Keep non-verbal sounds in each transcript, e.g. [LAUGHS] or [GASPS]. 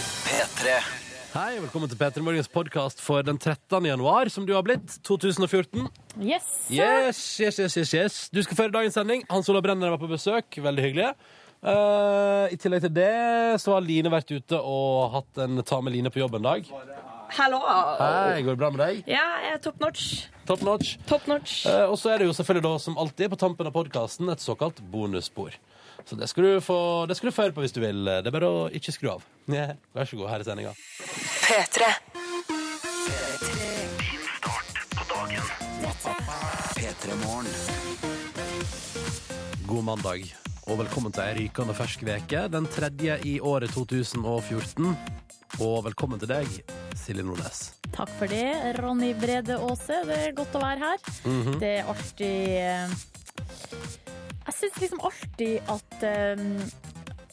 P3. Hei, og velkommen til P3 Morgens podkast for den 13. januar, som du har blitt. 2014. Yes. Yes, yes, yes, yes, yes. Du skal føre dagens sending. Hans Olav Brenner var på besøk. Veldig hyggelig. Eh, I tillegg til det så har Line vært ute og hatt en ta med Line på jobb-en-dag. Hallo. Hei, går det bra med deg? Ja, jeg er top notch. Top notch. Top notch. Eh, Og så er det jo selvfølgelig da, som alltid, på tampen av podkasten et såkalt bonusspor. Så det skal, du få, det skal du få høre på hvis du vil. Det er bare å ikke skru av. [LAUGHS] Ja, Vær så god, her er sendinga. P3. P3 Morgen. God mandag, og velkommen til ei rykende fersk veke, den tredje i året 2014. Og velkommen til deg, Silje Nordnes. Takk for det, Ronny Brede Aase. Det er godt å være her. Mhm. Det er alltid eh, Jeg syns liksom alltid at eh,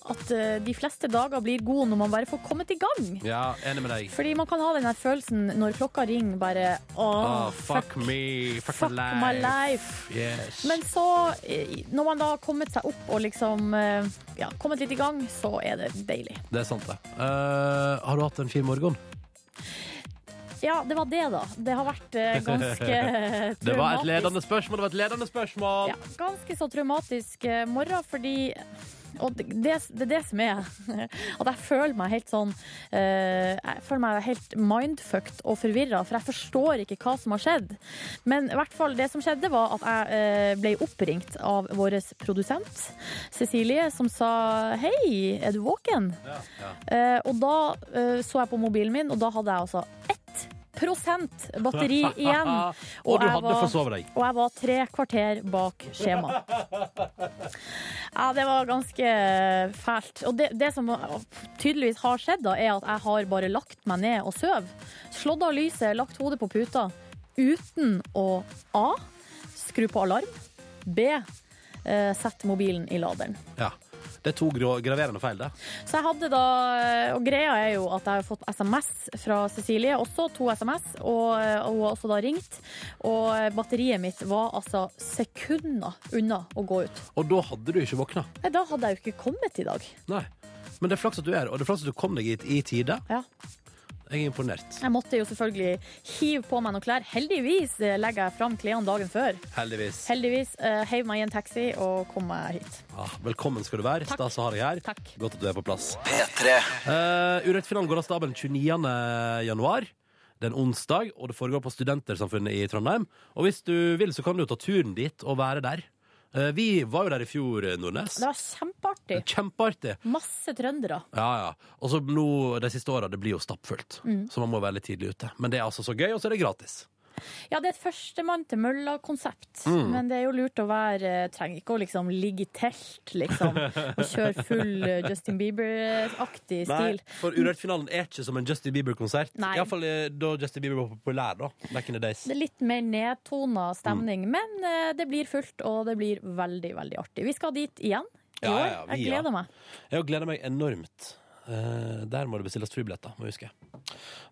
at eh, de fleste dager blir gode når man bare får kommet i gang. Ja, enig med deg. Fordi man kan ha den der følelsen når klokka ringer, bare Åh, Ah, fuck, me, fuck, fuck my life. Yes. Men så, eh, når man da har kommet seg opp og liksom eh, ja, kommet litt i gang, så er det deilig. Det er sant, det. Eh, har du hatt en fin morgen? Ja, det var det, da. Det har vært [LAUGHS] eh, ganske traumatisk. Det var et ledende spørsmål! Det var et ledende spørsmål. ja, Ganske så traumatisk eh, morgen, fordi og det, det er det som er [LAUGHS] at jeg føler meg helt sånn eh, Jeg føler meg helt mindfucked og forvirra, for jeg forstår ikke hva som har skjedd. Men i hvert fall det som skjedde, var at jeg eh, ble oppringt av vår produsent Cecilie, som sa Hei, er du våken? Ja, ja. Eh, og da eh, så jeg på mobilen min, og da hadde jeg altså 1 [LAUGHS] batteri igjen. Og, du jeg hadde var- forsovet deg. Og jeg var tre kvarter bak skjema. Ja, det var ganske eh, fælt. Og det, det som tydeligvis har skjedd, da, er at jeg har bare lagt meg ned og søv. Slått av lyset, lagt hodet på puta uten å A. Skru på alarm. B. Eh, sette mobilen i laderen. [LAUGHS] Ja. Det er to grå- graverende feil, det. Så jeg hadde da, eh, og greia er jo at jeg har fått SMS fra Cecilie, også to SMS, og, eh, og hun har også da ringt. Og eh, batteriet mitt var altså sekunder unna å gå ut. Og da hadde du ikke våkna. Nei, da hadde jeg jo ikke kommet i dag. Nei. Men det er flaks at du er her, og det er flaks at du kom deg hit i tide. Ja. Jeg er imponert. Jeg måtte jo selvfølgelig hive på meg noen klær. Heldigvis eh, legger jeg fram klærne dagen før. Heldigvis. Heldigvis eh, heiv meg i en taxi og kom meg hit. Ah, velkommen skal du være. Takk. Stas å ha deg her. Takk. Godt at du er på plass. P3. Uh, Urettfinalen går av stabelen 29. januar. Det er en onsdag, og det foregår på Studentersamfunnet i Trondheim. Og hvis du vil, så kan du ta turen dit og være der. Eh, vi var jo der i fjor, eh, Nordnes. Det var kjempeartig. Kjempeartig. Masse trøndere. Ja, ja. Og så nå de siste åra, det blir jo stappfullt. Mm. Så man må være litt tidlig ute. Men det er altså så gøy, og så er det gratis. Ja, det er et førstemann til mølla-konsept. Men det er jo lurt å være eh, Trenger ikke å liksom ligge i telt, liksom. Og kjøre full eh, Justin Bieber-aktig stil. for Urettfinalen er ikke som en Justin Bieber-konsert. Nei. Iallfall eh, da Justin Bieber var populær, da. Back in the days. Det er litt mer nedtona stemning. Men eh, det blir fullt, og det blir veldig, veldig artig. Vi skal dit igjen i Ja, år. ja, vi, Jeg ja. gleder meg. Jeg gleder meg enormt. Eh, der må det bestilles flybilletter, må jeg huske.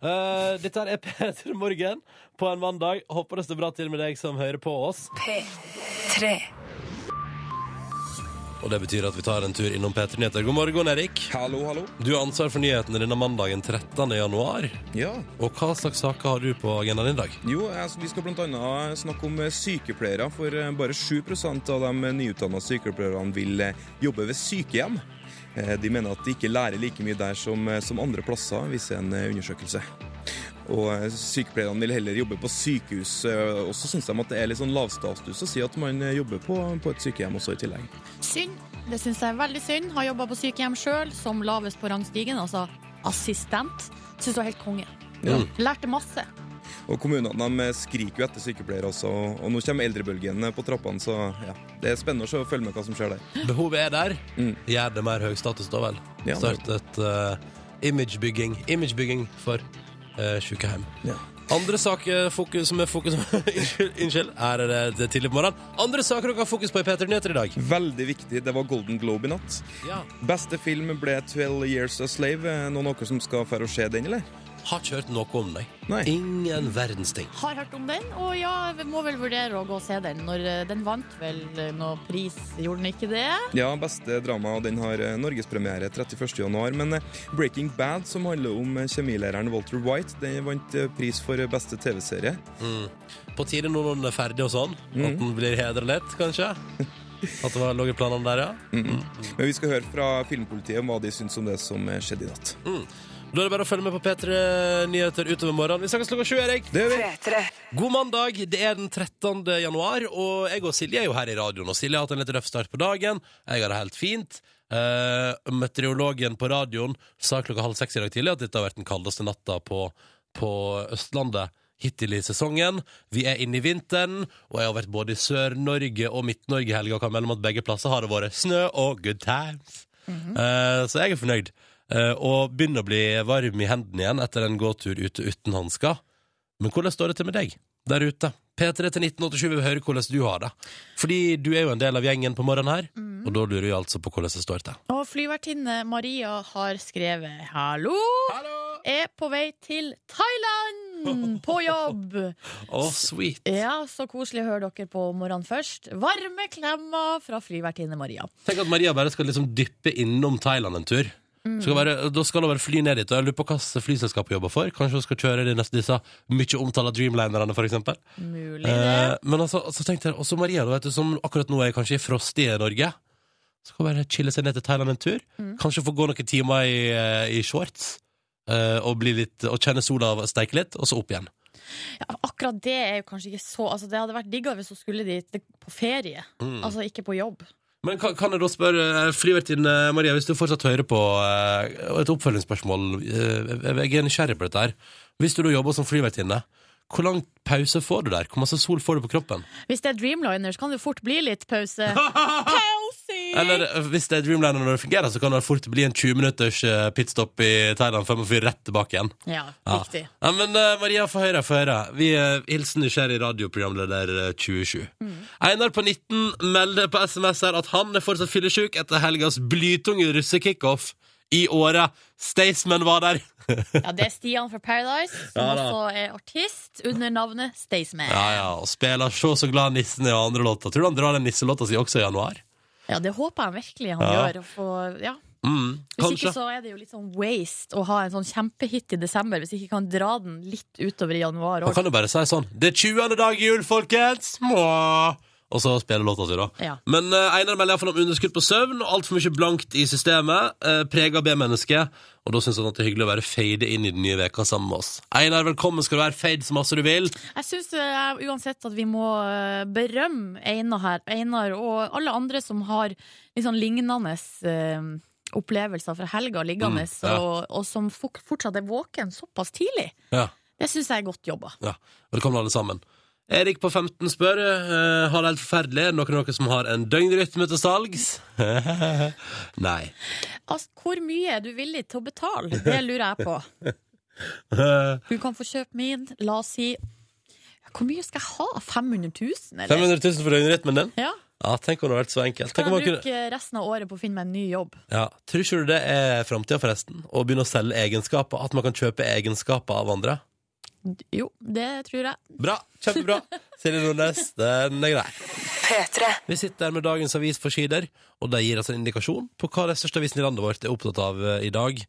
Eh, dette her er [LAUGHS] Peter Morgen på en mandag. Håper det står bra til med deg som hører på oss. P3. Og det betyr at vi tar en tur innom Peter Nyheter. God morgen, Erik. Hallo, hallo. Du har ansvar for nyhetene denne mandagen 13. januar. Ja. Og hva slags saker har du på agendaen i dag? Jo, altså, vi skal bl.a. snakke om eh, sykepleiere, for eh, bare 7 av de nyutdanna sykepleierne vil eh, jobbe ved sykehjem. Eh, De mener at de ikke lærer like mye der som, eh, som andre plasser, viser en eh, undersøkelse. Og eh, sykepleierne vil heller jobbe på sykehus. eh, Og så syns de at det er litt sånn lavstatus å si at man eh, jobber på, på et sykehjem også i tillegg. Synd. Det syns jeg er veldig synd. Har jobba på sykehjem sjøl, som lavest på rangstigen, altså assistent. Syns det var helt konge. Ja. Mm. Lærte masse. Og kommunene de eh, skriker jo etter sykepleiere også, og og nå kommer eldrebølgen eh, på trappene, så ja, det er spennende å se og følge med hva som skjer der. Behovet er der. Mm. Gjør det mer høy status, da vel. Ja. Start et eh, imagebygging. Imagebygging for uh, sykehjem. Ja. Andre saker fokus, som er fokus [LAUGHS] Unnskyld, unnskyld. Her er det, det er tidlig på morgenen. Andre saker dere har fokus på i P3 Nyheter i dag. Veldig viktig. Det var Golden Globe i natt. Ja. Beste film ble 12 Years a Slave. Er det Noen av dere som skal for å se den, eller? Har ikke hørt noe om deg. Nei. Ingen verdens ting. Har hørt om den, og ja, vi må vel vurdere å gå og se den. Når eh, den vant vel eh, noe pris, gjorde den ikke det? Ja, beste drama, og den har eh, norgespremiere 31. januar. Men eh, Breaking Bad, som handler om eh, kjemilæreren Walter White, den vant eh, pris for eh, beste TV-serie. Mm. På tide nå når den er ferdig og sånn, Mm. at den blir hedret litt, kanskje. At det var lå i planene der, ja. Men vi skal høre fra filmpolitiet om hva de syns om det som eh, skjedde i natt. Mm. Da er det bare å følge med på P3 Nyheter utover morgenen. Vi snakkes klokka sju, Erik. Det gjør vi. 3-3 God mandag, det er den 13. januar, og jeg og Silje er jo her i radioen. Og Silje har hatt en litt røff start på dagen. Jeg har det helt fint. Eh, meteorologen på radioen sa klokka halv seks i dag tidlig at dette har vært den kaldeste natta på, på Østlandet hittil i sesongen. Vi er inne i vinteren, og jeg har vært både i Sør-Norge og Midt-Norge i helga og kan melde om at begge plasser har det vært snø og good times. Eh, så jeg er fornøyd. Eh, og begynner å bli varm i hendene igjen etter en gåtur ute uten hansker. Men hvordan står det til med deg der ute? P3 til 1987 vil høre hvordan du har det. Fordi du er jo en del av gjengen på morgenen her, og da lurer vi altså på hvordan det står til. Og flyvertinne Maria har skrevet 'hallo'. Er på vei til Thailand på jobb. [LAUGHS] Å, sweet. Ja, så koselig å høre dere på morgenen først. Varme klemmer fra flyvertinne Maria. Tenk at Maria bare skal liksom dyppe innom Thailand en tur. Skal bare, da skal hun bare fly ned dit. Og jeg lurer på hva slags flyselskap hun jobber for. Kanskje hun skal kjøre de neste disse mye omtalte Dreamlinerne, for eksempel. Mulig det. Eh, men altså, så tenkte jeg også Maria, da, vet du, som akkurat nå er kanskje i frostige Norge. Så kan hun bare chille seg ned til Thailand en tur. Mm. Kanskje få gå noen timer i, eh, i shorts. eh, og, bli litt, og kjenne sola steike litt, og så opp igjen. Ja, akkurat det er jo kanskje ikke så altså, Det hadde vært diggere hvis hun skulle dit det- på ferie. Mm. Altså ikke på jobb. Men kan, kan jeg da spørre eh, flyvertinne Maria, hvis du fortsatt hører på eh, og et oppfølgingsspørsmål eh, Jeg er nysgjerrig på dette her. Hvis du da jobber som flyvertinne, hvor lang pause får du der? Hvor masse sol får du på kroppen? Hvis det er Dreamliner, så kan det fort bli litt [LAUGHS] pause. pause! Eller eh, hvis det er Dreamliner når det fungerer, så kan det fort bli en 20 minutters eh, pitstop i Thailand før man fyrer rett tilbake igjen. Ja, Ja. riktig. Ja, men eh, Maria, få høre, få høre. Vi uh, hilsen nysgjerrig radioprogramleder eh, 27. Einar på 19 melder på SMS her at han er fortsatt fyllesyk etter helgas blytunge russekickoff i året. Staysman var der. [LAUGHS] Ja, det er Stian fra Paradise, som Ja, da. også er artist under navnet Staysman. Ja, ja, og spiller Så så glad nissen i andre låter. Tror du han drar den nisselåta si også i januar? Ja, det håper jeg virkelig han Ja. gjør. å få- ja. Mm, Hvis ikke så er det jo litt sånn waste å ha en sånn kjempehit i desember, hvis ikke kan dra den litt utover i januar. Man Også. kan jo bare si sånn Det er 20. dag i jul, folkens! Mwah! Og så spiller låta si, da. Ja. Men eh, Einar melder iallfall om underskudd på søvn og altfor mye blankt i systemet. Uh, Prega B-mennesket. Og da syns han at det er hyggelig å være fade inn i den nye veka sammen med oss. Einar, velkommen skal du være fade så masse du vil. Jeg syns uansett at vi må eh, berømme Einar, her, Einar og alle andre som har litt sånn lignende eh, opplevelser fra helga liggende, Mm, ja. og, og som fok- fortsatt er våken såpass tidlig. Ja, Det syns jeg er godt jobba. ja. Velkommen, alle sammen. Erik på 15 spør eh, har det helt forferdelig. Er det noen av dere som har en døgnrytme til salgs? [LAUGHS] Nei. Altså, hvor mye er du villig til å betale? Det lurer jeg [LAUGHS] på. Du kan få kjøpe min. La oss si Hvor mye skal jeg ha? 500 000, eller? 500 000 for døgnrytmen din? Ja. Ja, tenk om det hadde vært så enkelt. Tenk Kan om man jeg kunne... bruke resten av året på å finne meg en ny jobb? Ja, Tror ikke du det er framtida, forresten? Å begynne å selge egenskaper? At man kan kjøpe egenskaper av andre? Jo, det tror jeg. Bra! Kjempebra! Silje Nordnes, den er grei. P3 Vi sitter her med dagens avis for sider, og de gir oss en indikasjon på hva den største avisen i landet vårt er opptatt av eh, i dag.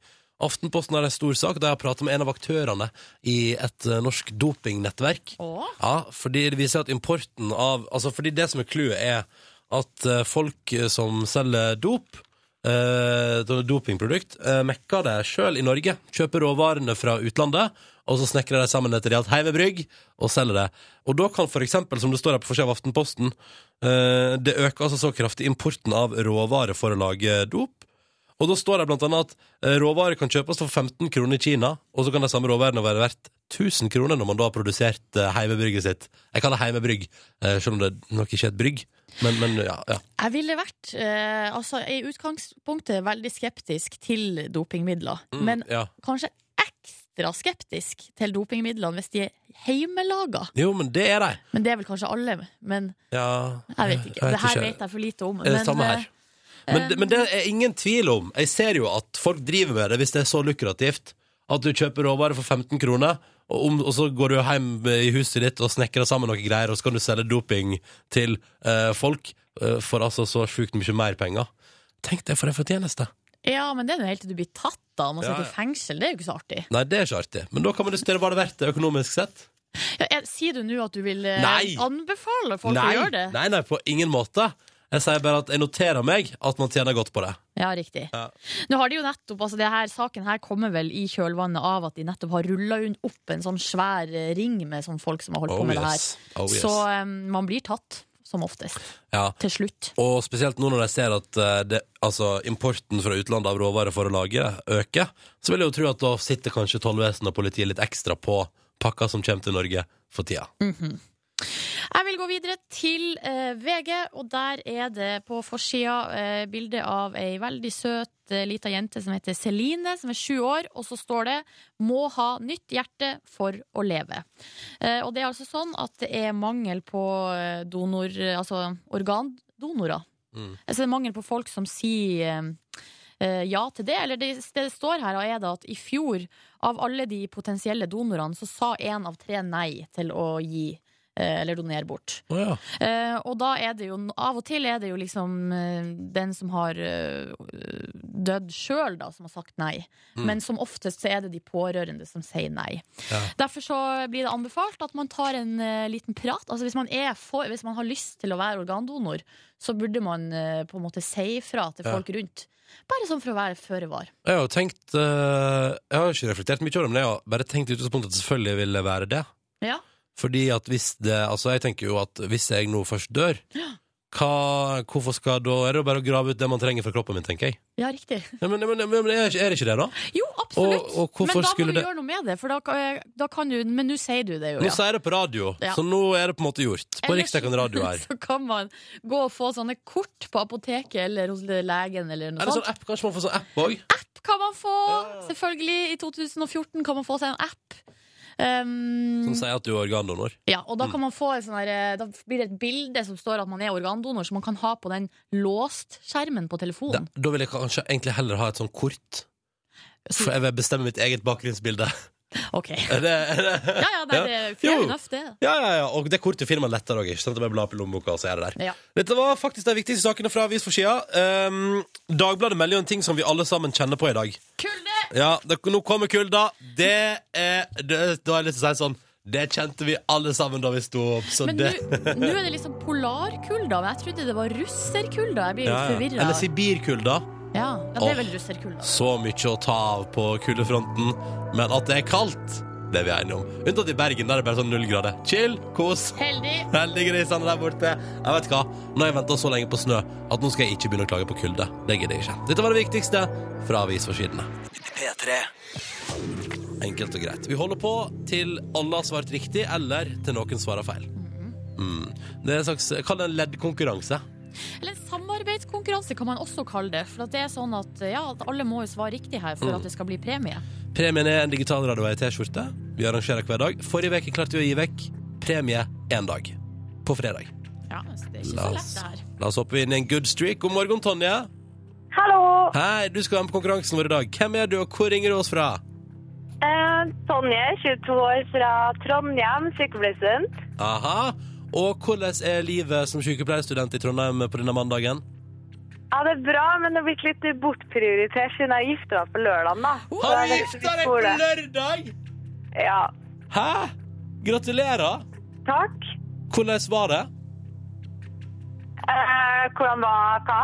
Aftenposten har en stor sak, der jeg har pratet med en av aktørene i et eh, norsk dopingnettverk. Å? Ja, fordi det viser at importen av Altså, fordi det som er clouet, er at eh, folk eh, som selger dop eh, do- dopingprodukt, eh, mekker det sjøl i Norge. Kjøper råvarene fra utlandet, og så snekrer de sammen et realt heimebrygg og selger det. Og da kan for eksempel, som det står her på forsida av Aftenposten, eh, det øker altså så kraftig importen av råvarer for å lage dop. Og da står det blant annet at eh, råvarer kan kjøpes for 15 kroner i Kina, og så kan de samme råvarene være verdt 1000 kroner når man da har produsert eh, heimebrygget sitt. Jeg kaller det heimebrygg, eh, selv om det nok ikke er et brygg. Men, men ja, ja. Jeg ville vært eh, altså, i utgangspunktet veldig skeptisk til dopingmidler. men Mm, ja. kanskje ekstra skeptisk til dopingmidlene hvis de er hjemmelaga. Jo, men det er de. Men det er vel kanskje alle. Men Ja, jeg vet ikke. Det her vet jeg for lite om. Det er men, det samme eh, her. Men, det- men det er ingen tvil om. Jeg ser jo at folk driver med det hvis det er så lukrativt. At du kjøper råvarer for 15 kroner, og, om, og så går du hjem i huset ditt og snekrer sammen noen greier, og så kan du selge doping til eh, folk eh, for altså så sjukt mye mer penger. Tenk deg for en fortjeneste. eh, Ja, men det er jo helt til du blir tatt da og må Ja, ja. sitte i fengsel. Det er jo ikke så artig. Nei, det er ikke artig. Men da kan man diskutere hva det er verdt det økonomisk sett. Ja, er, sier du nå at du vil eh, Nei! anbefale folk nei, å gjøre det? nei, nei, på ingen måte. Jeg sier bare at jeg noterer meg at man tjener godt på det. Ja, riktig. Ja. Nå har de jo nettopp, altså det her, Saken her kommer vel i kjølvannet av at de nettopp har rulla opp en sånn svær eh, ring med sånn folk som har holdt på med Oh, det her. yes. Så eh, man blir tatt, som oftest. Ja. Til slutt. Og spesielt nå når jeg ser at eh, det, altså, importen fra utlandet av råvarer for å lage øker, så vil jeg jo tro at da sitter kanskje tollvesenet og politiet litt ekstra på pakka som kommer til Norge for tida. Mm. Jeg vil gå videre til eh, VG, og der er det på forsida eh, bilde av ei veldig søt eh, lita jente som heter Celine, som er sju år, og så står det 'Må ha nytt hjerte for å leve'. Eh, og det er altså sånn at det er mangel på eh, donor, altså organdonorer. Mm. Altså det er mangel på folk som sier eh, eh, ja til det. Eller det, det det står her, da, er det at i fjor, av alle de potensielle donorene, så sa én av tre nei til å gi eh, eller donere bort. Å ja. Eh, og da er det jo av og til er det jo liksom eh, den som har eh, dødd sjøl, da, som har sagt nei. Men som oftest så er det de pårørende som sier nei. Mm. Ja. Derfor så blir det anbefalt at man tar en eh, liten prat. Altså hvis man, er for, hvis man har lyst til å være organdonor, så burde man eh, på en måte si ifra til Ja. folk rundt. Bare sånn for å være føre var. Jeg har jo tenkt eh, Jeg har jo ikke reflektert mye over det, men jeg har bare tenkt i utgangspunktet at selvfølgelig vil det være det. Ja. Fordi at hvis det Altså, jeg tenker jo at hvis jeg nå først [GASPS] dør, hva, hvorfor skal da Er det jo bare å grave ut det man trenger fra kroppen min, tenker jeg. Ja, riktig. Ja, men, men, men, men er ikke- er det ikke det, da? Jo, absolutt. Og- og hvorfor Men da må skulle du det- gjøre noe med det. For da, kan- da kan du, men nå sier du det jo. Nå ja. sier jeg det på radio, Ja. så nå er det på en måte gjort. På Ellers- riksdekkende radio [LAUGHS] her. Så kan man gå og få sånne kort på apoteket eller hos legen eller noe Er det sånt. sånn app? Kanskje man får sånn app òg? App kan man få! Selvfølgelig. I 2014 kan man få seg en app. Um, Som sier Mm. at du er organdonor. ja, og da, kan man få en sånn der, da blir det et bilde som står at man er organdonor, som man kan ha på den låst-skjermen på Da, telefonen. Mm. da vil jeg kanskje egentlig heller ha et sånn kort. For jeg vil bestemme mitt eget bakgrunnsbilde. Ok. [LAUGHS] Er det, er det? Ja, ja, [LAUGHS] nei, det er fair Jo. enough, det. Ja, ja, ja. Og det kortet finner man lettere òg, ikke sant? Bare bla opp i lommeboka, og så er det der. Ja. Dette var faktisk de viktigste sakene fra avisforsida. Um, Dagbladet melder jo en ting som vi alle sammen kjenner på i dag. Kulde! Ja, det, nå kommer kulda. Det er det, Da har jeg lyst til å si sånn Det kjente vi alle sammen da vi sto opp, så Men det nå nå er det [LAUGHS] liksom polarkulda. Men jeg trodde det var russerkulda. Jeg blir litt forvirra. Eller Sibirkulda. Ja, ja, det Åh. er vel russerkulda. Så mye å ta av på kuldefronten, men at det er kaldt, det er vi enige om. Unntatt i Bergen, der er det bare sånn null grader. Chill, kos. Heldig. Heldiggrisene der borte. Jeg vet hva, nå har jeg venta så lenge på snø at nå skal jeg ikke begynne å klage på kulde. Det gidder jeg ikke. Dette var det viktigste fra avisforsidene. P3. Enkelt og greit. Vi holder på til alle har svart riktig, eller til noen svarer feil. Mm. Det er en slags Kall det en leddkonkurranse. Eller en samarbeidskonkurranse kan man også kalle det. For at det er sånn at ja, at alle må jo svare riktig her Mm. for at det skal bli premie. Premien er en digital radio-T-skjorte. Vi arrangerer hver dag. Forrige uke klarte vi å gi vekk premie én dag. På fredag. Ja, så det er ikke La så oss, lett det her. la oss hoppe inn i en good streak. God morgen, Tonje. Hallo. Hei, du skal være med på konkurransen vår i dag. Hvem er du, og hvor ringer du oss fra? Eh, Tonje, 22 år fra Trondheim, sykepleiersund. Aha. Og hvordan er livet som sykepleierstudent i Trondheim på denne mandagen? Ja, det er bra, men det er blitt litt bortprioritert siden jeg gifta meg på lørdag, da. Så Har jeg du er gifta litt deg på skole. lørdag?! Ja. Hæ? Gratulerer! Takk. Hvordan var det? Eh, hvordan var hva?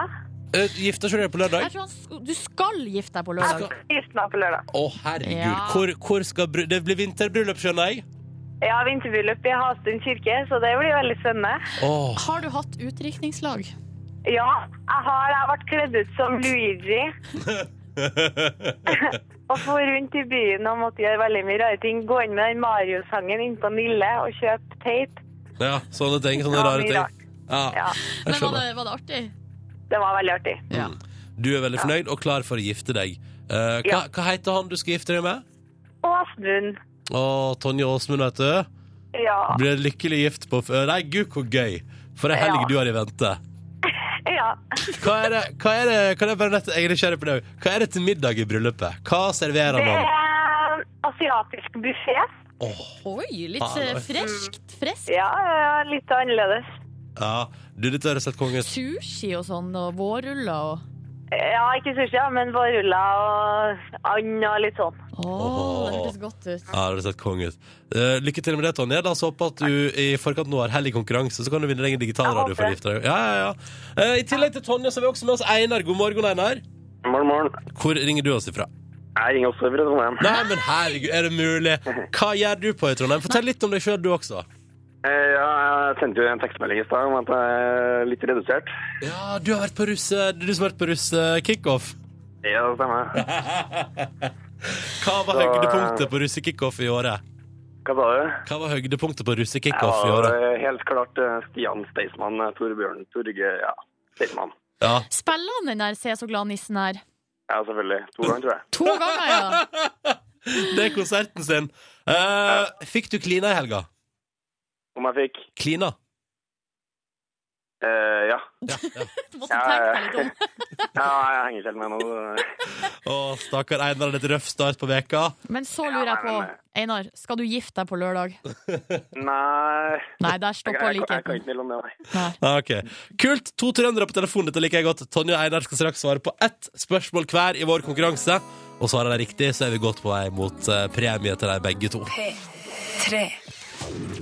Eh, Gifta ikke du deg på lørdag? Jeg tror han, sk- du skal gifte deg på lørdag. Skal- Gifta meg på lørdag. Å, herregud. Ja. Hvor, hvor skal bry Det blir vinterbryllup, skjønner [LAUGHS] jeg. Ja, vinterbryllup i Hastund kirke, så det blir veldig spennende. Åh. Har du hatt utrykningslag? Ja, jeg har jeg ble kledd ut som Luigi. [LAUGHS] og for rundt i byen og måtte gjøre veldig mye rare ting. Gå inn med den Mario-sangen inn på Nille og kjøpe teip. Ja, sånne ting. Sånne Ja, rare mye rart. ting. Ja, Mm. Ja, jeg Men var det, skjønner. var det artig? det var veldig artig. Ja. Du er veldig fornøyd og klar for å gifte deg. Eh, hva, Ja. hva heter han du skal gifte deg med? Og Asmund. [LAUGHS] Å, Tonje Åsmund, vet du. Ja. Blir lykkelig gift på f- Nei, gud, hvor gøy! For ei helg Ja. du har i vente. ja. Hva er det, hva er det, kan jeg bare nett, jeg er nysgjerrig på det. Hva er det til middag i bryllupet? Hva serverer Det man? er asiatisk buffé. Oi, litt Faen, eh, oi. freskt. Fresk. Ja, ja, litt annerledes. Ja, du, dette høres helt konge ut. Sushi og sånn, og vårruller og Ja, ikke sushi, ja, men vårruller og and og litt sånn. Å, det hørtes godt ut. Ja, det høres helt konge ut. Eh, lykke til med det, Tonje. La oss håpe at du i forkant nå har hellig konkurranse, så kan du vinne deg en digital Jeg radio for å håper gifte deg. Ja, ja, ja. Eh, I tillegg til Tonje så har vi også med oss Einar. God morgen, Einar. Morgen, morgen. Hvor ringer du oss ifra? Jeg ringer også fra Trondheim. Nei, men herregud, er det mulig? Hva gjør du på i Trondheim? Fortell litt om deg sjøl, du også. Eh, Ja, jeg sendte jo en tekstmelding i stad om at jeg er litt redusert. Ja, du har vært på russ... eh, Du som har vært på russ eh, kickoff. Ja, det stemmer. [LAUGHS] Hva var Så, eh, høydepunktet på russekickoff i året? Hva sa du? Hva var høydepunktet på russekickoff i Jeg var året? eh, helt klart eh, Stian Staysman, eh, Torbjørn Torge, ja, Staysman. Ja. Spiller han den der Se så glad-nissen her? Ja, selvfølgelig. To ganger, tror jeg. To ganger, ja. Det er konserten sin. Eh, fikk du klina i helga? Om jeg fikk Klina? eh, [LAUGHS] Ja. Ja. ja. Måtte tenke meg litt om. [LAUGHS] Ja, jeg henger ikke helt med nå. Å, stakkar Einar, det er et røff start på veka. Men så lurer jeg på, Einar, skal du gifte deg på [LAUGHS] lørdag? Nei Nei, der Jeg, jeg, stopper jeg, jeg kan likheten. ikke mellom det, nei. Nei. Ah, Ok, Kult. To trøndere på telefonen, dette liker jeg godt. Tonje og Einar skal straks svare på ett spørsmål hver i vår konkurranse. Og svarer de riktig, så er vi godt på vei mot eh, premie til deg begge to. Tre.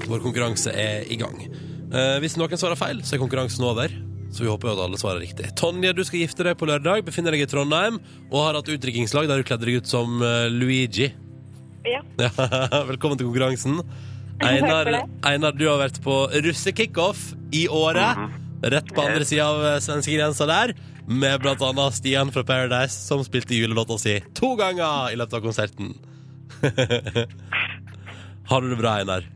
Vår konkurranse er i gang. Eh, hvis noen svarer feil, så er konkurransen over. Så vi håper jo at alle svarer riktig. Tonje, du skal gifte deg på lørdag, befinner deg i Trondheim og har hatt utdrikkingslag der du kledde deg ut som eh, Luigi. Ja. Ja, [LAUGHS] Velkommen til konkurransen. Einar, Takk Einar, du har vært på russekickoff i året. Mhm. Rett på andre sida av eh, svenskegrensa der. Med blant annet Stian fra Paradise, som spilte julelåta si to ganger i løpet av konserten. [LAUGHS] har du det bra, Einar?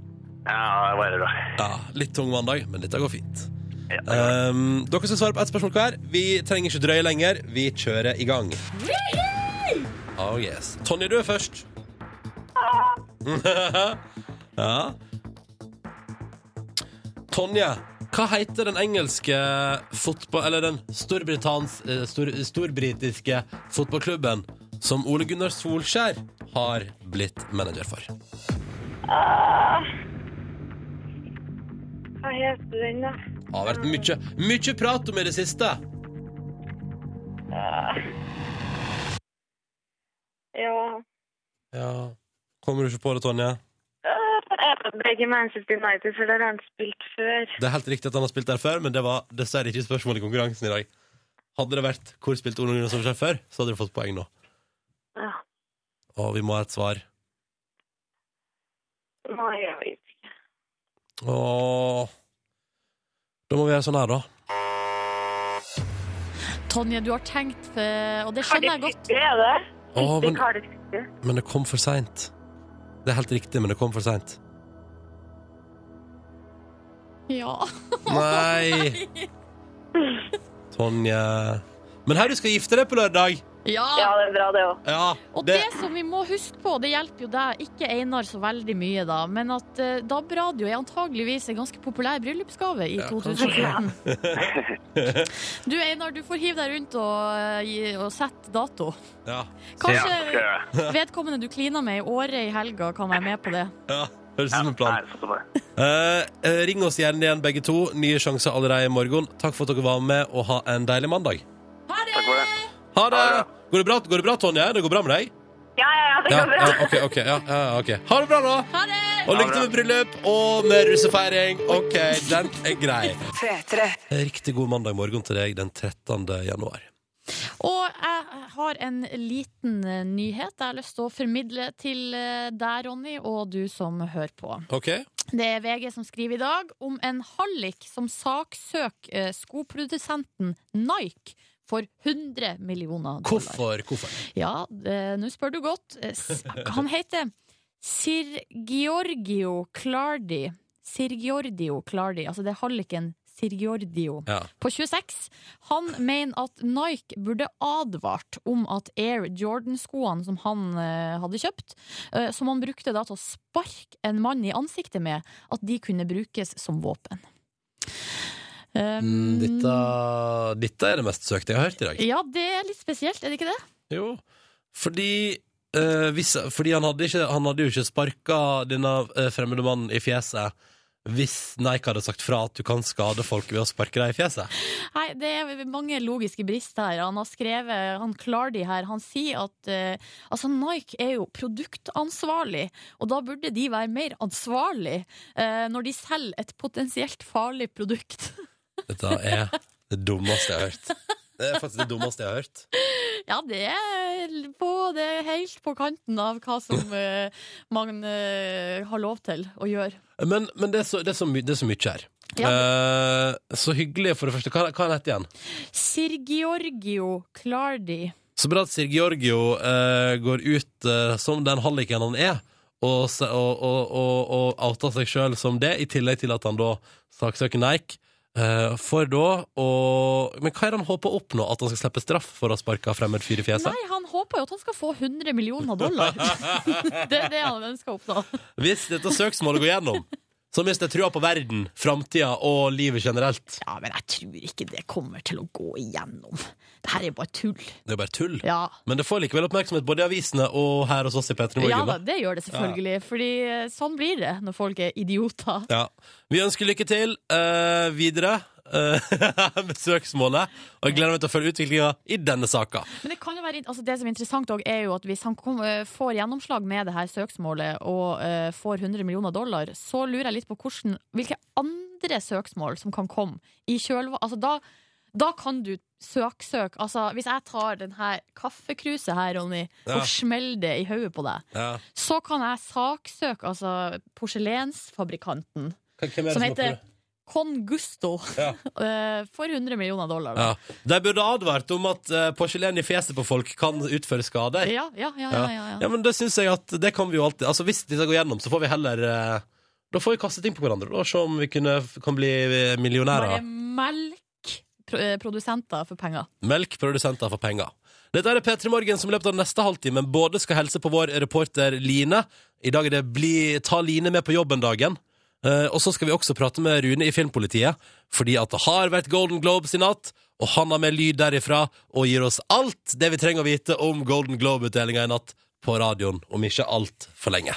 Ja, det var det bra. Ja, Litt tung mandag, men dette går fint. Ja, det var det. Ehm, dere skal svare på ett spørsmål hver. Vi trenger ikke drøye lenger. Vi kjører i gang. Oh yes. Tonje, du er først. ja. Tonje, hva heter den engelske fotball... Eller den storbritans... eh, Stor, storbritiske fotballklubben som Ole Gunnar Solskjær har blitt manager for? Hva heter den, da? Det har vært mye, mye prat om i det siste. Ja. Ja. Kommer du ikke på det, Tonje? [LAUGHS] Begge Manchester United, for der har han spilt før. Det er helt riktig at han har spilt der før, men det var dessverre ikke spørsmålet i konkurransen i dag. Hadde det vært hvor spilte Ole Gunnar Solskjær før, så hadde du fått poeng nå. Ja. Og vi må ha et svar. Nei, jeg vet ikke. Åh. Da må vi gjøre sånn her, da. Tonje, du har tenkt, eh, og det skjønner jeg godt. Det er det. Åh, men, Ikke har det siste. men det kom for seint. Det er helt riktig, men det kom for seint. Ja. [LAUGHS] [LAUGHS] Nei! Tonje Men her, du skal gifte deg på lørdag! Ja, ja. det er bra, det òg. Ja, Og det som vi må huske på, det hjelper jo deg, ikke Einar så veldig mye da, men at eh, DAB-radio er antageligvis en ganske populær bryllupsgave i Ja, kanskje. [LAUGHS] 2014. Du Einar, du får hive deg rundt og, eh, gi- og sette dato. ja, Ja, skal Kanskje jeg gjøre det. [LAUGHS] vedkommende du klina med i året i helga kan være med på det. ja. Høres ut Ja, som en plan. nei, sånn var det. Eh, eh, ring oss gjerne igjen, begge to. Nye sjanser allerede i morgen. Takk for at dere var med, og ha en deilig mandag. Takk for det. Ha det! Ha det. Går det bra, går det bra Tonje? Det går bra med deg? Ja, ja, ja, det Ja, går bra. ja, ok, ok, ja, ja, ok. Ha det bra, da! Ha det! Og lykke til med bryllup og med russefeiring. OK, den er grei. P3. Riktig god mandag morgen til deg den 13. januar. Og jeg har en liten eh, nyhet jeg har lyst til å formidle til eh, deg, Ronny, og du som hører på. OK? Det er VG som skriver i dag om en hallik som saksøker eh, skoprodusenten Nike for 100 millioner dollar. Hvorfor? Hvorfor? Ja, eh, nå spør du godt. Eh, s- Han heter Sir Giorgio Clardi. Sir Giorgio Clardi, altså det er halliken Sir Giorgio Ja. på 26. Han mener at Nike burde advart om at Air Jordan-skoene som han eh, hadde kjøpt, eh, som han brukte da til å sparke en mann i ansiktet med, at de kunne brukes som våpen. Mm, Um, Dette, dette er det mest søkte jeg har hørt i dag. Ja, det er litt spesielt, er det ikke det? Jo, fordi eh, hvis, fordi han hadde, ikke, han hadde jo ikke sparka denne eh, fremmede mannen i fjeset hvis Nike hadde sagt fra at du kan skade folk ved å sparke deg i fjeset. Nei, det er mange logiske brister her. Han har skrevet, han klarer de her. Han sier at eh, altså Nike er jo produktansvarlig, og da burde de være mer ansvarlig eh, når de selger et potensielt farlig produkt. [LAUGHS] Dette er det dummeste jeg har hørt. Det er faktisk det dummeste jeg har hørt. [LAUGHS] ja, det er, på, det er helt på kanten av hva som eh, man eh, har lov til å gjøre. Men, men det, er så, det, er så my, det er så mye her. Ja. Eh, så hyggelig, for det første. Hva, hva er han hett igjen? Sir Giorgio Clardi. Så bra at Sir Giorgio eh, går ut eh, som den halliken han er, og, se- og, og, og, og outer seg sjøl som det, i tillegg til at han da saksøker Nike. Eh, for da å Men hva er det han håper å oppnå? At han skal slippe straff for å ha sparka fremmed fyr i fjeset? Nei, han håper jo at han skal få 100 millioner [LAUGHS] [LAUGHS] dollar. det er det han ønsker å oppnå. Hvis dette søksmålet går gjennom, så mister jeg trua på verden, framtida og livet generelt. Ja, men jeg tror ikke det kommer til å gå igjennom. Det her er bare tull. Det er jo bare tull. Ja. Men det får likevel oppmerksomhet både i avisene og her hos oss i P3 ja Morgen. da, da. det gjør det selvfølgelig. Fordi eh, sånn blir det når folk er idioter. Ja. Vi ønsker lykke til eh, videre eh, [LAUGHS] med søksmålet, og jeg gleder meg til å følge utviklinga i denne saka. Men det kan jo være altså Det som er interessant òg, er jo at hvis han kom, eh, får gjennomslag med det her søksmålet og eh, får 100 millioner dollar, så lurer jeg litt på hvordan, hvilke andre søksmål som kan komme i kjølvannet Altså da da kan du søksøke. Altså, hvis jeg tar den her kaffekruset her, Ronny, Ja. og smeller det i hodet på deg, så kan jeg saksøke altså, porselensfabrikanten, Hvem som heter Con Gusto, Ja. [LAUGHS] eh, for 100 millioner dollar. ja. da. De burde advart om at eh, porselen i fjeset på folk kan utføre skader. Ja, ja, ja. ja, ja, ja. Ja, men det syns jeg at det kan vi jo alltid Altså Hvis disse går gjennom, så får vi heller eh, Da får vi kastet inn på hverandre og se om vi kunne, kan bli millionærer. Bare melk pro- eh, produsenter for penger. Melkprodusenter for penger. Dette er P3 Morgen som i løpet av neste halvtime både skal helse på vår reporter Line. I dag er det bli, Ta Line med på jobben-dagen. Eh, og så skal vi også prate med Rune i Filmpolitiet, fordi at det har vært Golden Globes i natt. Og han har med lyd derifra og gir oss alt det vi trenger å vite om Golden Globe-utdelinga i natt på radioen, om ikke altfor lenge.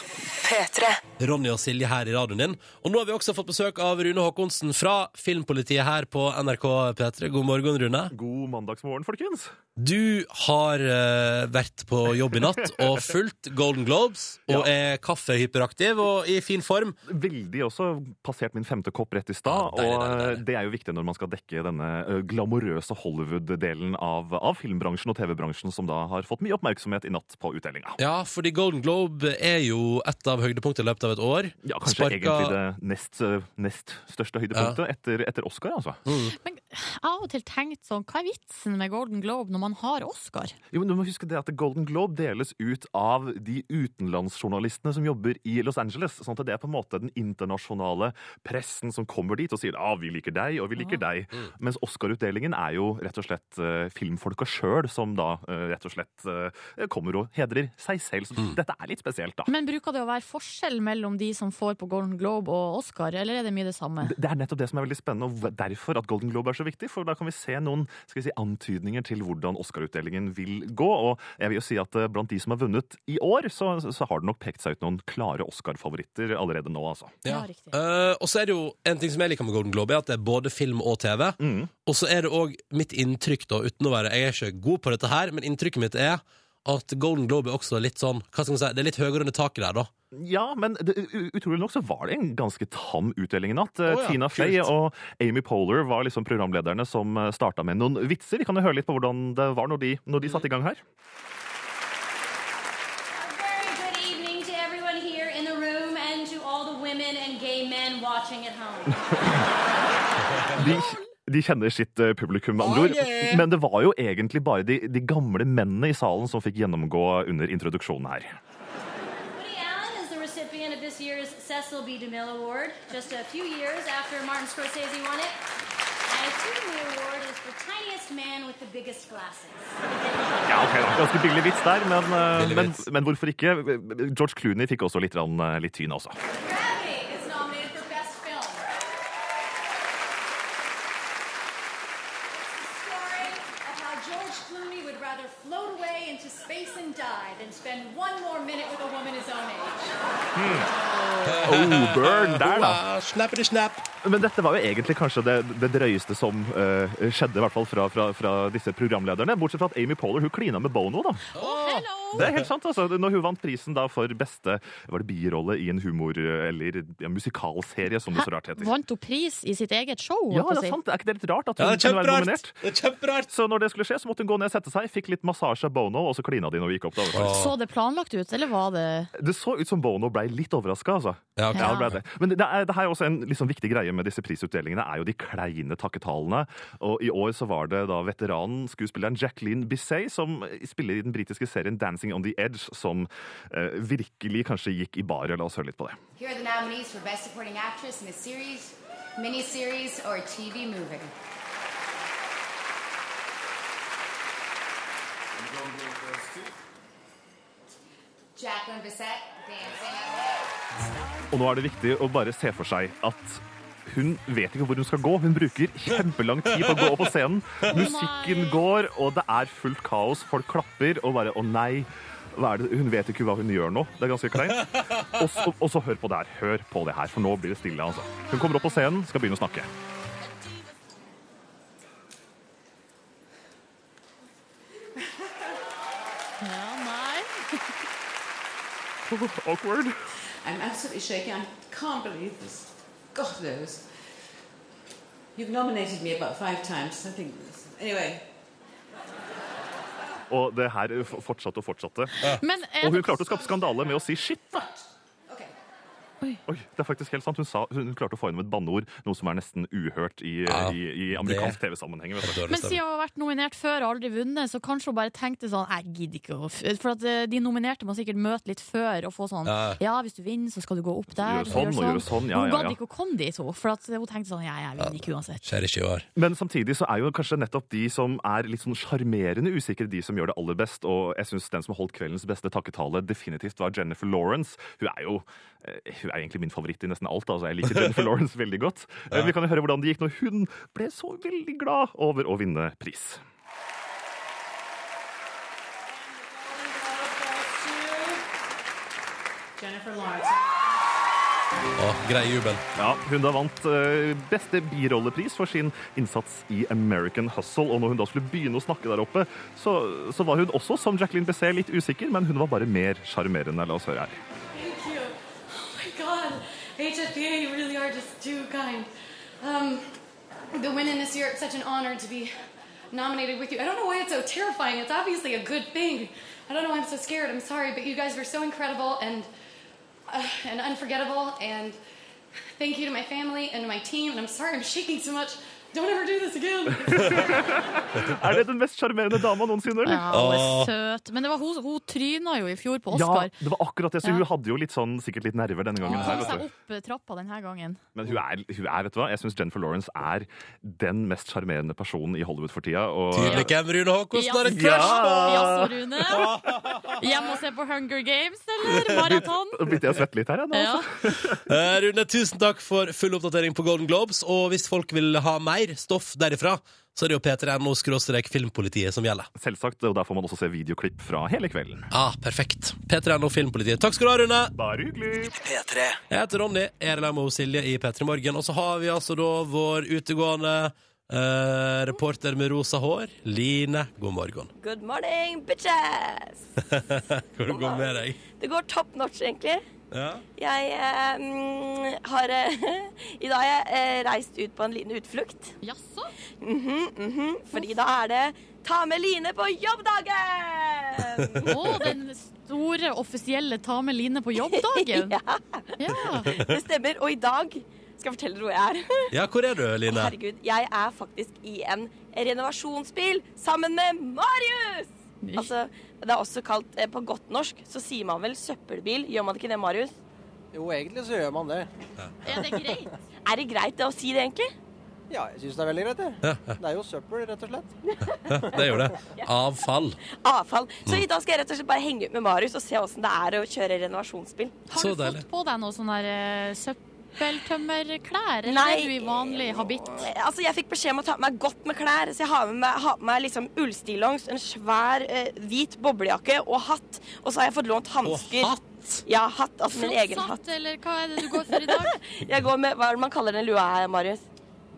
P3. Ronny og Silje her i radioen din. Og nå har vi også fått besøk av Rune Håkonsen fra Filmpolitiet her på NRK P3. God morgen, Rune. God mandagsmorgen, folkens. Du har eh, vært på jobb i natt og fulgt Golden Globes og er kaffehyperaktiv og i fin form. Veldig også passert min femte kopp rett i Ja, deilig, stad. og deilig, deilig. eh, det er jo viktig når man skal dekke denne eh, glamorøse Hollywood-delen av, av filmbransjen og TV-bransjen, som da har fått mye oppmerksomhet i natt på utdelinga. Ja, fordi Golden Globe er jo et av høydepunktene i løpet av et år. Ja, kanskje Sparka- egentlig det nest, eh, nest største høydepunktet etter, etter Oscar, altså. Mm. Men jeg har av og til tenkt sånn, hva er vitsen med Golden Globe når man har Oscar? Jo, men du må huske det at Golden Globe deles ut av de utenlandsjournalistene som jobber i Los Angeles. sånn at Det er på en måte den internasjonale pressen som kommer dit og sier ah, vi liker deg og vi liker deg. Mens Oscar-utdelingen er jo rett og slett eh, filmfolka sjøl som da eh, rett og slett eh, kommer og hedrer seg selv. Så dette er litt spesielt, da. Men bruker det å være forskjell mellom de som får på Golden Globe og Oscar, eller er det mye det samme? Det er nettopp det som er veldig spennende, og derfor at Golden Globe er så viktig. For da kan vi se noen skal vi si, antydninger til hvordan Oscar-utdelingen vil gå. Og jeg vil jo si at eh, blant de som har vunnet i år, så, så har det nok pekt seg ut noen klare Oscar-favoritter allerede nå, altså. Ja, riktig. Eh, og så er det jo en ting som jeg liker med Golden Globe, er at det er både film og TV. Mm. Og så er det òg mitt inntrykk, da, uten å være Jeg er ikke god på dette her, men inntrykket mitt er at Golden Globe er også litt sånn Hva skal man si, Det er litt høyere under taket der, da. Ja, men det, u- utrolig nok så var det en ganske tam utdeling i natt. Eh, Å ja, Tina Fey kult. og Amy Poehler var liksom programlederne som eh, starta med noen vitser. Vi kan jo høre litt på hvordan det var når de, når de satte i gang her. very good evening to everyone here in the room and to all the women and gay men watching at home. De, de kjenner sitt eh, publikum, med Ah, andre ord. Men det var jo egentlig bare de, de gamle mennene i salen som fikk gjennomgå under introduksjonen her. Woody Allen is the recipient of this year's Cecil B. DeMille Award, just a few years after Martin Scorsese won it. And soon the award is for tiniest man with the biggest glasses. Ja, ok, da. Ganske billig vits der, men, eh, Billig men, vits. men hvorfor ikke? George Clooney fikk også litt, rann, eh, litt tyn, [LAUGHS] også. Gravity is nominated for Best Film. Story of how George Clooney would rather float away into space and die than spend spend one more minute with a woman his own age. Oh, burn der, da. Ah, snappity snap. Men dette var jo egentlig kanskje det, det drøyeste som eh, skjedde, i hvert fall fra, fra, fra disse programlederne. Bortsett fra at Amy Poehler hun klina med Bono, da. Hello! Det er helt sant, altså. Når hun vant prisen da for beste var det birolle i en humor- eller ja, musikalserie, som det så rart heter. Vant hun pris i sitt eget show? Ja, holdt det er jeg på å si? sant. Er ikke det litt rart at Ja, hun det er kunne være nominert? kjemperart. Det er kjemperart. Så når det skulle skje, så måtte hun gå ned og sette seg, fikk litt massasje av Bono, og så klina de når vi gikk opp. Da. Så det planlagt ut, eller var det Det så ut som Bono ble litt overraska, altså. Ja, ok. Ja, det ble det. Men det, er, det her er også en liksom, viktig greie med disse prisutdelingene, er jo de kleine takketalene. Og i år så var det da veteranen, skuespilleren Jacqueline Bisset, som spiller i den britiske serien Dancing on the Edge, som eh, virkelig kanskje gikk i baret. La oss høre litt på det. Here are the nominees for Best Supporting Actress in a Series, Miniseries, or TV Movie. Jacqueline Bissett, Dancing. Og nå er det viktig å bare se for seg at hun vet ikke hvor hun skal gå. Hun bruker kjempelang tid på å gå opp på scenen. Musikken går, og det er fullt kaos. Folk klapper og bare 'Å nei'. Hva er det? Hun vet ikke hva hun gjør nå. Det er ganske kleint. Og så, og så hør på det her. Hør på det her, for nå blir det stille. altså. Hun kommer opp på scenen, skal begynne å snakke. Ja, nei. Awkward. I'm absolutely shaking. I can't believe this. God knows. You've nominated me about five times. I think. Anyway, Og det her f- fortsatte og fortsatte. Men er Og hun det, klarte å skape skandale med å si 'shit'. da. okay. Oi, det er faktisk helt sant. Hun, sa, hun klarte å få inn et banneord, noe som er nesten uhørt i, Ja, i, i amerikansk TV-sammenheng. vet du. men siden hun har vært nominert før og aldri vunnet, så kanskje hun bare tenkte sånn Jeg gidder ikke å f- For at eh, de nominerte må sikkert møte litt før og få sånn Ja. Ja, hvis du vinner, så skal du gå opp der. Gjøre sånn og gjøre sånn, ja, Hun ja, gadd ja. ikke å komme dit, hun. For at hun tenkte sånn Ja, jeg vinner ikke uansett. Skjer ikke i år. Men samtidig så er jo kanskje nettopp de som er litt sånn sjarmerende usikre, de som gjør det aller best. Og jeg syns den som holdt kveldens beste takketale, definitivt var Jennifer Lawrence. Hun er jo eh, hun er egentlig min favoritt i nesten alt. altså Jeg liker Jennifer Lawrence veldig godt. Eh, Vi kan jo høre hvordan det gikk når hun ble så veldig glad over å vinne pris. Jennifer Lawrence. Å, grei jubel. Ja, Hun da vant eh, beste birollepris for sin innsats i American Hustle. Og når hun da skulle begynne å snakke der oppe, så, så var hun også, som Jacqueline Bessé, litt usikker, men hun var bare mer sjarmerende. La oss [LAUGHS] høre her. Thank you. Oh my God, HFPA, you really are just too kind. Um, the winning this year, it's such an honor to be nominated with you. I don't know why it's so terrifying. It's obviously a good thing. I don't know why I'm so scared. I'm sorry, but you guys were so incredible and uh, and unforgettable. And thank you to my family and to my team. And I'm sorry I'm shaking so much. Don't ever do this again. Er det den mest sjarmerende dama noensinne? Ja, eller? hun er søt. Men det var hun, hun tryna jo i fjor på Oscar. det var akkurat det. Så hun hadde jo litt sånn, sikkert litt nerver denne gangen. Hun her, kom vet seg du. opp eh, trappa denne gangen. Men hun er, hun er, vet du hva? Jeg syns Jennifer Lawrence er den mest sjarmerende personen i Hollywood for tida. Og Tydelig hvem Rune Håkonsen har en Ja. crush på! Jaså, Rune. Hjemme og se på Hunger Games, eller? Maraton? Da begynte jeg å svette litt her. jeg, nå, Ja. altså. Eh, Rune, tusen takk for full oppdatering på Golden Globes. Og hvis folk vil ha mer stoff derifra, så er det jo p3.no-filmpolitiet som gjelder. Selvsagt, og Der får man også se videoklipp fra hele kvelden. Ah, perfekt. P3.no-filmpolitiet. Takk skal du ha, Rune. Bare hyggelig! P3. Jeg heter Ronny, jeg er sammen med Silje i P3 Morgen. Og så har vi altså da vår utegående eh, reporter med rosa hår, Line. God morgen. [LAUGHS] Good morning, bitches! Hvordan går det med deg? Det går top notch, egentlig. Ja. Jeg eh, mm, har eh, [LAUGHS] I dag har jeg eh, reist ut på en liten utflukt. Jaså? Mhm, mhm, fordi da er det ta med Line på jobbdagen! Å, [LAUGHS] den store offisielle ta med Line på jobb-dagen? ja, Ja. det stemmer. Og i dag skal jeg fortelle dere hvor jeg er. ja, hvor er du, Line? Herregud, jeg er faktisk i en renovasjonsbil sammen med Marius! Altså, det er også kalt eh, På godt norsk så sier man vel søppelbil, gjør man ikke det, Marius? Jo, egentlig så gjør man det. Er det greit? Er det greit det å si det, egentlig? Ja, jeg syns det er veldig greit, det. Det er jo søppel, rett og slett. Det er jo det. Avfall. [LAUGHS] avfall. Så i dag skal jeg rett og slett bare henge ut med Marius og se åssen det er å kjøre renovasjonsbil. Har Så du deilig. fått på deg noe sånn der eh, søpp... Søppeltømmerklær? Eller Nei. er du i vanlig habitt? Altså, jeg fikk beskjed om å ta på meg godt med klær, så jeg har med meg, har på meg liksom ullstillongs, en svær eh, hvit boblejakke og hatt. Og så har jeg fått lånt hansker. Og Ja, hatt. Altså min Flott egen satt, hatt. Eller hva er det du [LAUGHS] går for i dag? Jeg går med Hva er det man kaller den lua her, Marius?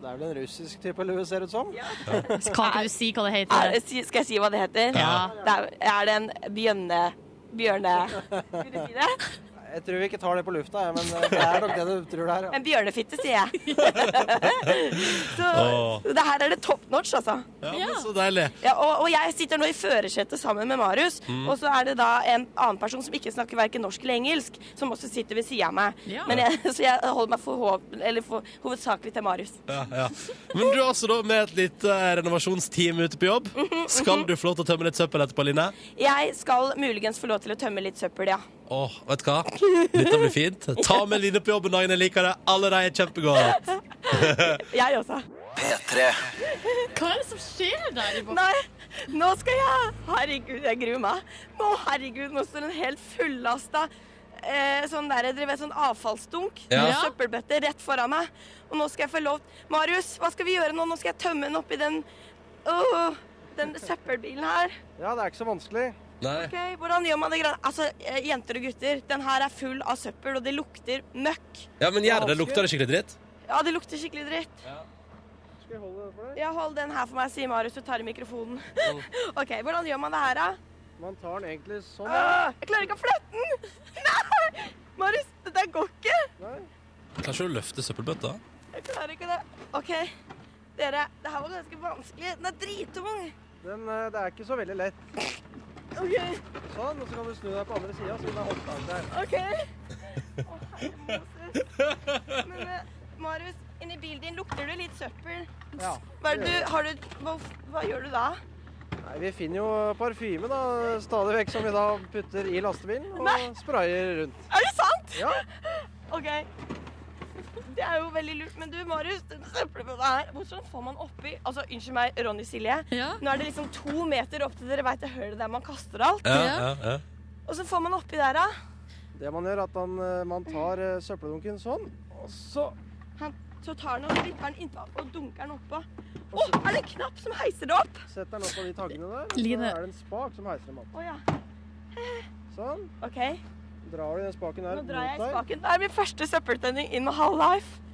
Det er vel en russisk type lue, ser det ut som. Kan ikke du si hva det Er, heter? si- skal jeg si hva det heter? Ja. Det er, er det en bjønne... Bjørne... Vil du si det? [LAUGHS] Jeg tror vi ikke tar det på lufta, jeg, men eh, det er nok det du tror det er. Ja. En bjørnefitte, sier [LAUGHS] jeg. så, Åh. så det her er det top notch, altså. Ja, men Så deilig. Ja, og, og jeg sitter nå i førersetet sammen med Marius, Mm. og så er det da en annen person som ikke snakker hverken norsk eller engelsk, som også sitter ved siden av meg. Ja. Men jeg, [LAUGHS] så jeg holder meg for, hov- eller for, hovedsakelig til Marius. Ja, ja. Men du er altså da med et lite renovasjonsteam ute på jobb. Skal du få lov til å tømme litt søppel etterpå, Line? Jeg skal muligens få lov til å tømme litt søppel, ja. Åh, vet du hva? Dette blir fint. Ta med Line på jobben dagen jeg liker det. Alle de er kjempegodt. [LAUGHS] Jeg også. P3. Hva er det som skjer der i boksen? Nei, nå skal jeg Herregud, jeg gruer meg. Nå, herregud, nå står en helt fullasta eh, sånn der, dere vet, sånn avfallsdunk. Ja. med Ja. Søppelbøtte rett foran meg. Og nå skal jeg få lov Marius, hva skal vi gjøre nå? Nå skal jeg tømme den oppi den Åh, den søppelbilen her. Ja, det er ikke så vanskelig. Nei. Ok, Hvordan gjør man det? grann? Altså, eh, jenter og gutter, den her er full av søppel, og det lukter møkk. Ja, men gjør det. Lukter det skikkelig dritt? Ja, det lukter skikkelig dritt. Skal jeg holde det for deg? Ja, hold den her for meg, sier Marius og tar i mikrofonen. [LAUGHS] OK, hvordan gjør man det her, da? Man tar den egentlig sånn. Åh, jeg klarer ikke å flytte den! [LAUGHS] Nei! Marius, det der går ikke! Klarer ikke du å løfte søppelbøtta? Jeg klarer ikke det. OK, dere. Det her var ganske vanskelig. Den er drittung. Den, eh, det er ikke så veldig lett. OK. Sånn, og så kan du snu deg på andre sida, så vil det er opptak der. ok. Å, herregud, Moses. Men eh, Marius, inni bilen din lukter du litt søppel. Ja. Hva, er det du, har du, hva, hva gjør du da? Nei, vi finner jo parfyme da, stadig vekk som vi da putter i lastebilen og sprayer rundt. Er det sant? Ja. OK. Det er jo veldig lurt. Men du, Marius, den søppelbøtta her Hvordan får man oppi Altså, unnskyld meg, Ronny Silje. Nå er det liksom to meter opp til dere veit det hølet der man kaster alt. ja. Og så får man oppi der, da. Det man gjør er at man, eh, man tar eh, søppeldunken sånn, og så Han, så tar han og slipper den innpå og dunker den oppå. Å, er det en knapp som heiser det opp? setter den opp på de taggene der, og så Line. er det en spak som heiser dem opp. Å ja. Sånn. OK. Drar du den spaken her Nå drar jeg i mot deg. spaken. Det er min første søppeltenning in my whole life.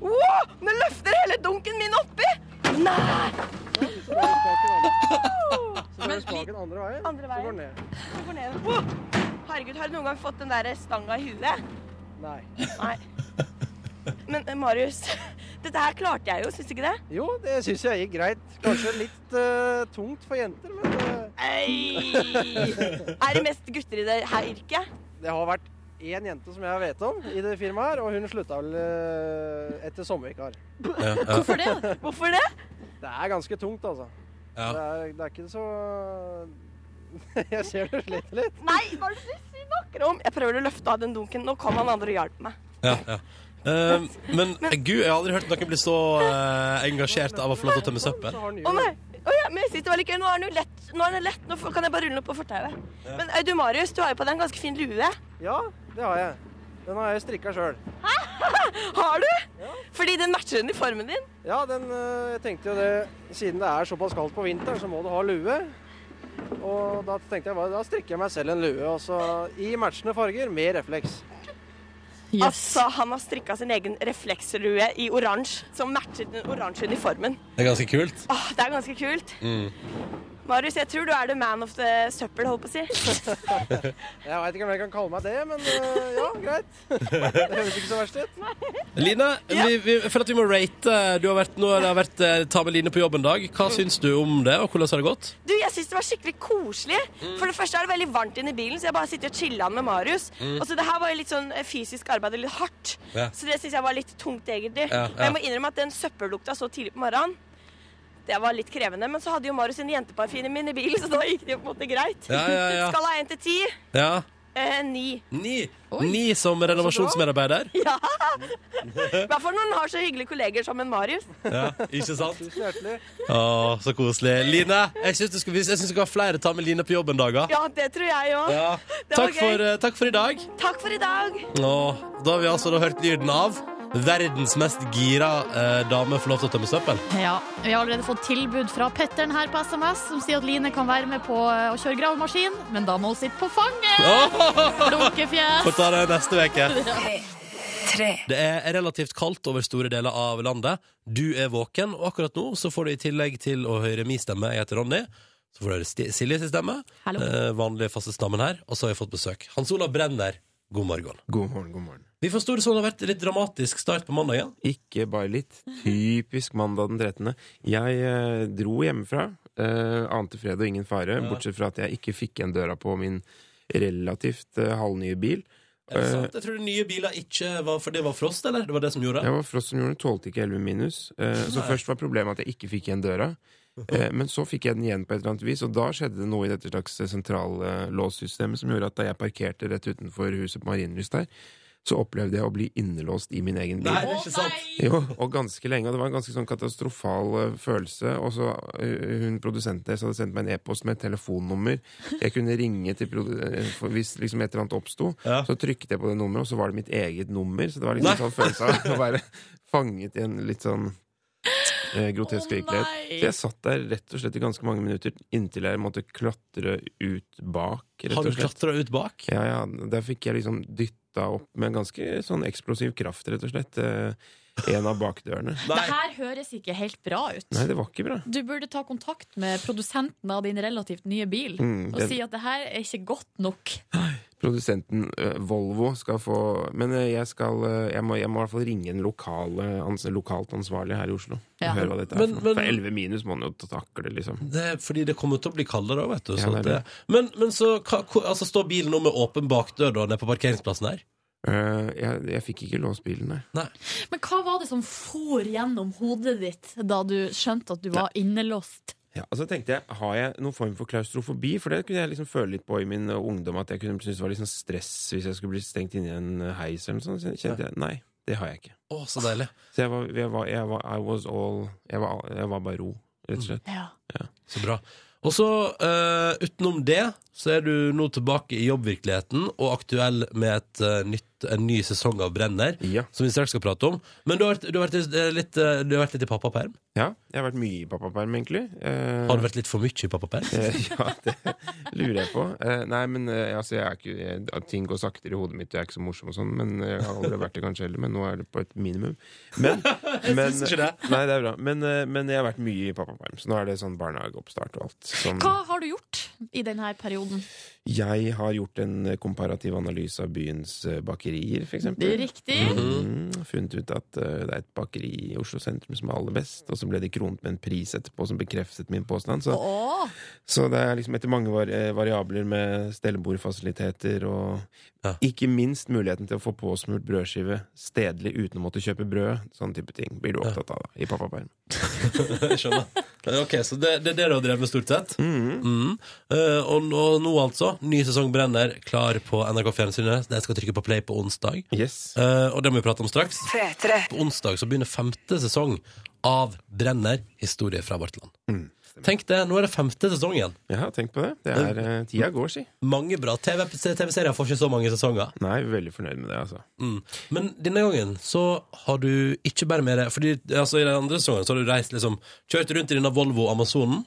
Wow! Nå løfter hele dunken min oppi! Nei! Så drar du spaken andre, så drar du spaken andre veien, så Andre går veien. den ned. Så går ned. Wow! Herregud, har du noen gang fått den der stanga i huet? Nei. Nei. Men eh, Marius, [LAUGHS] dette her klarte jeg jo, syns du ikke det? Jo, det syns jeg gikk greit. Kanskje litt eh, tungt for jenter, men Ei! Er det mest gutter i det her yrket? Det har vært én jente som jeg vet om i det firmaet her, og hun slutta vel eh, etter sommervikar. Ja, ja. Hvorfor det? Hvorfor det? Det er ganske tungt, altså. Ja. Det, er, det er ikke så [LAUGHS] Jeg ser du sliter litt. Nei, hva er det du snakker om? Jeg prøver å løfte av den dunken. Nå kom han andre og hjalp meg. Ja, ja. Eh, men gud, jeg har aldri hørt noen bli så eh, engasjert av å få lov til å tømme søppel. Å nei. Å ja, men jeg sitter veldig gøy. Nå er den jo lett. Nå er den lett. Nå får- kan jeg bare rulle den opp på fortauet. Men eh, du, Marius, du har jo på deg en ganske fin lue. Ja, det har jeg. Den har jeg strikka sjøl. [LAUGHS] Har du? Fordi den matcher uniformen din. Ja, den eh, Jeg tenkte jo det Siden det er såpass kaldt på vinteren, så må du ha lue. Og da tenkte jeg bare, da strikker jeg meg selv en lue. Og så i matchende farger med refleks. Altså, han har strikka sin egen reflekslue i oransje, som matcher den oransje uniformen. Det er ganske kult. Åh, det er ganske kult. Mm. Marius, jeg tror du er the man of the søppel, holdt på å si. [LAUGHS] Jeg veit ikke om jeg kan kalle meg det, men eh, ja, greit. [LAUGHS] Det høres ikke så verst ut. Line, vi, vi, jeg føler at vi må rate. eh, Du har vært, nå, har det vært eh, Ta med Line på jobb en dag. Hva syns du om det, og hvordan har det gått? Du, jeg syns det var skikkelig koselig. Mm. For det første er det veldig varmt inne i bilen, så jeg bare sitter og chiller med Marius. Mm. Og så det her var jo litt sånn eh, fysisk arbeid, litt hardt. Ja. Så det syns jeg var litt tungt, egentlig. Ja, Men jeg må ja. innrømme at den søppellukta så tidlig på morgenen det var litt krevende, men så hadde jo Marius en jenteparfyme min i bilen, så da gikk det jo på en måte greit. Ja, ja, ja. Skala én til ti. Ja. Eh, ni. Ni, ni som renovasjonsmedarbeider. [LAUGHS] Ja! I hvert fall når en har så hyggelige kolleger som en Marius. Ja, ikke sant? Tusen hjertelig. Å, så koselig. Line, jeg syns du skal, jeg synes du skal ha flere Ta med Line på jobben-dager. Ja, det tror jeg òg. Ja. Det var Takk, gøy. for, eh, takk for i dag. Takk for i dag. Og da har vi altså da hørt lyden av verdens mest gira eh, dame får lov til å tømme søppel. Ja, Vi har allerede fått tilbud fra Petteren her på SMS, som sier at Line kan være med på eh, å kjøre gravemaskin, men da må hun sitte på [LAUGHS] fanget! Får Blunkefjes. ta det neste uke. Tre. Det er relativt kaldt over store deler av landet. Du er våken, og akkurat nå så får du i tillegg til å høre min stemme, jeg heter Ronny, så får du høre Sti- Silje sin stemme, Hallo. eh, vanlig faste stammen her, og så har jeg fått besøk. Hans Olav Brenner, god morgen. God morgen, god morgen. Vi forsto det sånn det har vært litt dramatisk start på mandagen. Ikke bare litt. Typisk mandag den 13. Jeg eh, dro hjemmefra. Eh, ante fred og ingen fare, Ja. bortsett fra at jeg ikke fikk igjen døra på min relativt eh, halvnye bil. Er det Eh, sant? Jeg tror nye biler ikke var for det var frost, eller? Det var det som gjorde Det var frost som gjorde den, tålte ikke 11 minus. Eh, så Nei. først var problemet at jeg ikke fikk igjen [LAUGHS] døra. Eh, men så fikk jeg den igjen på et eller annet vis, og da skjedde det noe i dette slags eh, sentrallåssystemet som gjorde at da jeg parkerte rett utenfor huset på Marienlyst der, så opplevde jeg å bli innelåst i min egen bil. Nei, det er ikke sant. Jo, og ganske lenge. Og det var en ganske sånn katastrofal eh, følelse. Og så eh, hun produsenten deres hadde sendt meg en e-post med et telefonnummer. Jeg kunne ringe til produ eh, for hvis liksom et eller annet oppsto. Så trykket jeg på det nummeret, og så var det mitt eget nummer. Så det var liksom en sånn følelse av å være fanget i en litt sånn eh, grotesk virkelighet. Så jeg satt der rett og slett i ganske mange minutter inntil jeg måtte klatre ut bak. Rett Har du og slett. klatra ut bak? Ja, ja. Der fikk jeg liksom dytta opp med ganske sånn eksplosiv kraft, rett og slett. eh, En av bakdørene. Det her høres ikke helt bra ut. Nei, det var ikke bra. Du burde ta kontakt med produsenten av din relativt nye bil Mm, og det- si at det her er ikke godt nok. Produsenten eh, Volvo skal få Men eh, jeg skal eh, Jeg må, jeg må i hvert fall ringe en lokale, ans, lokalt ansvarlig her i Oslo. Ja. Og høre hva dette er Men- for men- noe. For 11 minus må man jo takle, liksom. Det er fordi det kommer til å bli kaldere òg, vet du. Ja, sånn det at er det. Men, men så hva, hvor- altså, står bilen nå med åpen bakdør da, nede på parkeringsplassen her? Eh, jeg, fikk ikke låst bilen, nei. Men hva var det som for gjennom hodet ditt da du skjønte at du var innelåst? Ja, altså tenkte jeg, Har jeg noen form for klaustrofobi? For det kunne jeg liksom føle litt på i min eh, ungdom. At jeg kunne synes det var litt sånn stress hvis jeg skulle bli stengt inne i en eh, heis eller noe sånt. Så kjente jeg nei, det har jeg ikke. Å, så deilig. Så jeg var, jeg var, jeg var I was all Jeg var, jeg var bare ro, rett og Mm. slett. Ja. Så bra. Og så, eh, utenom det, så er du nå tilbake i jobbvirkeligheten og aktuell med et, eh, nytt, en ny sesong av Brenner, som vi straks skal prate om. Men du har, vært- du har, vært, eh, litt, eh, du har vært litt i pappaperm? Ja, jeg har vært mye i pappaperm, egentlig. Eh, Har du vært litt for mye i pappaperm? ja, det [LAUGHS] lurer jeg på. Eh, nei, men eh, altså, jeg er ikke, jeg, at ting går saktere i hodet mitt, jeg er ikke så morsom og sånn, men jeg har aldri vært det kanskje heller, men nå er det på et minimum. Men, [LAUGHS] Jeg synes ikke det. Nei, det er bra. Men, eh, men jeg har vært mye i pappaperm, så nå er det sånn barnehageoppstart og alt. Sånn, Hva har du gjort i denne perioden? jeg har gjort en komparativ analyse av byens eh, bakerier, for eksempel. Riktig. Mhm. Funnet ut at eh, det er et bakeri i Oslo sentrum som er aller best, og så ble det kronet med en pris etterpå som bekreftet min påstand. Så Åh, så det er liksom etter mange var eh, variabler med stellebordfasiliteter og ikke minst muligheten til å få påsmurt brødskive stedlig uten å måtte kjøpe brød. Sånn type ting blir du opptatt av da, i pappaperm. Skjønner. Ok, så det, det er det du har drevet med stort sett? Mhm. Eh, og, nå- og nå altså, ny sesong brenner, klar på NRK Fjernsynet. Den skal trykke på play på onsdag. Eh, og det må vi prate om straks. P3. På onsdag så begynner femte sesong av Brenner historie fra vårt land. Tenk det, nå er det femte sesong igjen. Mm, Ja, tenk på det. Det er eh, tida går, si. Mange bra TV TV-serier får ikke så mange sesonger. Nei, veldig fornøyd med det, altså. Mm. Men denne gangen så har du ikke bare med deg Fordi altså, i den andre sesongen så har du reist liksom kjørt rundt i denne Volvo Amazonen,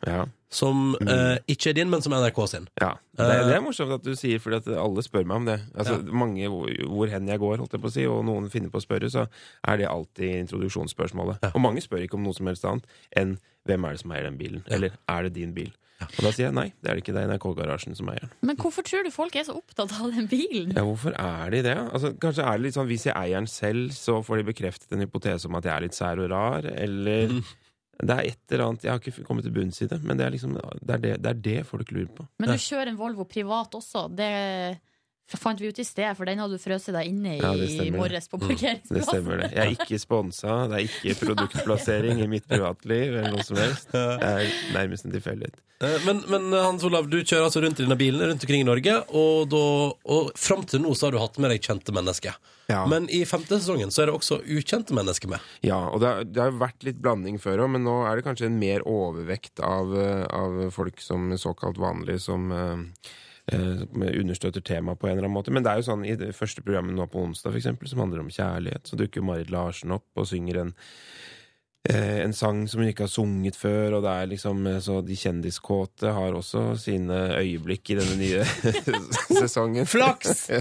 som eh, ikke er din, men som er NRK sin. Mm. Ja. Det, Eh, er- det er morsomt at du sier, fordi at alle spør meg om det. Altså, Mange hvor, hvor hen jeg går, holdt jeg på å si, og noen finner på å spørre, så er det alltid introduksjonsspørsmålet. Og mange spør ikke om noe som helst annet enn 'Hvem er det som eier den bilen?' eller 'Er det din bil?' Og da sier jeg nei, det er det ikke. Det er NRK-garasjen som eier den. men hvorfor tror du folk er så opptatt av den bilen? Ja, hvorfor er de det? Altså, kanskje er det litt sånn Hvis jeg eier den selv, så får de bekreftet en hypotese om at jeg er litt sær og rar, eller Det er et eller annet Jeg har ikke kommet til bunns i det, men det er liksom Det er det, det, er det folk lurer på. Men du kjører en Volvo privat også. Det fant vi ut i sted, for den hadde du frøst deg inne i Ja, det i stemmer. morges på Mm. parkeringsplassen. Det stemmer det. Jeg er ikke sponsa, det er ikke produktplassering i mitt privatliv eller noe som helst. Det er nærmest en tilfeldighet. Eh, Men, men eh, Hans Olav, du kjører altså rundt i denne bilen rundt omkring i Norge, og, da, og fram til nå så har du hatt med deg kjente mennesker. Men i femte sesongen så er det også ukjente mennesker med. Ja, og det har- det har jo vært litt blanding før òg, men nå er det kanskje en mer overvekt av, eh, av folk som er såkalt vanlige som eh, eh, understøtter temaet på en eller annen måte. Men det er jo sånn i det første programmet nå på onsdag, for eksempel, som handler om kjærlighet, så dukker Marit Larsen opp og synger en eh, en sang som hun ikke har sunget før, og det er liksom eh, så de kjendiskåte har også sine øyeblikk i denne nye sesongen. Flaks!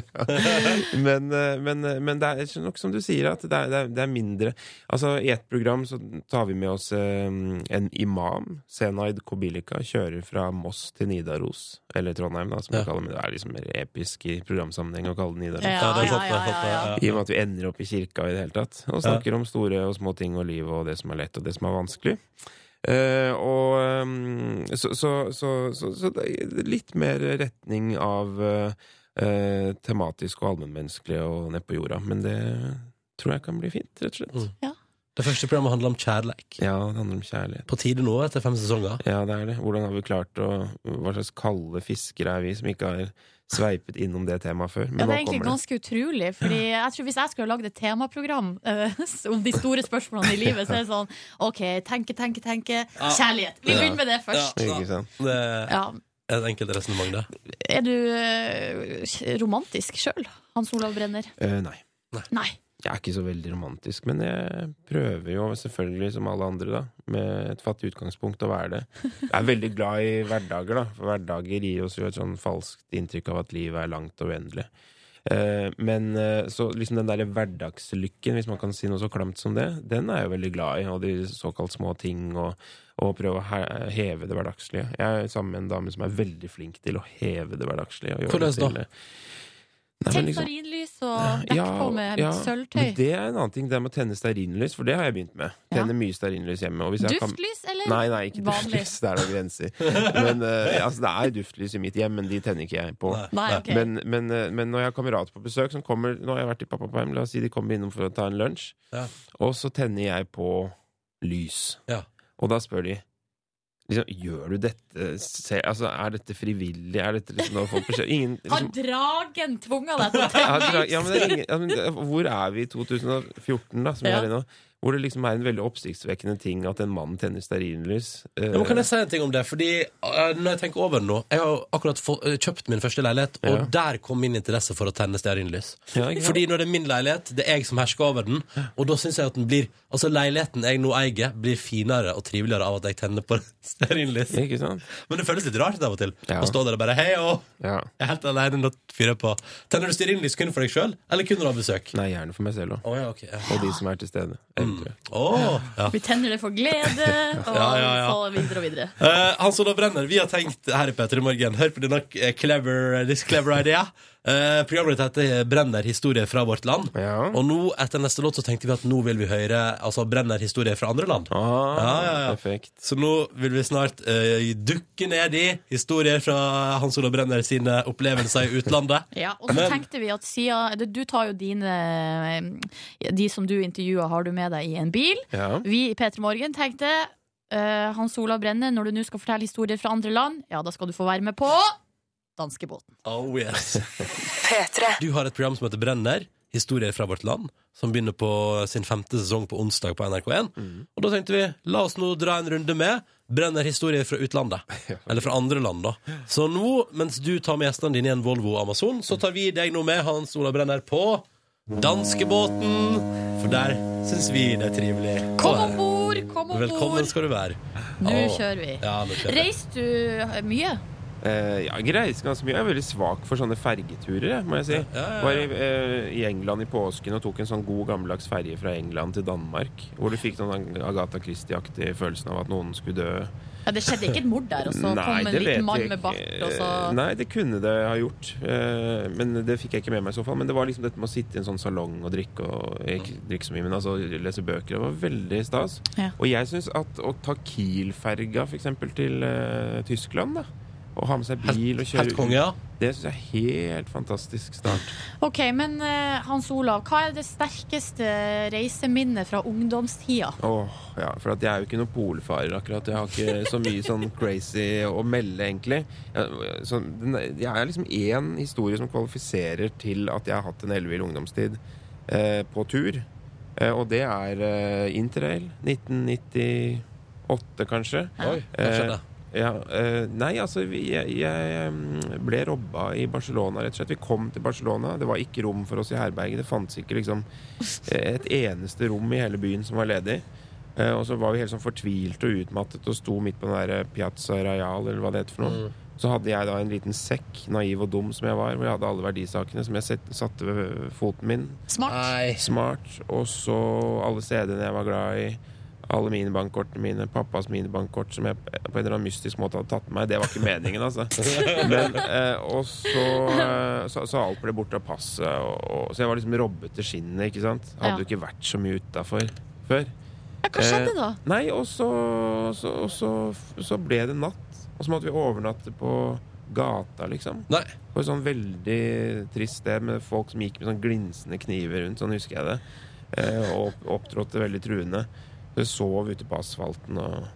men, eh, men, eh, men det er nok som du sier, at det er, det er, det er mindre Altså, i ett program så tar vi med oss eh, en imam, Senaid Kobilika, kjører fra Moss til Nidaros, eller Trondheim, da, som vi kaller det. Det er liksom mer episk i programsammenheng å kalle det Nidaros. Ja, det er sant, det er sant, ja, ja. I og med at vi ender opp i kirka i det hele tatt, og snakker om store og små ting og livet og det som er lett og det som er vanskelig. Eh, og ehm, så, så, så, så, så det er litt mer retning av eh, eh, tematisk og allmennmenneskelig og ned på jorda. Men det tror jeg kan bli fint, rett og slett. Mm. Det første programmet handler om kjærleik. Ja, det handler om kjærlighet. På tide nå, etter fem sesonger. Ja, det er det. Hvordan har vi klart å Hva slags kalde fiskere er vi som ikke har sveipet innom det temaet før? Ja, Men det nå er egentlig kommer det. ganske utrolig. [LAUGHS] Fordi jeg tror Hvis jeg skulle ha lagd et temaprogram eh, [LAUGHS] om de store spørsmålene i livet, så er det sånn OK, tenke, tenke, tenke. Ja. Kjærlighet. Vi begynner med det først. Ja, ja. Det Ja. er et enkelt resonnement, det. Er du eh, romantisk sjøl, Hans [LAUGHS] Olav Brenner? Eh, nei. Nei. Jeg er ikke så veldig romantisk, men jeg prøver jo selvfølgelig, som alle andre, da, med et fattig utgangspunkt, å være det. Jeg er veldig glad i hverdager, da, for hverdager gir oss jo et sånn falskt inntrykk av at livet er langt og uendelig. Eh, Men eh, så liksom den der hverdagslykken, hvis man kan si noe så klamt som det, den er jeg jo veldig glad i, og de såkalt små ting, og, og prøve å he- heve det hverdagslige. Jeg er sammen med en dame som er veldig flink til å heve det hverdagslige. og gjøre Hvordan det til, da? eh, nei, men Tenn liksom- stearinlys og dekk på med men sølvtøy. det er en annen ting, det med å tenne stearinlys, for det har jeg begynt med. Tenne mye stearinlys hjemme. og hvis jeg kan- Duftlys, eller Nei, nei, ikke vanlig? duftlys. Der er det grenser. Men, eh, altså, det er duftlys i mitt hjem, men de tenner ikke jeg på. Nei, ok. men, men, eh, men når jeg har kamerater på besøk som kommer Nå har jeg vært i pappaperm, la oss si de kommer innom for å ta en lunsj, Ja. og så tenner jeg på lys. Ja. Og da spør de Liksom, gjør du dette selv? Altså, er dette frivillig? Er dette liksom noe folk forstår? Ingen, Har liksom, dragen tvunga [LAUGHS] deg til ja, å tenne dra- lys? ja, men det er ingen, ja, men det- hvor er vi i 2014, da, som vi Ja. er i nå? Hvor det liksom er en veldig oppsiktsvekkende ting at en mann tenner stearinlys. Eh, Ja, men kan jeg si en ting om det? Fordi eh, når jeg tenker over det nå Jeg har jo akkurat få, eh, kjøpt min første leilighet, og Ja. der kom min interesse for å tenne stearinlys. Ja, ikke sant? Fordi når det er min leilighet, det er jeg som hersker over den, og da syns jeg at den blir Altså leiligheten jeg nå eier, blir finere og triveligere av at jeg tenner på [LAUGHS] stearinlys. Ikke sant? Men det føles litt rart av og til Ja. å stå der og bare Hei, å! Ja. Jeg er helt alene og fyrer på. Tenner du stearinlys kun for deg sjøl, eller kun når du har besøk? Nei, gjerne for meg selv òg. Å, ja, ok, ja. Mm. Og de som er til stede. eventuelt. Å, ja. Vi tenner det for glede, og [LAUGHS] Ja, ja, ja. så videre og videre. Eh, Hans Olav Brenner, vi har tenkt her i Petter i morgen Hør på denne eh, clever, this clever idea Eh, Programmet ditt heter Brenner historie fra vårt land Og nå, etter neste låt, så tenkte vi at nå vil vi høre Altså Brenner historie fra andre land Ah, perfekt. Så nå vil vi snart eh, dukke ned i Historier fra Hans Olav Brenner sine opplevelser i utlandet [LAUGHS] Ja, og så Men- tenkte vi at siden du- Du tar jo dine eh, De som du intervjuer, har du med deg i en bil. Ja. Vi i P3 Morgen tenkte eh, Hans Olav Brenne, når du nå skal fortelle historier fra andre land, ja, da skal du få være med på Danskebåten. Oh yes Du har et program som heter Brenner Historier fra vårt land Som begynner på sin femte sesong på onsdag på NRK1 mm. Og da tenkte vi, la oss nå dra en runde med Brenner historier [LAUGHS] fra utlandet Eller fra andre land da Så nå, mens du tar med gjestene dine i en Volvo Amazon Så tar vi deg nå med, Hans Ola Brenner, på Danskebåten For der synes vi det er trivelig å Kom være. om bord! Kom om Velkommen bord! skal du være Nå Åh. kjører vi. Ja, nå kjører vi Reiste du mye? Eh, ja, jeg reiser ganske mye. Jeg er veldig svak for sånne fergeturer, jeg, må jeg si. ja, ja. Var i, eh, i England i påsken og tok en sånn god gammeldags ferge fra England til Danmark. Hvor du fikk sånn Agatha Christie-aktig følelsen av at noen skulle dø. Ja, det skjedde ikke et mord der, og så Nei, kom en det vet liten mann jeg med bart, ikke. og så Nei, det kunne det ha gjort. Eh, Men det fikk jeg ikke med meg i så fall. Men det var liksom dette med å sitte i en sånn salong og drikke og ikke drikke så mye, men altså lese bøker. Det var veldig stas. Ja. Og jeg syns at å ta Kiel-ferga f.eks. til eh, Tyskland, da og ha med seg bil og kjøre helt konge, ja. Det syns jeg er helt fantastisk start. OK, men eh, Hans Olav, hva er det sterkeste reiseminnet fra ungdomstida? Åh, ja, for at jeg er jo ikke noen polfarer akkurat. Jeg har ikke så mye sånn crazy å melde, egentlig. Jeg, så, den, jeg er liksom én historie som kvalifiserer til at jeg har hatt en ellevill ungdomstid eh, på tur. Eh, og det er eh, interrail. 1998, kanskje. Oi, hva skjedde? ja, eh, nei, altså vi, jeg, jeg mm, ble robba i Barcelona, rett og slett. Vi kom til Barcelona. Det var ikke rom for oss i herberget. Det fantes ikke liksom et eneste rom i hele byen som var ledig. Eh, og så var vi helt sånn fortvilte og utmattet og sto midt på den der Piazza Royal eller hva det heter for noe. Mm. Så hadde jeg da en liten sekk, naiv og dum som jeg var, hvor jeg hadde alle verdisakene som jeg set- satte ved foten min. Smart. Smart. Og så alle CD-ene jeg var glad i. Alle mine bankkortene mine, pappas mine bankkort som jeg på en eller annen mystisk måte hadde tatt med meg. Det var ikke meningen, altså. Men, eh, og så, eh, så, så alt ble borte av passet. Og, og, så jeg var liksom robbet til skinnet, ikke sant. Hadde Ja. jo ikke vært så mye utafor før. hva skjedde da? Eh, Nei, og så, så, og så, så ble det natt. Og så måtte vi overnatte på gata, liksom. På et sånn veldig trist sted med folk som gikk med sånn glinsende kniver rundt. Sånn husker jeg det. Eh, og opp- opptrådte veldig truende. Så jeg sov ute på asfalten og,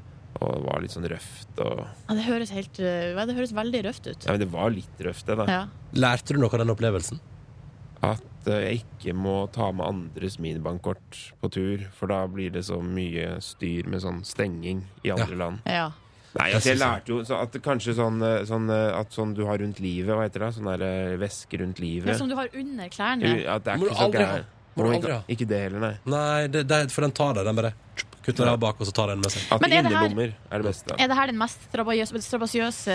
og var litt sånn røft. Og, Ja, det, høres helt, eh, det høres veldig røft ut. ja, men det var litt røft, det, da. Ja. Lærte du noe av den opplevelsen? At eh, jeg ikke må ta med andres minibankkort på tur, for da blir det så mye styr med sånn stenging i andre land. Ja. Nei, altså, jeg lærte jo så at kanskje sånn, eh, sånn eh, at sånn du har rundt livet, hva heter det? Sånn der eh, væske rundt livet. Det som du har under klærne. Jo, At det er Må ikke du så aldri ha. gærent. Må du Må aldri ikke, ha. ikke det heller, nei. Nei, det, det, for den tar deg. Den bare kutter deg av bak, og så tar den med seg. At Men er det her- innerlommer er det beste. Er det her den mest strabasiøse, strabasiøse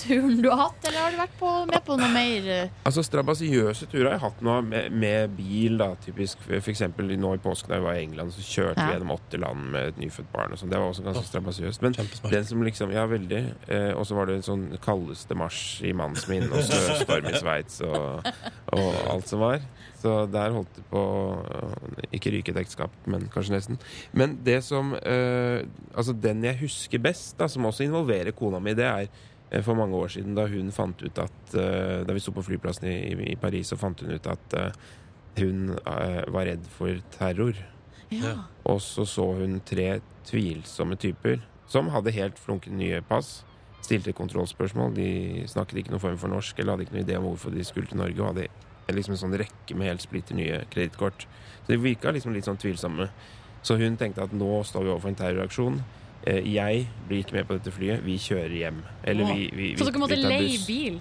turen du har hatt, eller har du vært på, med på noe mer? eh? Altså Strabasiøse turer har jeg hatt nå med, med bil, da, typisk. For eksempel nå i påsken da jeg var i England, så kjørte Ja. vi gjennom åtte land med et nyfødt barn. og sånn. Det var også ganske strabasiøst. Men den som liksom Ja, veldig. Eh, og så var det en sånn kaldeste mars i mannens minne, og snøstorm i Sveits og, og alt som var. Så der holdt det på å ikke ryke et ekteskap, men kanskje nesten. Men det som eh, Altså, den jeg husker best, da, som også involverer kona mi, det er eh, for mange år siden da hun fant ut at eh, Da vi sto på flyplassen i, i- i Paris, så fant hun ut at eh, hun eh, var redd for terror. Ja. Og så så hun tre tvilsomme typer som hadde helt flunkende nye pass. Stilte kontrollspørsmål. De snakket ikke noen form for norsk eller hadde ikke noen idé om hvorfor de skulle til Norge. Og hadde liksom en sånn rekke med helt splitter nye kredittkort. Så de virka liksom litt sånn tvilsomme. Så hun tenkte at nå står vi overfor en terroraksjon. Eh, Jeg blir ikke med på dette flyet. Vi kjører hjem. Eller vi, vi, vi, så dere måtte vi tar leie buss. bil?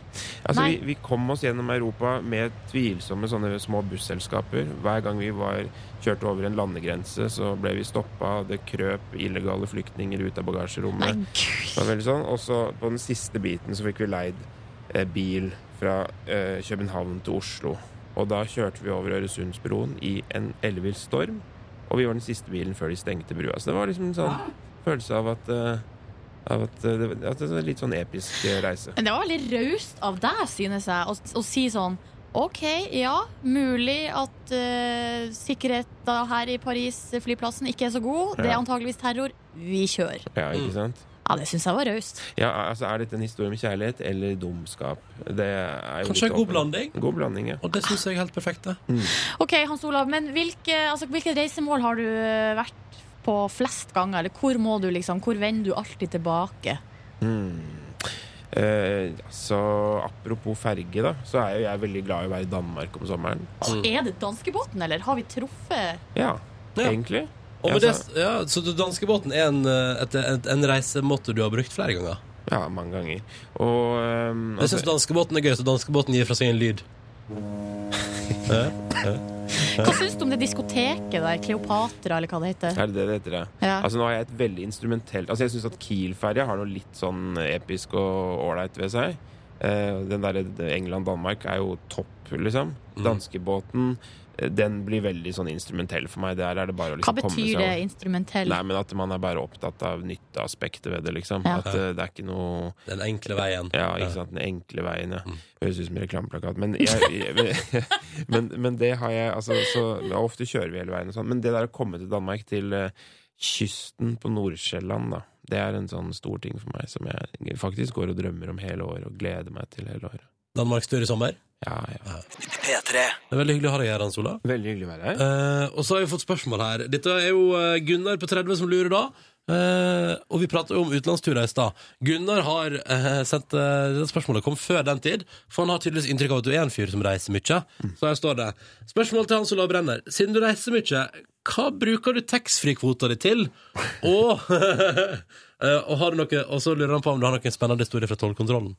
Altså, Nei. vi, vi kom oss gjennom Europa med tvilsomme sånne små busselskaper. Hver gang vi var, kjørte over en landegrense, så ble vi stoppa. Det krøp illegale flyktninger ut av bagasjerommet. Det var veldig sånn. Og så på den siste biten så fikk vi leid eh, bil fra eh, København til Oslo. Og da kjørte vi over Øresundsbroen i en ellevill storm. Og vi var den siste bilen før de stengte brua. Så det var liksom en sånn følelse av at, eh, av at, eh, det- at det var en litt sånn episk eh, reise. Men det var veldig raust av deg, synes jeg, å, å si sånn OK, ja, mulig at uh, sikkerheten her i Paris eh, flyplassen ikke er så god. Det er Ja. antageligvis terror. Vi kjører. Ja, ikke sant? Ja, det syns jeg var raust. Ja, altså Er dette en historie om kjærlighet eller dumskap? Det er jo litt Kanskje en god åpent. blanding? God blanding, ja. Mm, Og det syns jeg er helt perfekt. det. OK, Hans Olav, men hvilke, altså, hvilke reisemål har du eh, vært på flest ganger? Eller hvor må du liksom, hvor vender du alltid tilbake? Hmm. Eh, så apropos ferge, da, så er jo jeg veldig glad i å være i Danmark om sommeren. Er det danskebåten, eller har vi truffet Ja, egentlig. Og med Ja, det, ja, så danskebåten er en, eh, et, et, en reisemåte du har brukt flere ganger? Ja, mange ganger. Og um, Jeg syns danskebåten er gøy, så danskebåten gir fra seg en [LAUGHS] lyd. Eh, Ja, ja. Hva syns du om det diskoteket der? Kleopatra, eller hva det heter? Er det det det heter, ja? Ja. Altså, nå har jeg et veldig instrumentelt Altså, jeg syns at Kiel-ferja har noe litt sånn episk og ålreit ved seg. Eh, den derre England-Danmark er jo topp, liksom. Danskebåten, eh, den blir veldig sånn instrumentell for meg. Der er det bare å Hva liksom komme betyr seg det over. instrumentell? Nei, men at man er bare opptatt av nytteaspektet ved det, liksom. Ja. At eh, det er ikke noe Den enkle veien. Mm. Ja, ikke sant. Den enkle veien, ja. Høres ut som en reklameplakat. Men, jeg, jeg, [LAUGHS] men, men det har jeg altså, så, ja, Ofte kjører vi hele veien og sånn. Men det der å komme til Danmark, til eh, kysten på Nordsjælland, da. Det er en sånn stor ting for meg som jeg faktisk går og drømmer om hele året og gleder meg til hele året. Danmarkstur i sommer? Ja, ja. Det er veldig hyggelig å ha deg her, Hans Ola. Veldig hyggelig å være her. Eh, og så har vi fått spørsmål her. Dette er jo eh, Gunnar på 30 som lurer da. Eh, og vi pratet jo om utenlandsturer i stad. Gunnar har eh, sendt eh, dette spørsmålet kom før den tid, for han har tydeligvis inntrykk av at du er en fyr som reiser mye. Så her står det. Spørsmål til Hans Olav Brenner. Siden du reiser mye, hva bruker du taxfree-kvota di til? Og, [LAUGHS] eh, og, har du noe, og så lurer han på om du har noen spennende historier fra tollkontrollen.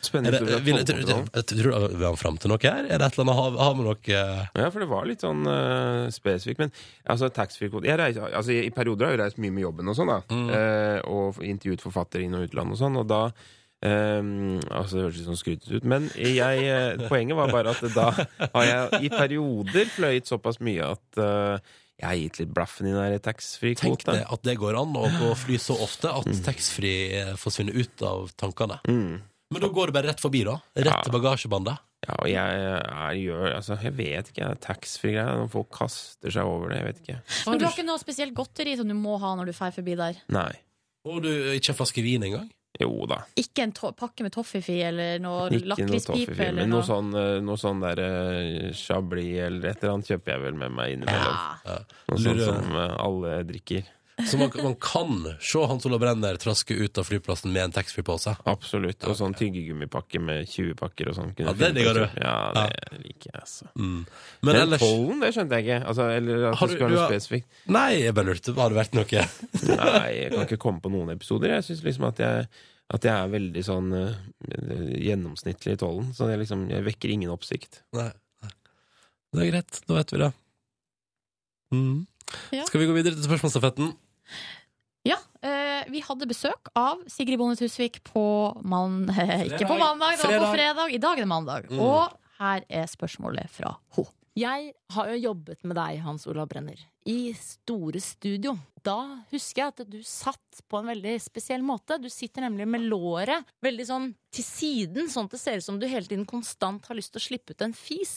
Spennende Er det- eh, historie fra vil- jeg tror- tollkontrollen? jeg tror- jeg tror- Vil han fram til noe her? Er det et eller annet Har, har vi noe eh, Ja, for det var litt sånn uh, spesifikt. Men altså, taxfree-kvote jeg reiser, altså, I perioder har jeg reist mye med jobben og sånn, da. Mm. Eh, og intervjuet forfattere inn- og utland og sånn. Og da ehm, Altså, det høres litt sånn skrytete ut, men jeg, eh, poenget var bare at da har jeg i perioder fløyet såpass mye at eh, jeg har gitt litt blaffen i den der Tenk taxfree-kvoten. Mm. det, at det går an å gå og fly så ofte at taxfree eh, forsvinner ut av tankene. Men da går det bare rett forbi, da? Rett til bagasjebandet? Ja, og jeg, er- gjør Altså, jeg vet ikke. Taxfree-greia. når Folk kaster seg over det. Jeg vet ikke. Men du har ikke noe spesielt godteri som du må ha når du drar forbi der? Nei. Og du ikke en flaske vin engang? Jo da. Ikke en to pakke med toffifee eller noe Ikke noe lakrispipe? toffifee, eller Men noe noe sånn, eh, noe sånn der eh, chablis eller et eller annet kjøper jeg vel med meg innimellom. Noe sånt Lurer- som eh, alle drikker. Så [LAUGHS] man, man kan se Hans Olav Brenner traske ut av flyplassen med en taxfree-pose? Absolutt. Og sånn tyggegummipakke med 20 pakker og sånn. kunne Ja, det jeg digger finne på å kjøpe. du. Mm. Ja, det liker jeg, altså. Men Men, ellers- tollen, det skjønte jeg ikke. Altså, eller at Har det du- skulle du være har- noe spesifikt. Nei, jeg bare lurte. Har det vært [LAUGHS] noe? Nei, jeg kan ikke komme på noen episoder. Jeg syns liksom at jeg, at jeg er veldig sånn eh, gjennomsnittlig i tollen. Så jeg liksom, jeg vekker ingen oppsikt. Nei. Det er greit, da vet vi det. Mm. Ja. Skal vi gå videre til spørsmålsstafetten? Ja, eh, vi hadde besøk av Sigrid Bonde Tusvik på man... [LAUGHS] Ikke på Fredag. mandag, det var på Fredag. fredag. I dag er det mandag. Mm. Og her er spørsmålet fra henne. Jeg har jo jobbet med deg, Hans Olav Brenner, i store studio. Da husker jeg at du satt på en veldig spesiell måte. Du sitter nemlig med låret veldig sånn til siden, sånn at det ser ut som du hele tiden konstant har lyst til å slippe ut en fis.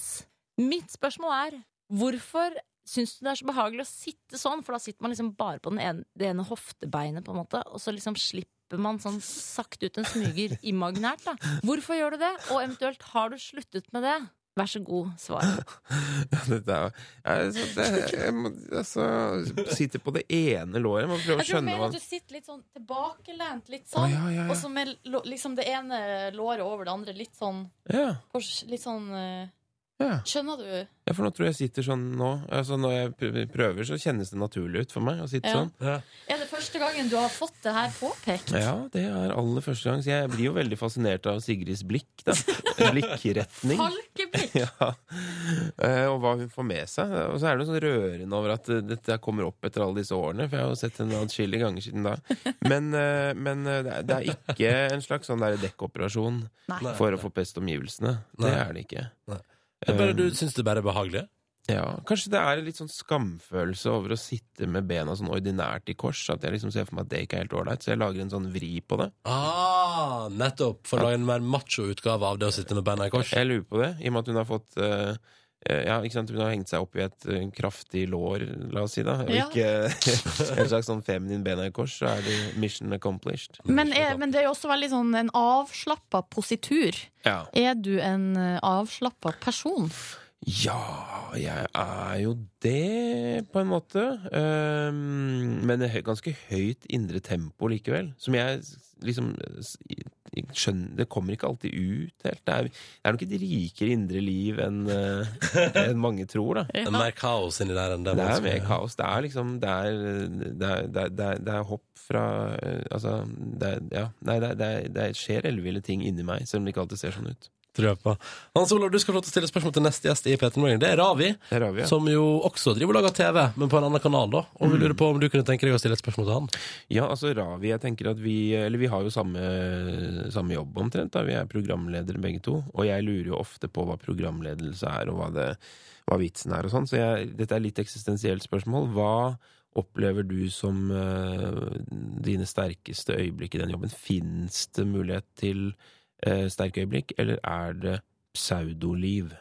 Mitt spørsmål er hvorfor syns du det er så behagelig å sitte sånn? For da sitter man liksom bare på den ene, det ene hoftebeinet, på en måte, og så liksom slipper man sånn sakte ut en smyger imaginært, da. Hvorfor gjør du det? Og eventuelt, har du sluttet med det? Vær så god, svar. [LAUGHS] Dette er jo jeg- så det- jeg må- Altså Sitter på det ene låret. Man prøver å Jeg tror skjønne mer hva at du sitter litt sånn tilbakelent, litt sånn. Å, ja, ja, ja. Og så med lo- liksom det ene låret over det andre, litt sånn ja, kors- Litt sånn eh, ja. Skjønner du? ja, for nå tror jeg jeg sitter sånn nå. Altså Når jeg pr- prøver, så kjennes det naturlig ut for meg å sitte Ja. sånn. Er det første gangen du har fått det her påpekt? Ja, det er aller første gang. Så jeg blir jo veldig fascinert av Sigrids blikk, da. Blikkretning. Falkeblikk! [LAUGHS] Ja. Eh, Og hva hun får med seg. Og så er det jo sånn rørende over at eh, dette kommer opp etter alle disse årene, for jeg har jo sett henne adskillige ganger siden da. Men, eh, men eh, det er- det er ikke en slags sånn der dekkoperasjon Nei. for å få best omgivelsene. Det Nei. er det ikke. Nei. Det er bare, du Um, syns det bare er behagelig? Ja, Kanskje det er en litt sånn skamfølelse over å sitte med bena sånn ordinært i kors. At jeg liksom ser for meg at det ikke er helt ålreit, så jeg lager en sånn vri på det. Ah, nettopp! For å lage en mer macho utgave av det å sitte med beina i kors. Jeg lurer på det, i og med at hun har fått eh, eh, ja, ikke sant? Hun har hengt seg opp i et eh, kraftig lår, la oss si, da. Og Ja. ikke [LAUGHS] en slags sånn feminin bena i kors, så er det mission accomplished. Men, er, men det er jo også veldig sånn en avslappa positur. Ja. Er du en eh, avslappa person? Ja, jeg er jo det, på en måte. Ehm, men et hø- ganske høyt indre tempo likevel. Som jeg s- liksom s- i- i- skjønner Det kommer ikke alltid ut helt. Det er, det er nok et rikere indre liv enn eh, enn mange tror, da. Det er mer kaos inni der enn det Det er vanskelig. mer kaos. Det er liksom Det er, det er, det er, det er, det er hopp fra eh, Altså, det er, ja. Nei, det, er- det, er, det skjer elleville ting inni meg, selv om det ikke alltid ser sånn ut. Tror jeg på. Hans Olav, du skal få lov til å stille spørsmål til neste gjest i P3 Morgen. Det er Ravi, ja. som jo også driver og lager TV, men på en annen kanal, da. Mm. Og vi lurer på om du kunne tenke deg å stille et spørsmål til han. Ja, altså Ravi, jeg tenker at vi Eller vi har jo samme, samme jobb omtrent, da. Vi er programledere begge to. Og jeg lurer jo ofte på hva programledelse er, og hva, det, hva vitsen er og sånn. Så jeg, dette er litt eksistensielt spørsmål. Hva opplever du som eh, dine sterkeste øyeblikk i den jobben? Fins det mulighet til eh, sterke øyeblikk, eller er det pseudoliv?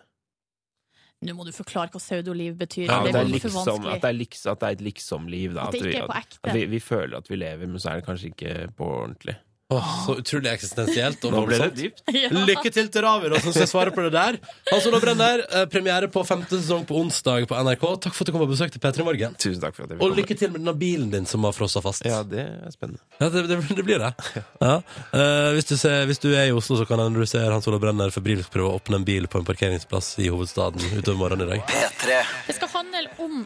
Nå må du forklare hva pseudoliv betyr. Ja, at, det det er blir for liksom, vanskelig. at, det er liksom, at det er et liksom-liv. da. At det vi, ikke er på at, ekte. at vi, vi føler at vi lever, men så er det kanskje ikke på ordentlig. så utrolig eksistensielt og Nå ble det voldsomt. dypt. [LAUGHS] Ja. Lykke til til Ravid, som skal svare på det der. Hans Olav Brenner, eh, premiere på femte sesong på onsdag på NRK. Takk for at du kom på besøk til P3 Morgen. Tusen takk for at jeg fikk Og komme. lykke til med denne bilen din som har frossa fast. Ja, det er spennende. Ja, det, det, det blir det. Ja. Eh, hvis, du ser, hvis du er i Oslo, så kan hende du ser Hans Olav Brenner febrilsk prøve å åpne en bil på en parkeringsplass i hovedstaden utover morgenen i dag. Det skal handle om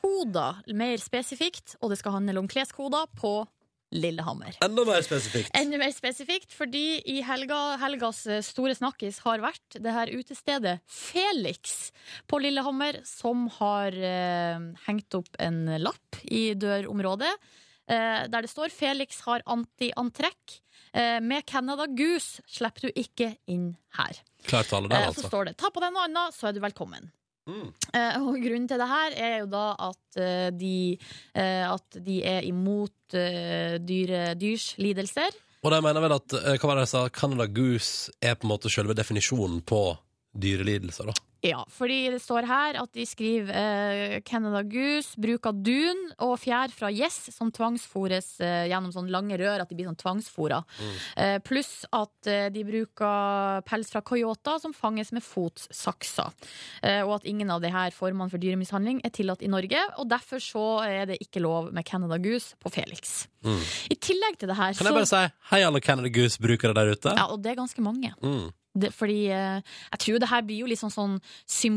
kleskoder, mer spesifikt, og det skal handle om kleskoder på Lillehammer. Enda mer spesifikt. Enda mer spesifikt, fordi i helga, helgas eh, store snakkis har vært det her utestedet Felix på Lillehammer, som har eh, hengt opp en lapp i dørområdet eh, der det står 'Felix har antiantrekk'. Eh, med Canada Goose slipper du ikke inn her. Klar tale Eh, der, og altså. så Mm. står det 'ta på deg noe annet, så er du velkommen'. Eh, og grunnen til det her er jo da at, eh, de, eh, at de er imot eh, dyre, dyrs lidelser. Og de mener vel at eh, hva var det jeg sa, Canada Goose er på en måte selve definisjonen på dyrelidelser, da. Ja, fordi det står her at de skriver eh, Canada Goose, bruk av dun og fjær fra gjess som tvangsfòres eh, gjennom sånne lange rør, at de blir sånn tvangsfòra. Mm. Eh, pluss at eh, de bruker pels fra coyoter som fanges med fotsakser. Eh, og at ingen av de her formene for dyremishandling er tillatt i Norge, og derfor så er det ikke lov med Canada Goose på Felix. Mm. I tillegg til det her Kan jeg bare si hei, alle Canada Goose-brukere der ute? Ja, og det er ganske mange. Mm. Det, fordi eh, jeg tror det her blir jo litt sånn, sånn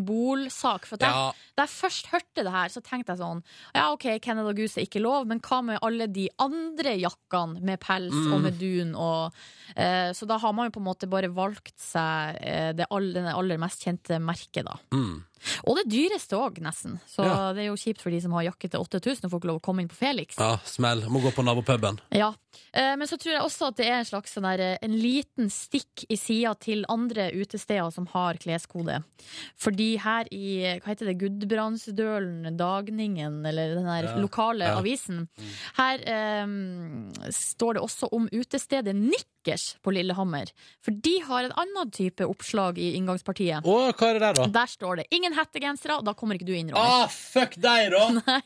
symbolsak. For at Ja. jeg, da jeg først hørte det her, så tenkte jeg sånn Ja, OK, Canada Goose er ikke lov, men hva med alle de andre jakkene med pels Mm. og med dun og eh, Så da har man jo på en måte bare valgt seg eh, det aller, det aller mest kjente merket, da. Mm. Og det dyreste òg, nesten. Så Ja. det er jo kjipt for de som har jakke til 8000 og får ikke lov å komme inn på Felix. Ja, smell. Må gå på nabopuben. Ja, eh, men så tror jeg også at det er en slags sånn der, eh, en liten stikk i sida til andre utesteder som har kleskode. Fordi her i eh, hva heter det, Gudbrandsdølen, Dagningen, eller den der Ja, lokale ja. avisen, Mm. her eh, står det også om utestedet Nikkers på Lillehammer. For de har en annen type oppslag i Å, inngangspartiet. hva er det der da? Der står det 'ingen hettegensere', og da kommer ikke du inn, Ah, fuck deg, da! [LAUGHS] Nei.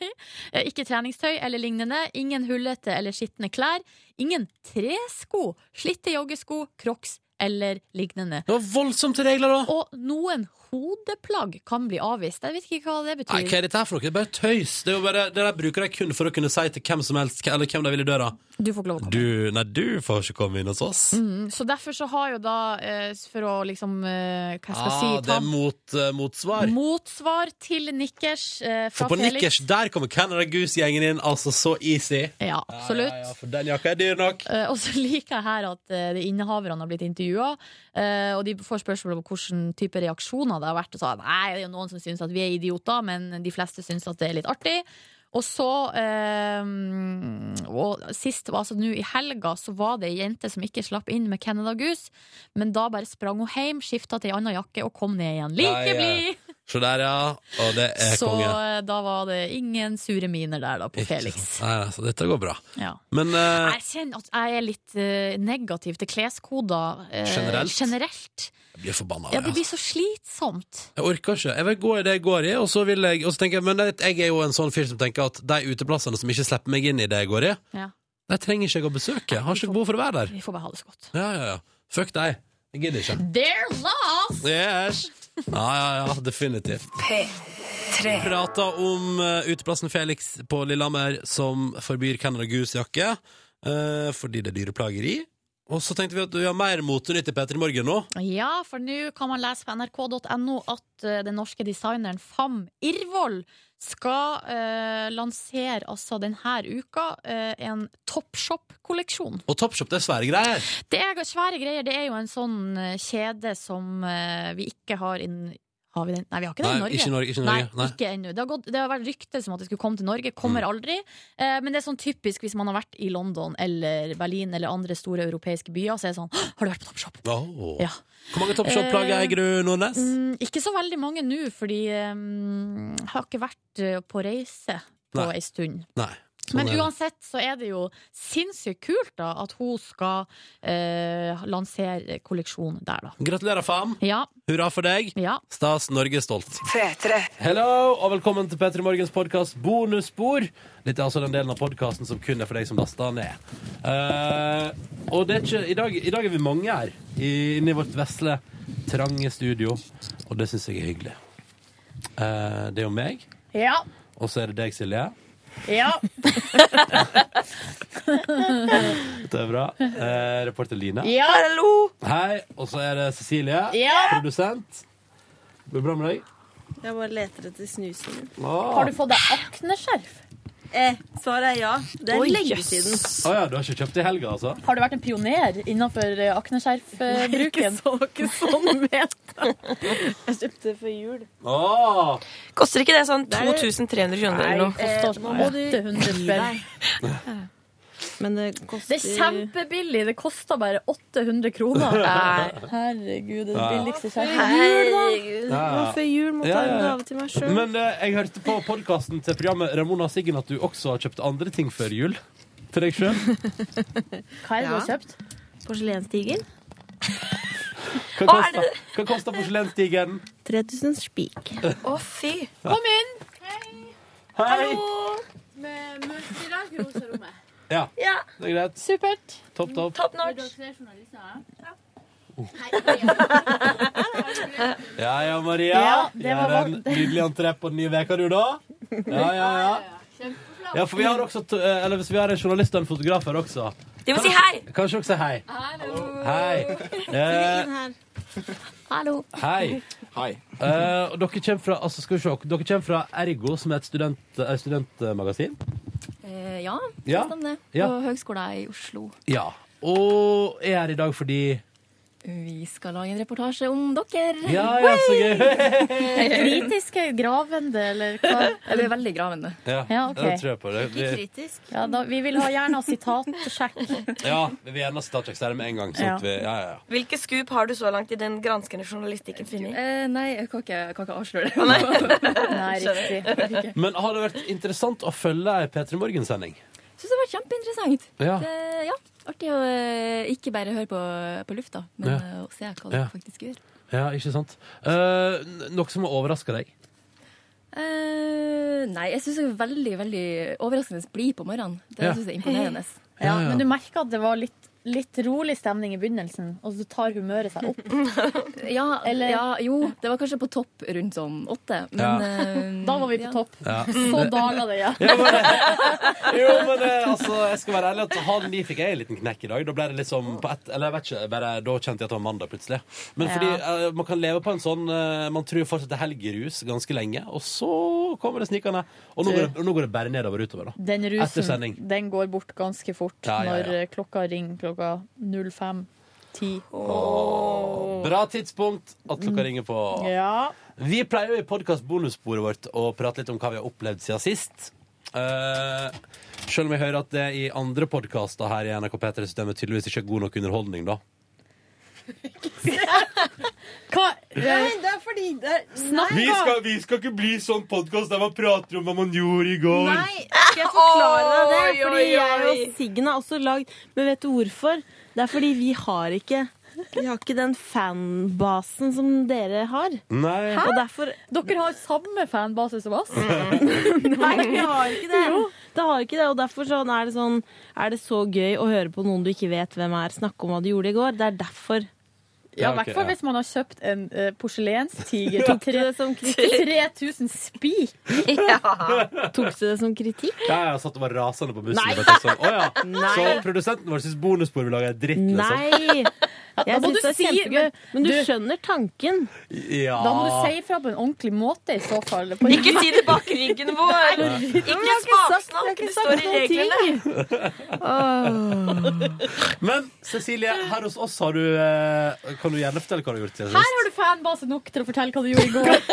Eh, Ikke treningstøy eller lignende. Ingen hullete eller skitne klær. Ingen tresko, slitte joggesko, crocs eller lignende. Det var voldsomt regler, da! Og noen hodeplagg kan bli avvist. Jeg vet ikke hva det betyr. Nei, hva er dette her for noe? Det er bare tøys. Det, er jo bare, det der bruker de kun for å kunne si til hvem som helst, eller hvem de vil i døra. Du får ikke lov å komme. Du, nei, du får ikke komme inn hos oss. Mm, så derfor så har jo da, eh, for å liksom eh, Hva skal jeg Ah, si? det Ta er mot, eh, motsvar. motsvar til nikkers eh, fra for på Felix. Nikkers, der kommer Canada Goose-gjengen inn, altså så easy. Ja, absolutt. Ja, ja, for den jakka er dyr nok. Eh, Og så [LAUGHS] liker jeg her at eh, de innehaverne har blitt intervjua, og de får spørsmål om hvilken type reaksjoner det har vært. Og sa nei, det er jo noen som syns at vi er idioter, men de fleste syns at det er litt artig. Og så eh, Og sist, altså nå i helga, så var det ei jente som ikke slapp inn med Canada Goose, men da bare sprang hun hjem, skifta til ei anna jakke og kom ned Ja, igjen. Like ja. blid! Så der, ja. Og det er Så konge. eh, da var det ingen sure miner der, da, på Ikke Felix. sant? Nei, nei, så dette går bra. Ja. Men eh, Jeg kjenner at jeg er litt eh, negativ til kleskoder eh, Generelt? generelt. jeg blir forbanna. Ja, av det, det blir så slitsomt. Jeg orker ikke. Jeg vil gå i det jeg går i, og så vil jeg, og så tenker jeg Men jeg jeg er jo en sånn fyr som tenker at de uteplassene som ikke slipper meg inn i det jeg går i, Ja. de trenger ikke jeg å besøke. Jeg har ikke behov for å være der. Vi får bare ha det så godt. Ja, ja, ja. Fuck deg. Jeg gidder ikke. They're lost! Yes! Ja, ja, ja, definitivt. Vi prater om eh, uteplassen Felix på Lillehammer som forbyr Canada Goose-jakke eh, fordi det er dyreplageri. Og så tenkte vi at vi har mer motenytt i P3 Morgen nå. Ja, for nå kan man lese på nrk.no at eh, den norske designeren Fam Irvoll skal eh, lansere altså denne uka eh, en Topshop-kolleksjon. Og Topshop, det er svære greier. Det er svære greier. Det er jo en sånn eh, kjede som eh, vi ikke har inn... Har vi den? Nei, vi har ikke det Nei, i Norge. ikke i Norge, ikke i Norge, Nei, nei. Mm. ikke ennå. Det, har gått- det har vært rykter som at det skulle komme til Norge. Kommer aldri. Eh, men det er sånn typisk hvis man har vært i London eller Berlin eller andre store europeiske byer, så er det sånn «Hå, Har du vært på Topshop? Åh. Ja. Hvor mange Topshop-plagg Eh, eier du, Nordnes? Mm, ikke så veldig mange mm, nå, fordi eh, jeg har ikke vært eh, på reise på Nei. ei stund. Nei. Sånn Men er det. uansett så er det jo sinnssykt kult da at hun skal eh, lansere kolleksjon der, da. Gratulerer, fam. Ja. Hurra for deg. Stas, Norge er stolt. P3. Hello, og velkommen til P3 Morgens podkast Bonusspor. Dette er altså den delen av podkasten som kun er for deg som laster den ned. Eh, og det er ikke, i, dag, I dag er vi mange her i- inne i vårt vesle, trange studio, og det syns jeg er hyggelig. Eh, det er jo meg, Ja. og så er det deg, Silje. Ja. Dette er bra. Eh, reporter Line. Ja. Hallo. Hei. Og så er det Cecilie, Ja. produsent. Går det bra med deg? Jeg bare leter etter snusen min. Ah. Har du fått deg akneskjerf? Eh, [LAUGHS] svaret er ja. Det er Oi, lenge jøss. siden. Å ja, du har ikke kjøpt det i helga, altså? Har du vært en pioner innenfor eh, akneskjerfbruken? Ikke sånn ment. Jeg kjøpte det for jul. [LAUGHS] Koster ikke det sånn Det er- 2300 kroner Nei, eller noe? eh, nå må du 800 gi spenn. deg. Men det koster Det er kjempebillig. Det koster bare 800 kroner. [LAUGHS] Nei. Herregud, det er det Nei. billigste skjerfet. Herregud. Ja, ja. Nå før jul måtte jeg Ja, ha ja, en ja. gave til meg sjøl. Men eh, jeg hørte på podkasten til programmet Ramona og Siggen at du også har kjøpt andre ting før jul. Til deg [LAUGHS] sjøl. Hva er det du har kjøpt? Porselenstiger. Hva Hva er kosta- hva kosta porselenstigeren? 3000 spik. Å, fy. Kom inn! Hei! Med multilag i rosa rommet. Ja. Ja. Det er greit. Supert. Topp, topp. Top notch. [LAUGHS] Ja ja, Maria. Ja, det Gjør var en nydelig entré på den nye veka du, da. Ja, ja, ja. Ja, for vi har Mm. også t eh, eller hvis vi har en journalist og en fotograf her også. De må si hei! Kanskje også si hei. Hei. Eh, Hallo. Hei. Eh, og dere kommer fra, altså skal vi se, dere kommer fra Ergo, som er et student, eh, studentmagasin. Eh, ja, Ja. det stemmer det. Ja. På Høgskolen i Oslo. Ja. Og er her i dag fordi Vi skal lage en reportasje om dere. Ja, ja, så gøy! Kritiske, gravende, eller hva? Ja, det er veldig gravende. [LAUGHS] Ja, Ja, ok. det tror jeg på. Det, vi, kritisk. Ja, da, vi vil ha gjerne ha sitatsjekk. ja, vi vil gjerne starte eksterne med en gang. Sånn at vi, ja, ja, ja. Hvilke skup har du så langt i den granskende journalistikken funnet? Eh, nei, jeg kan ikke, jeg kan ikke avsløre det. [LAUGHS] Nei, riktig. Men har det vært interessant å følge ei P3 Morgen-sending? Syns det var kjempeinteressant. Ja. Det, ja, artig å eh, ikke bare høre på, på lufta, men Ja. eh, å se hva dere Ja. faktisk gjør. Ja, ikke sant? Eh, n- noe som har overraska deg? Eh, nei, jeg syns det er veldig veldig overraskende blid på morgenen. Det Ja. synes syns jeg er imponerende. Ja, Men du merka at det var litt, litt rolig stemning i begynnelsen, og så tar humøret seg opp. [LAUGHS] [LAUGHS] ja, Eller- ja, jo, det var kanskje på topp rundt sånn åtte, Ja. men eh, Da var vi på ja. topp. Ja. Så daler det, ja. Jo, men eh, altså, jeg skal være ærlig at halv ni fikk jeg en liten knekk i dag. Da ble det liksom på ett, eller jeg vet ikke, bare, da kjente jeg at det var mandag plutselig. Men fordi eh, man kan leve på en sånn eh, Man tror fortsatt det er helgerus ganske lenge, og så kommer det snikende. Og nå går det, og nå går det bare nedover og utover, da. Den Etter rusen sending. den går bort ganske fort Ja, ja, ja. når eh, klokka ringer klokka 05.10. Bra tidspunkt at klokka ringer på. Ja. Vi pleier jo i podkast-bonussporet vårt å prate litt om hva vi har opplevd siden sist. Eh, selv om jeg hører at det i andre podkaster her i NRK P3-systemet tydeligvis ikke er god nok underholdning, da. Hva? eh, Nei, det er fordi det er Nei, Vi skal, vi skal ikke bli sånn podkast der man prater om hva man gjorde i går. Nei, skal jeg forklare deg det? Oi, oi, Fordi jeg og oi. Siggen har også lagd Men vet du hvorfor? Det er fordi vi har ikke Vi har ikke den fanbasen som dere har. Nei. Og derfor Dere har samme fanbase som oss? Mm. Nei, vi har ikke det. det, har ikke det og derfor sånn er, det sånn, er det så gøy å høre på noen du ikke vet hvem er, snakke om hva du gjorde i går. Det er derfor. Ja, i hvert fall hvis man har kjøpt en eh, porselenstiger til Tok du det som kritikk? 3000 spik. Tok du det som kritikk? Ja, jeg satt og var rasende på bussen. Nei. og bare tenkte Sånn, «Å ja. [LAUGHS] Nei. Så produsenten vår syns bonusspor vi lager, er dritt, liksom. Nei! Jeg Da må syns det du er si- kjempegøy. Men du Du- skjønner tanken. Ja. Da må du si ifra på en ordentlig måte i så fall. På- [LAUGHS] Ikke si det bak ryggen vår! Nei. Men jeg Ikke har ikke sagt- jeg har smaksnakk, ikke det sagt står i noen ting. reglene. Men Cecilie, her hos oss har du eh, Kan du gjerne fortelle hva du har gjort siden Her sist? har du fanbase nok til å fortelle hva du gjorde i går.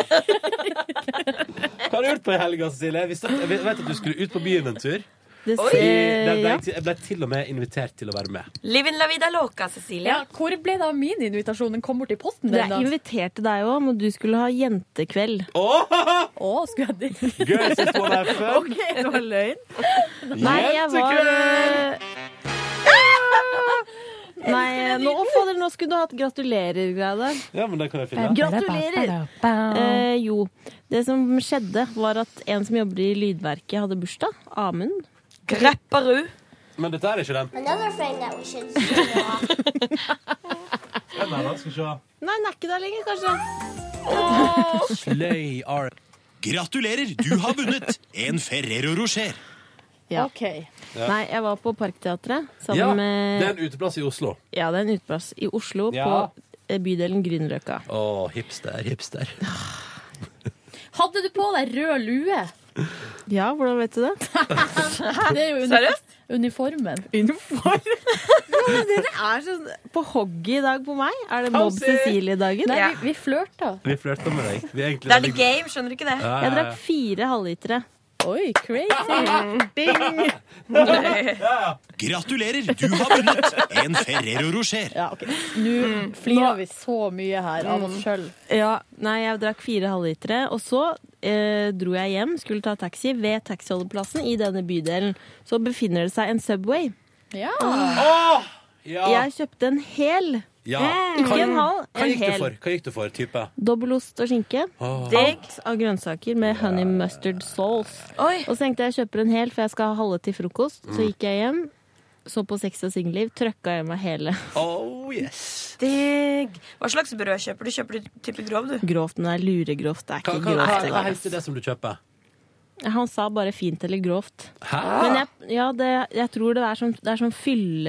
Hva har du gjort på i helga, Cecilie? Jeg, visste at, jeg vet at du skulle ut på byen en tur. Det Oi! ser- Der ble ja. jeg, til- jeg ble til og med invitert til å være med. Livin la vida loca, Cecilie. hvor ble det av min invitasjon? Den kom bort i posten. Jeg inviterte deg òg, men du skulle ha jentekveld. skulle [LAUGHS] jeg det? Girls just wanna have fun. [LAUGHS] Ok, det var løgn. Nei, jeg var Jentekveld! Nei, nå, å, fader, nå skulle du hatt gratulerer-greia der. Ja, men det kan jeg finne. Gratulerer! Eh, jo. Det som skjedde, var at en som jobber i Lydverket, hadde bursdag. Amund. Grepperud. Men dette er ikke den. Another thing that we should Den er da, skal vi se. Nei, den er ikke der lenger, kanskje. Sløy R. Gratulerer, du har vunnet en Ferrero Rocher. Ja. Ja. Nei, eh, jeg var på Parkteatret sammen Ja, det er med en uteplass i Oslo. Ja, det er en uteplass i Oslo, Ja. på eh, bydelen Grünerløkka. Å, hipster, hipster. Hadde du på deg rød lue? [LAUGHS] Ja, hvordan vet du det? [LAUGHS] det er jo Seriøst? uniformen. Dere er sånn på hogget i dag på meg. Er det Kom, Mobb si. Cecilie-dagen? Nei, vi, vi flørta. Vi flørter med deg. Vi er egentlig Det er veldig- the game, skjønner du ikke det? Ja, ja, ja. Jeg drakk fire halvlitere. Oi, Mm. crazy! Ding! Gratulerer, du har vunnet en Ferrero Rocher. Ja, ok. Nå flirer vi så mye her av Mm. oss sjøl. Ja, nei, jeg drakk fire halvlitere, og så eh, dro jeg hjem, skulle ta taxi ved taxiholdeplassen i denne bydelen. Så befinner det seg en Subway. Ja. Åh! Ja. Jeg kjøpte en hel. Ja. Ikke Eh, en halv, Hva en gikk du hel. for? Hva gikk du for, type? Dobbeltost og skinke. Åh. Alt av grønnsaker med honey mustard sauce. Og så tenkte jeg jeg kjøper en hel, for jeg skal ha halve til frokost. Så Mm. gikk jeg hjem, så på Sex og singelliv, trøkka i meg hele. [LAUGHS] Oh, yes. Digg. Hva slags brød kjøper du? Kjøper du type grov, du? Grovt, men det er luregrovt. Det er Hva, hva, hva, ikke grovt. hva engang. heter det som du kjøper? Han sa bare fint eller grovt. Hæ? Men jeg, ja, det, jeg tror det er sånn, det er sånn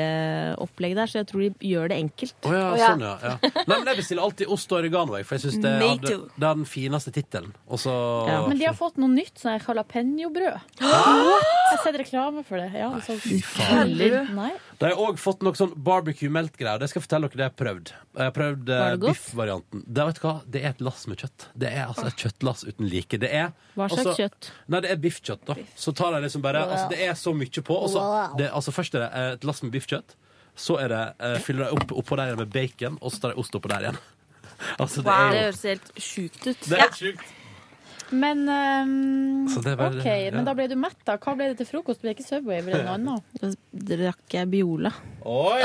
fylleopplegg der, så jeg tror de gjør det enkelt. Å ja, sånn, ja. ja. Nei, men jeg bestiller alltid ost og oregano, jeg, for jeg syns det, Me er- det too. det er den fineste tittelen. Og så Men de har fått noe nytt, sånn her jalapeño-brød. What? Jeg har sett reklame for det. Ja, sånn- faen. Nei. De har òg fått noe sånn barbecue-meltgreier. Det skal jeg fortelle dere det jeg har prøvd. Jeg har prøvd eh, Var det godt? biff-varianten. Det, vet du hva? det er et lass med kjøtt. Det er altså et kjøttlass uten like. Det er Ah. Hva slags altså- kjøtt? Nei, det er biffkjøtt, da. Så tar de liksom bare Wow. Altså, det er så mye på. Og så, Wow. det, altså, først er det eh, et lass med biffkjøtt. Så er det, eh, fyller de opp oppå der igjen med bacon, og så tar de ost oppå der igjen. [LAUGHS] Altså, det Wow. er Det jo høres helt sjukt ut. Det er helt sjukt. Men ehm, Så det er bare- OK, ja. men da ble du mett, da. Hva ble det til frokost? Ble det ikke Subway? Ble det noe annet? Da drakk jeg Biola. Oi,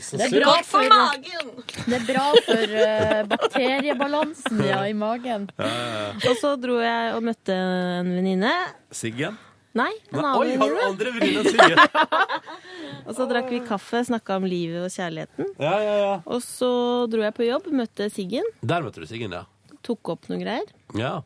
så Det er sunt. bra for magen! Det er bra for [LAUGHS] eh, bakteriebalansen ja, i magen. Ja, ja, ja. Og så dro jeg og møtte en venninne. Siggen? Nei, Nei, en annen Oi, har du venninne. andre venninne enn Siggen? [LAUGHS] Og så drakk vi kaffe, snakka om livet og kjærligheten. Ja, ja, ja. Og så dro jeg på jobb, møtte Siggen, Der møtte du Siggen, ja. tok opp noen greier ja.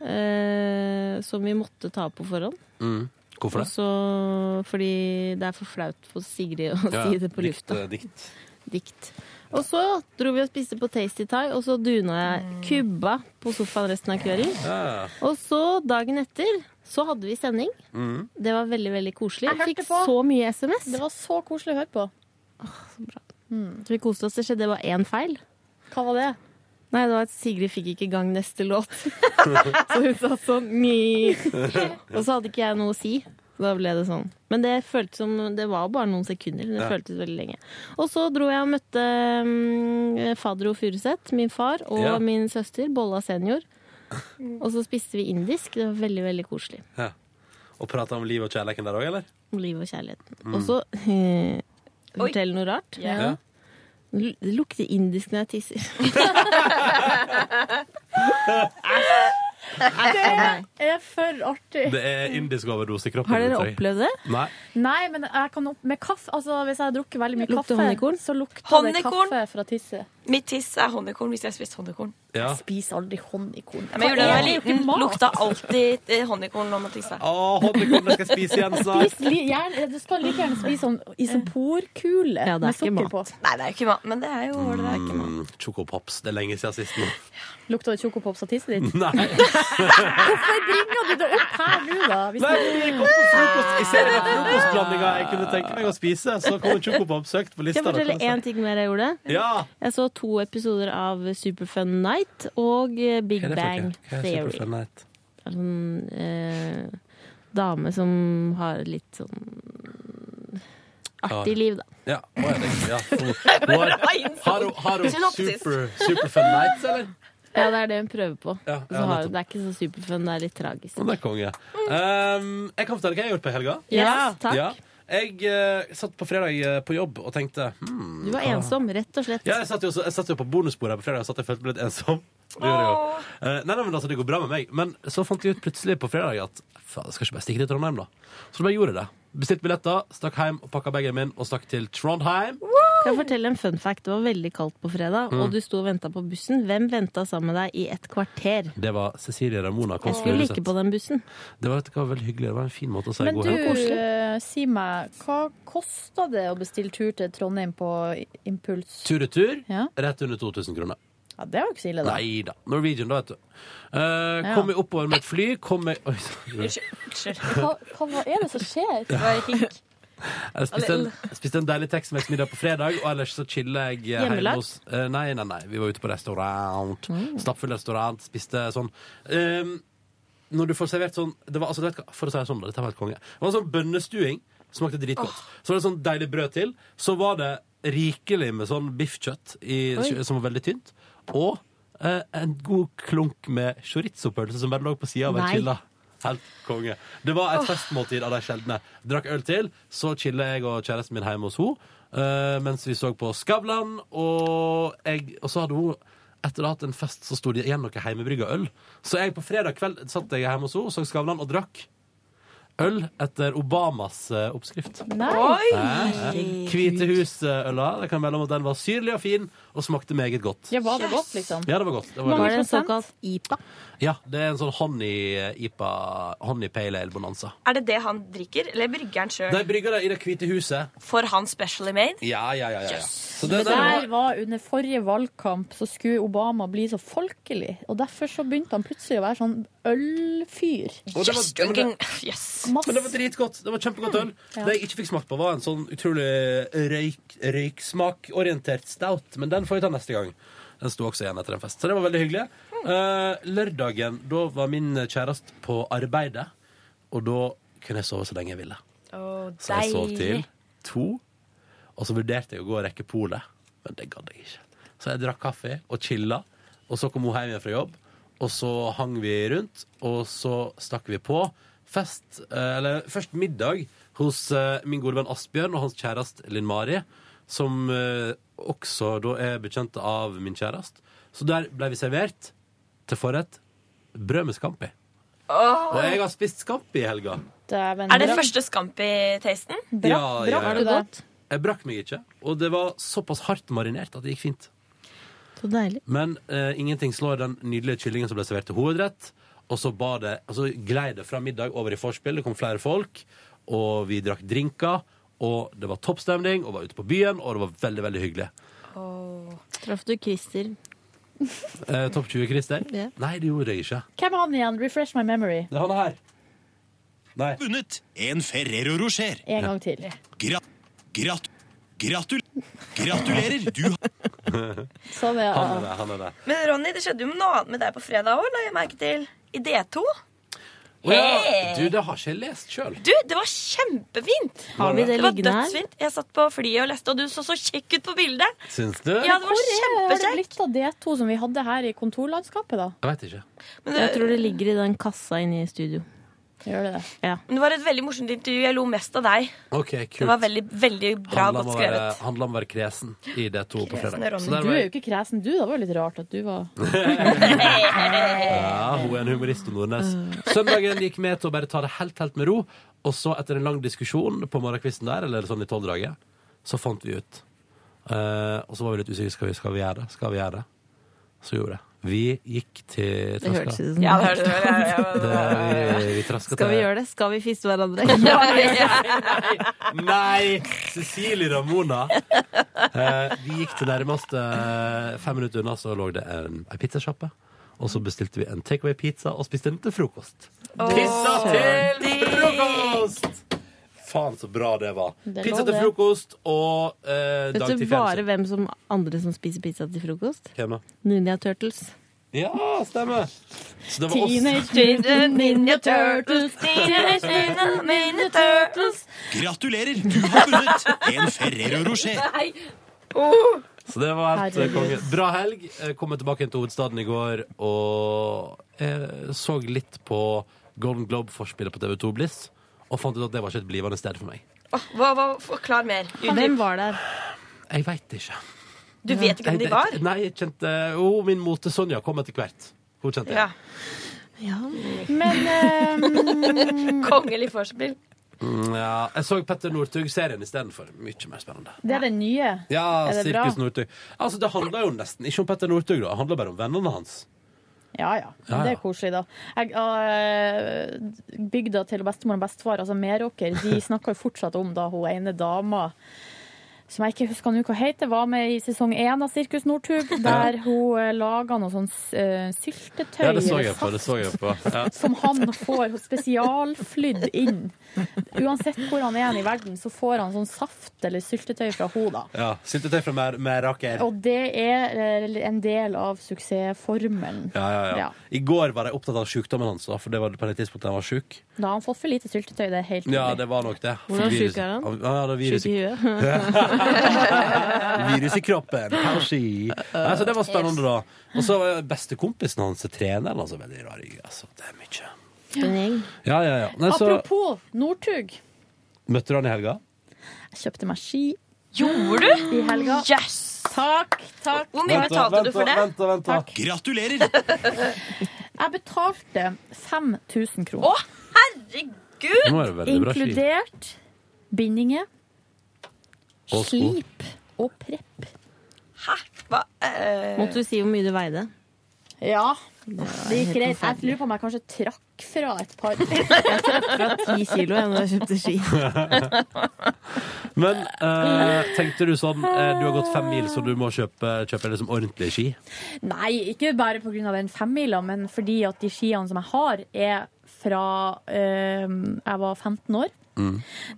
eh, som vi måtte ta opp på forhånd. Mm. Hvorfor Og det? så- fordi det er for flaut for Sigrid å Ja, si det på dikt, lufta. eh, Dikt. Dikt. Og så dro vi og spiste på Tasty Thai, og så duna jeg Mm. kubba på sofaen resten av kvelden. Ja. Og så dagen etter så hadde vi sending. Mm. Det var veldig, veldig koselig. Jeg Jeg hørte fikk på. så mye SMS. Det var så koselig å høre på. Mm. Vi koste oss. Det skjedde bare én feil. Hva var det? Nei, det var at Sigrid fikk ikke i gang neste låt. [LAUGHS] så hun sa sånn «Ni». Og så hadde ikke jeg noe å si. Da ble det sånn. Men det føltes som Det var bare noen sekunder. men Det Ja. føltes veldig lenge. Og så dro jeg og møtte mm, Fadro Furuseth, min far, og Ja. min søster, Bolla senior. Og så spiste vi indisk. Det var veldig, veldig koselig. Ja. Og prata om livet og kjærligheten der òg, [LAUGHS] eller? Om livet og kjærligheten. Mm. Og så [LAUGHS] eh, Fortell noe rart. Ja. Ja. L- Det lukter indisk når jeg tisser. Det er for artig. Det er indisk overdose i kroppen. Har dere tror jeg. opplevd det? Nei. Nei, men jeg kan opp med kaffe altså, Hvis jeg har drukket veldig mye kaffe, Lukter honningkorn? så lukter Honningkorn? det kaffe fra tisset. Mitt tiss er honningkorn hvis jeg har spist honningkorn. Ja. Jeg spiser aldri honningkorn. Men jeg gjorde det Mm, da jeg Det er jo var ikke liten. mat. Lukta alltid eh, honningkorn når man tissa. Å, honningkorn jeg skal spise igjen Spis li- gjerne- Du skal like gjerne spise sånn isoporkule Ja, det er med ikke sukker mat. på. Nei, det er jo ikke mat, men det er jo det. Er. Mm, Chocopops. Det er lenge siden sist [LAUGHS] nå. Lukta det chocopops av tisset ditt? Nei. Hvorfor bringer du det opp her nå, da? Hvis Nei, du- vi kom på frokost I serien av frokostblandinger jeg kunne tenke meg å spise, så kommer Chocopops høyt på Skal lista. jeg fortelle én ting mer jeg gjorde? Ja. Jeg så to episoder av Superfun Night og eh, Big Bang Theory. Theory. Sånn, eh, dame som har litt sånn artig liv, da. Ja, hva er det? [LAUGHS] Ja. Hun- hun Har har hun- har hun sånn Synopsis. super, super fun nights, eller? Ja, det er det hun prøver på. Ja, Og så ja, har nettopp. hun, det er ikke så superfun, det er litt tragisk. Å, det er konge. Ehm, jeg kan fortelle hva jeg har gjort på helga. Ja, takk. Ja. Jeg eh, satt på fredag eh, på jobb og tenkte hmm, Du var hva- ensom, rett og slett. Ja, jeg satt jo, også- jeg satt jo på bonusbordet her på fredag og satt jeg følte meg litt ensom. [LAUGHS] Det gjorde jeg jo. Eh, nei, nei, men altså, det går bra med meg. Men så fant jeg ut plutselig på fredag at faen, jeg skal ikke bare stikke til Trondheim, da. Så da bare gjorde jeg det. Bestilte billetter, stakk hjem og pakka bagen min og stakk til Trondheim. Kan jeg fortelle en fun fact? Det var veldig kaldt på fredag, Mm. og du sto og venta på bussen. Hvem venta sammen med deg i et kvarter? Det var Cecilie Ramona. Jeg Kåss skulle Furuseth. ikke på den bussen. Det var, det var veldig hyggelig. Det var en fin måte å si Men god du, helg eh, si meg, hva kosta det å bestille tur til Trondheim på i- Impuls? Tur-retur, Ja. rett under 2000 kroner. Ja, det var jo ikke så ille, da. Nei da. Norwegian, da, vet du. Eh, Ja. Kom jeg oppover med et fly, kom jeg Oi, sorry. [LAUGHS] Hva, hva, hva er det som skjer? Jeg spiste en, spiste en deilig Tex-Mex-middag på fredag, og ellers så chiller jeg eh, hjemme Hjemmelagt? hos eh, Nei, nei, nei. Vi var ute på restaurant. Mm. Stappfull restaurant. Spiste sånn um, Når du får servert sånn det var, altså, du vet, hva- For å si det sånn, da, dette var helt konge. Det var sånn bønnestuing. Smakte dritgodt. Så var det sånn deilig brød til. Så var det rikelig med sånn biffkjøtt i, Oi. som var veldig tynt. Og eh, en god klunk med chorizo-pølse som bare lå på sida av en Nei. chilla. Helt konge. Det var et Åh. festmåltid av de sjeldne. Drakk øl til, så chilla jeg og kjæresten min hjemme hos henne. eh, mens vi så på Skavlan, og, jeg, og så hadde hun etter å ha hatt en fest, så sto det igjen noe hjemmebrygga øl. Så jeg på fredag kveld satt jeg hjemme hos henne, så Skavlan og drakk øl etter Obamas eh, oppskrift. Nei. Hæ? Hæ? Hvite hus-øla. Jeg kan melde om at den var syrlig og fin, og smakte meget godt. Ja, var det godt, liksom? Ja, det var godt. Det Var det en veldig godt. såkalt IPA? Ja, det er en sånn honey-ipa, honey pale ale-bonanza. Er det det han drikker, eller brygger han sjøl? De brygger det i Det hvite huset. For han specially made? Ja, ja, ja. ja, ja. Så Det det, der der, var under forrige valgkamp, så skulle Obama bli så folkelig. Og derfor så begynte han plutselig å være sånn ølfyr. Og det var- Yes, men det- men det var dritgodt. Det var kjempegodt øl. Ja. Det jeg ikke fikk smakt på, var en sånn utrolig røyk, røyksmakorientert stout. Men den får vi ta neste gang. Den sto også igjen etter en fest. Så det var veldig hyggelig. Eh, lørdagen, da var min kjæreste på arbeidet. Og da kunne jeg sove så lenge jeg ville. Så jeg sov til to, og så vurderte jeg å gå og rekke polet, men det gadd jeg ikke. Så jeg drakk kaffe og chilla, og så kom hun hjem igjen fra jobb, og så hang vi rundt, og så stakk vi på fest, eh, eller først middag, hos eh, min gode venn Asbjørn og hans kjæreste Linn Mari, som eh, også da er bekjent av min kjæreste. Så der ble vi servert til forrett brød med scampi. Og jeg har spist scampi i helga. Er det første Scampi-tasten? Ja, ja, ja. Jeg brakk meg ikke, og det var såpass hardt marinert at det gikk fint. Så deilig. Men eh, ingenting slår den nydelige kyllingen som ble servert til hovedrett. Og så, ba det, og så glei det fra middag over i forspill. Det kom flere folk, og vi drakk drinker. Og det var toppstemning, og var ute på byen, og det var veldig veldig hyggelig. Traff du Christer? Eh, topp 20, Christer? Ja. Nei, det gjorde jeg ikke. Hvem er han igjen? Refresh my memory. Det er han her. Nei. Vunnet en Ferrero Rocher. En gang til. Gra grat gratul gratulerer, du har Sånn, ja. [LAUGHS] Han er det. han er det. Men Ronny, det skjedde jo noe annet med deg på fredag òg, la jeg merke til. I D2. Å ja, Hey! du, det har ikke jeg lest sjøl. Du, det var kjempefint! Har vi det var liggende her? dødsfint. Jeg satt på flyet og leste, og du så så kjekk ut på bildet. Syns du? Ja, det var Hvor er det kjempekjekt. blitt av D2 som vi hadde her i kontorlandskapet, da? Jeg veit ikke. Jeg tror det ligger i den kassa inne i studio. Gjør det det? Ja. Men det var et veldig morsomt intervju. Jeg lo mest av deg. Ok, kult. Det var veldig, veldig bra Handla om godt å være- skrevet. handla om å være kresen i D2 på fredag. Så der Du var er jeg- jo ikke kresen, du. da. Det var jo litt rart at du var [LAUGHS] Ja, hun er en humorist og Nordnes. Søndagen gikk med til å bare ta det helt, helt med ro. Og så etter en lang diskusjon på morgenkvisten der, eller sånn i tolvdraget, så fant vi ut. Eh, og så var vi litt usikre. Skal vi, skal vi gjøre det? Skal vi gjøre det? Så gjorde vi det. Vi gikk til Det hørtes ut som Ja, det det hørtes ut som- Det- vi- vi traska Skal vi til- gjøre det? Skal vi fiste [LAUGHS] hverandre? Nei! Cecilie Ramona. Eh, vi gikk til nærmeste eh, fem minutter unna, så lå det en, en pizzasjappe. Og så bestilte vi en takeaway-pizza og spiste den til frokost. Pizza til frokost! Faen, så bra det var. Det pizza var til det. frokost og eh, [LAUGHS] dag Vet du til bare fjernsyn. hvem som andre som spiser pizza til frokost? Hvem da? Ninja Turtles. Ja, stemmer. Så det var oss. Teenage [LAUGHS] Mutant Ninja Turtles. Teenage Mutant Ninja Turtles. Gratulerer, du har vunnet en Ferrero Rocher. Oh. Så det var helt eh, Herregud. konge. Bra helg. Eh, Kom tilbake igjen til hovedstaden i går og eh, så litt på Golden Globe-forspillet på TV2 Bliss. Og fant ut at det var ikke et blivende sted for meg. Åh, Hva, hva, forklar mer. Hvem var der? Jeg veit ikke. Du vet ikke hvem Jeg- de var? Nei, jeg kjente Jo, min mote Sonja kom etter hvert. Hun kjente jeg. Ja. Men Kongelig forspill. eh, Mm, ja. Jeg så Petter Northug-serien istedenfor. Mye mer spennende. Det er den nye. Ja, er det bra? Sirkus Northug. Altså, det handler jo nesten ikke om Petter Northug, da. Det handler bare om vennene hans. Ja, ja. Ja, ja. Det er koselig, da. Jeg, øh, bygda til bestemor og bestefar, altså Meråker, [LAUGHS] de snakker jo fortsatt om da hun ene dama som jeg ikke husker nå hva heter, var med i sesong én av [LAUGHS] Sirkus Nordtug, der hun øh, laga noe sånn øh, syltetøy Ja, det så eller jeg på. det så jeg på ja. som han får spesialflydd inn. Uansett hvor han er i verden, så får han sånn saft eller syltetøy fra henne. [LAUGHS] ja. Syltetøy fra Mer- Meråker. Og det er eh, en del av suksessformelen. Ja, ja, ja. Ja. I går var jeg opptatt av sykdommen hans, da, for det var på det tidspunktet han var syk. Da har han fått for lite syltetøy, det er helt Ja, det var nok det. Hvordan syk Virus- er han? Ja, det er virus, Syk i [LAUGHS] [LAUGHS] virus i kroppen. Kanskje. Nei, så det var spennende, da. Og så var bestekompisen hans treneren, altså. Veldig rar rygg, altså. Det er mye. Ja, ja, ja. Nei, så Apropos Northug. møtte du han i helga. Jeg kjøpte meg ski. Gjorde du? I helga. Yes! Takk, takk. Hvor mye betalte du for det? Takk. Gratulerer! [LAUGHS] Jeg betalte 5000 kroner. herregud! Nå er det veldig bra ski. Inkludert bindinger, Og sko. slip og prepp. Hva? Måtte du si hvor mye du veide? Ja. Det gikk greit. Jeg lurer på om jeg kanskje trakk fra et par. Jeg trakk fra Ti kilo jeg, da jeg kjøpte [LAUGHS] ski. Men eh, tenkte du sånn eh, Du har gått fem mil, så du må kjøpe, kjøpe liksom ordentlige ski. Nei, ikke bare pga. den femmila, men fordi at de skiene som jeg har, er fra eh, jeg var 15 år. Mm.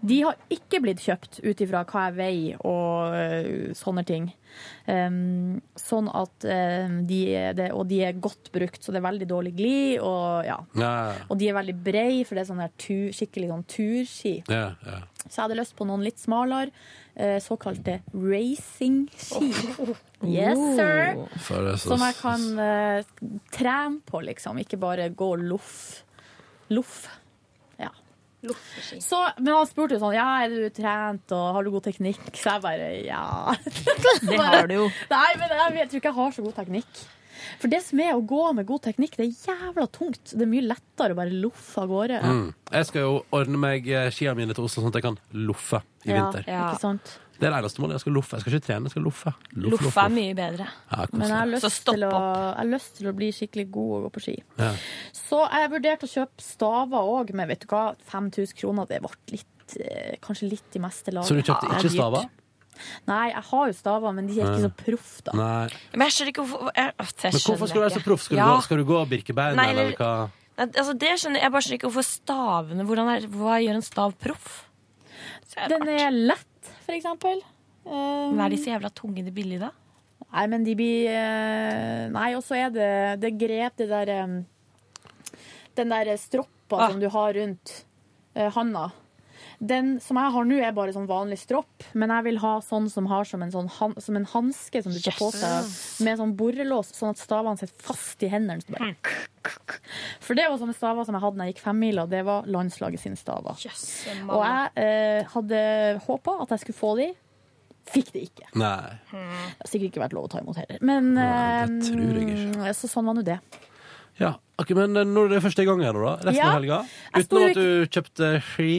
De har ikke blitt kjøpt ut ifra hva jeg veier og eh, sånne ting. Um, sånn at eh, de er det, Og de er godt brukt, så det er veldig dårlig glid. Og, ja. Ja, og de er veldig brei, for det er sånne her tu, skikkelig sånn turski. ja, ja. Så jeg hadde lyst på noen litt smalere, eh, såkalte racing-ski. Oh. Yes, sir! For det er så- Som jeg kan eh, trene på, liksom. Ikke bare gå loff. Loff. Ja. Så, men han spurte jo sånn Ja, er du trent, og har du god teknikk? Så jeg bare ja. [LAUGHS] Det har du jo. [LAUGHS] Nei, men jeg, jeg tror ikke jeg har så god teknikk. For det som er å gå med god teknikk, det er jævla tungt. Det er mye lettere å bare loffe av gårde. Mm. Jeg skal jo ordne meg eh, skia mine til Oslo, sånn at jeg kan loffe i Ja, vinter. ja. Ikke sant? Det er det eneste målet. Jeg skal loffe. Jeg skal ikke trene, jeg skal loffe. Loff, loff, Loff er mye bedre. Ja, kos Men jeg deg. har, lyst til å, jeg har lyst til å bli skikkelig god og gå på ski. Ja. Så jeg vurderte å kjøpe staver òg, men vet du hva, 5000 kroner det ble litt, eh, kanskje litt i meste laget. Så du kjøpte Det er ikke dyrt. staver? Nei, jeg har jo staver, men de er ikke Nei. så proff, da. Nei. Men jeg skjønner ikke hvorfor jeg, åh, jeg Men hvorfor skjønner skal du være ikke. så proff? Skal, du Ja. gå- skal du gå Birkebein, Nei, eller eller- hva? Nei, altså, det skjønner jeg. Jeg bare skjønner ikke hvorfor stavene Hvordan er, Hva gjør en stav proff? Den er lett, for eksempel. Um, Men er de så jævla tunge, de billige, da? Nei, men de blir eh, Nei, og så er det det grep, det der eh, em, Den der stroppa som du har rundt eh, handa. Den som jeg har nå, er bare sånn vanlig stropp, men jeg vil ha sånn som har som en, sånn han, som en hanske som du tar på seg Yes. med sånn borrelås, sånn at stavene sitter fast i hendene. Så du bare, For det var sånne staver som jeg hadde når jeg gikk femmila, det var landslaget sine staver. Og jeg eh, hadde håpa at jeg skulle få de. Fikk det ikke. Nei. Det har sikkert ikke vært lov å ta imot heller. Men det tror jeg eh, så sånn var nå det. Ja. Ok, men eh, når er det første gang her nå, da? Resten Ja. av helga? Jeg sto Uten jo at du kjøpte ski?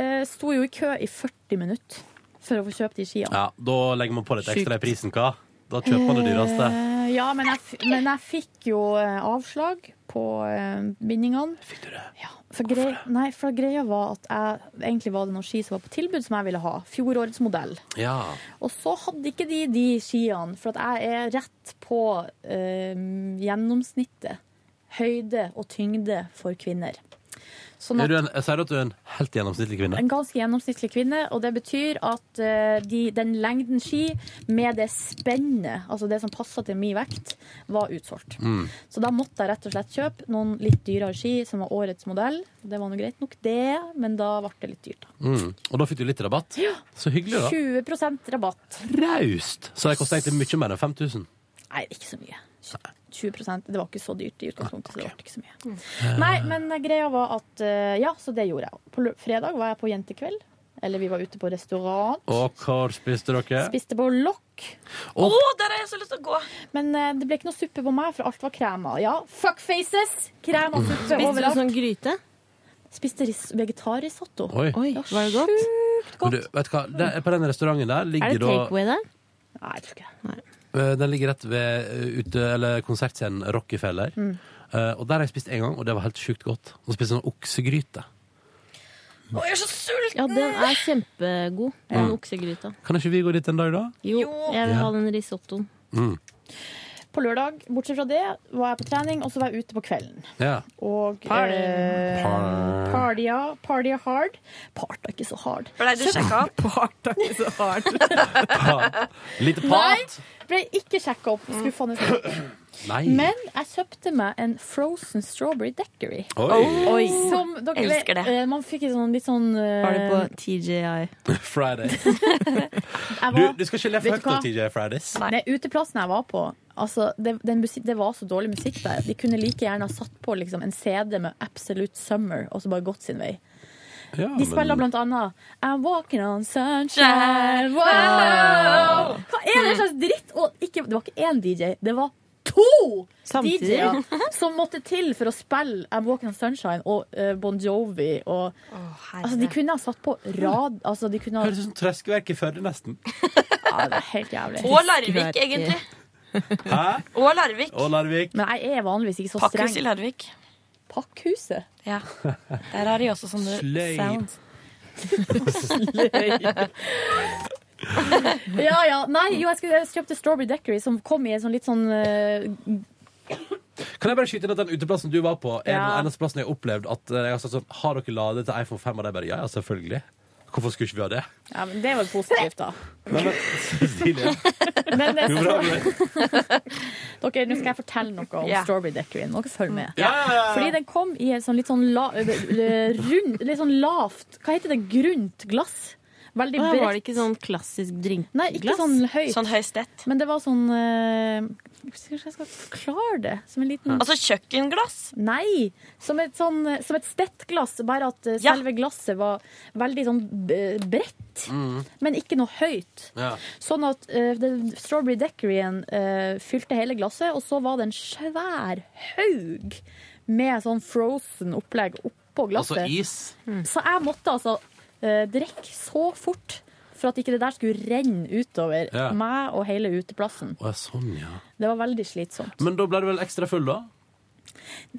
Eh, Sto jo i kø i 40 minutter for å få kjøpt de skiene. Ja, da legger man på litt ekstra i Sjukt. prisen, hva? Da kjøper man det dyreste. Eh, ja, men jeg, f- men jeg fikk jo eh, avslag på eh, bindingene. Fikk du det? Ja, for grei, nei, for greia var at jeg, egentlig var det noen ski som var på tilbud som jeg ville ha. Fjorårets modell. Ja. Og så hadde ikke de de skiene, for at jeg er rett på eh, gjennomsnittet. Høyde og tyngde for kvinner. Sånn Er du at, en, jeg sier at du er en helt gjennomsnittlig kvinne. en ganske gjennomsnittlig kvinne, og det betyr at eh, de, den lengden ski med det spennet, altså det som passer til min vekt, var utsolgt. Mm. Så da måtte jeg rett og slett kjøpe noen litt dyrere ski som var årets modell. Det var nå greit nok, det, men da ble det litt dyrt. da. Mm. Og da fikk du litt rabatt. Så hyggelig, da. 20 rabatt. Raust. Så det koster egentlig mye mer enn 5000. Nei, ikke så mye. 20 Det var ikke så dyrt i utgangspunktet, så det ble ikke så mye. Nei, men greia var at eh, Ja, så det gjorde jeg. På lø- fredag var jeg på jentekveld. Eller vi var ute på restaurant. Og hvor spiste dere? Spiste på lokk. Å, der har jeg så lyst til å gå! Men eh, det ble ikke noe suppe på meg, for alt var krema. Ja, fuckfaces! Krem og suppe Spiste du overalt. sånn gryte? Spiste ris vegetarrisotto. Oi. Oi, var det godt? Men du, vet du hva? Det, på den restauranten der ligger Er det da- takeaway der? Nei, jeg tror ikke det. Eh, Den ligger rett ved eh, ute, eller konsertscenen Rockefeller. Mm. Eh, og der har jeg spist en gang, og det var helt sjukt godt. Og spiste sånn oksegryte. Å, jeg er så sulten! Ja, den er kjempegod. Den Mm. oksegryta. Kan ikke vi gå dit en dag, da? Jo, jeg vil Ja. ha den risottoen. Mm. På lørdag, bortsett fra det, var jeg på trening, og så var jeg ute på kvelden. Ja. Og Party. eh, Party. partya, partya hard. Parta ikke så hard. Ble du sjekka opp? Parta ikke så hard. [LAUGHS] Lite Nei, pat? ble ikke sjekka opp. Skuffende. nok. Nei. Men jeg kjøpte meg en frozen strawberry daiquiri. Oi. Oi. Som dere Elsker det. eh, Man fikk en sånn litt sånn eh, Var det på TJI? [LAUGHS] Friday. jeg Du, var- du skal ikke le Vet for du høyt nå, hva? TJ Fridays. Nei, uteplassen jeg var på altså, det, den musikk, det var så dårlig musikk der. De kunne like gjerne ha satt på liksom, en CD med Absolute Summer og så bare gått sin vei. Ja, De spiller men- blant annet I'm walking on sunshine. Wow! Hva er det slags dritt? Og ikke, det var ikke én DJ, det var to Samtidig. DJ-er [LAUGHS] som måtte til for å spille I'm walking on sunshine og eh, Bon Jovi og Altså, de kunne ha satt på rad altså, de kunne ha, Høres ut som sånn trøskeverk i Førde, nesten. Ja, det er helt jævlig. Og Larvik, egentlig. Hæ? Og Larvik. Og Larvik. Men jeg er vanligvis ikke så streng. Pakkhus i Larvik. Pakkhuset? Ja. Der har de også sånne Sløyd. sound. ja, ja. Nei, jo, jeg, skulle, jeg kjøpte Strawberry Deckery, som kom i en sånn litt sånn eh, Kan jeg bare skyte inn at den uteplassen du var på, er den Ja. eneste plassen jeg har opplevd at eh, jeg har sagt sånn Har dere ladet til iPhone 5? Og de bare ja, ja, selvfølgelig. Hvorfor skulle ikke vi ha det? Ja, men det var jo positivt, da. Nei, men, Silje. [LAUGHS] Men det, Jo, bra, [LAUGHS] Dere, nå skal jeg fortelle noe om Ja. Strawberry Deckeryen. Dere følger med. Ja, ja, ja, ja. Fordi den kom i et sånn litt sånn la, rund, litt sånn lavt Hva heter det? Grunt glass? Veldig Å, bredt. var det ikke sånn klassisk drinkglass? Nei, ikke sånn høyt. Sånn høystett. Men det var sånn eh, Hvordan skal jeg forklare det? Som en liten Altså kjøkkenglass. Nei! Som et, sånn, som et stettglass, bare at eh, selve glasset var veldig sånn eh, bredt. Men ikke noe høyt. Mm. Ja. Sånn at eh, den Strawberry Deckeryen fylte hele glasset, og så var det en svær haug med sånn frozen opplegg oppå glasset. Altså is. Så jeg måtte altså eh, drikke så fort for at ikke det der skulle renne utover Ja. meg og hele uteplassen. Å, ja, sånn, ja. Det var veldig slitsomt. Men da ble du vel ekstra full, da?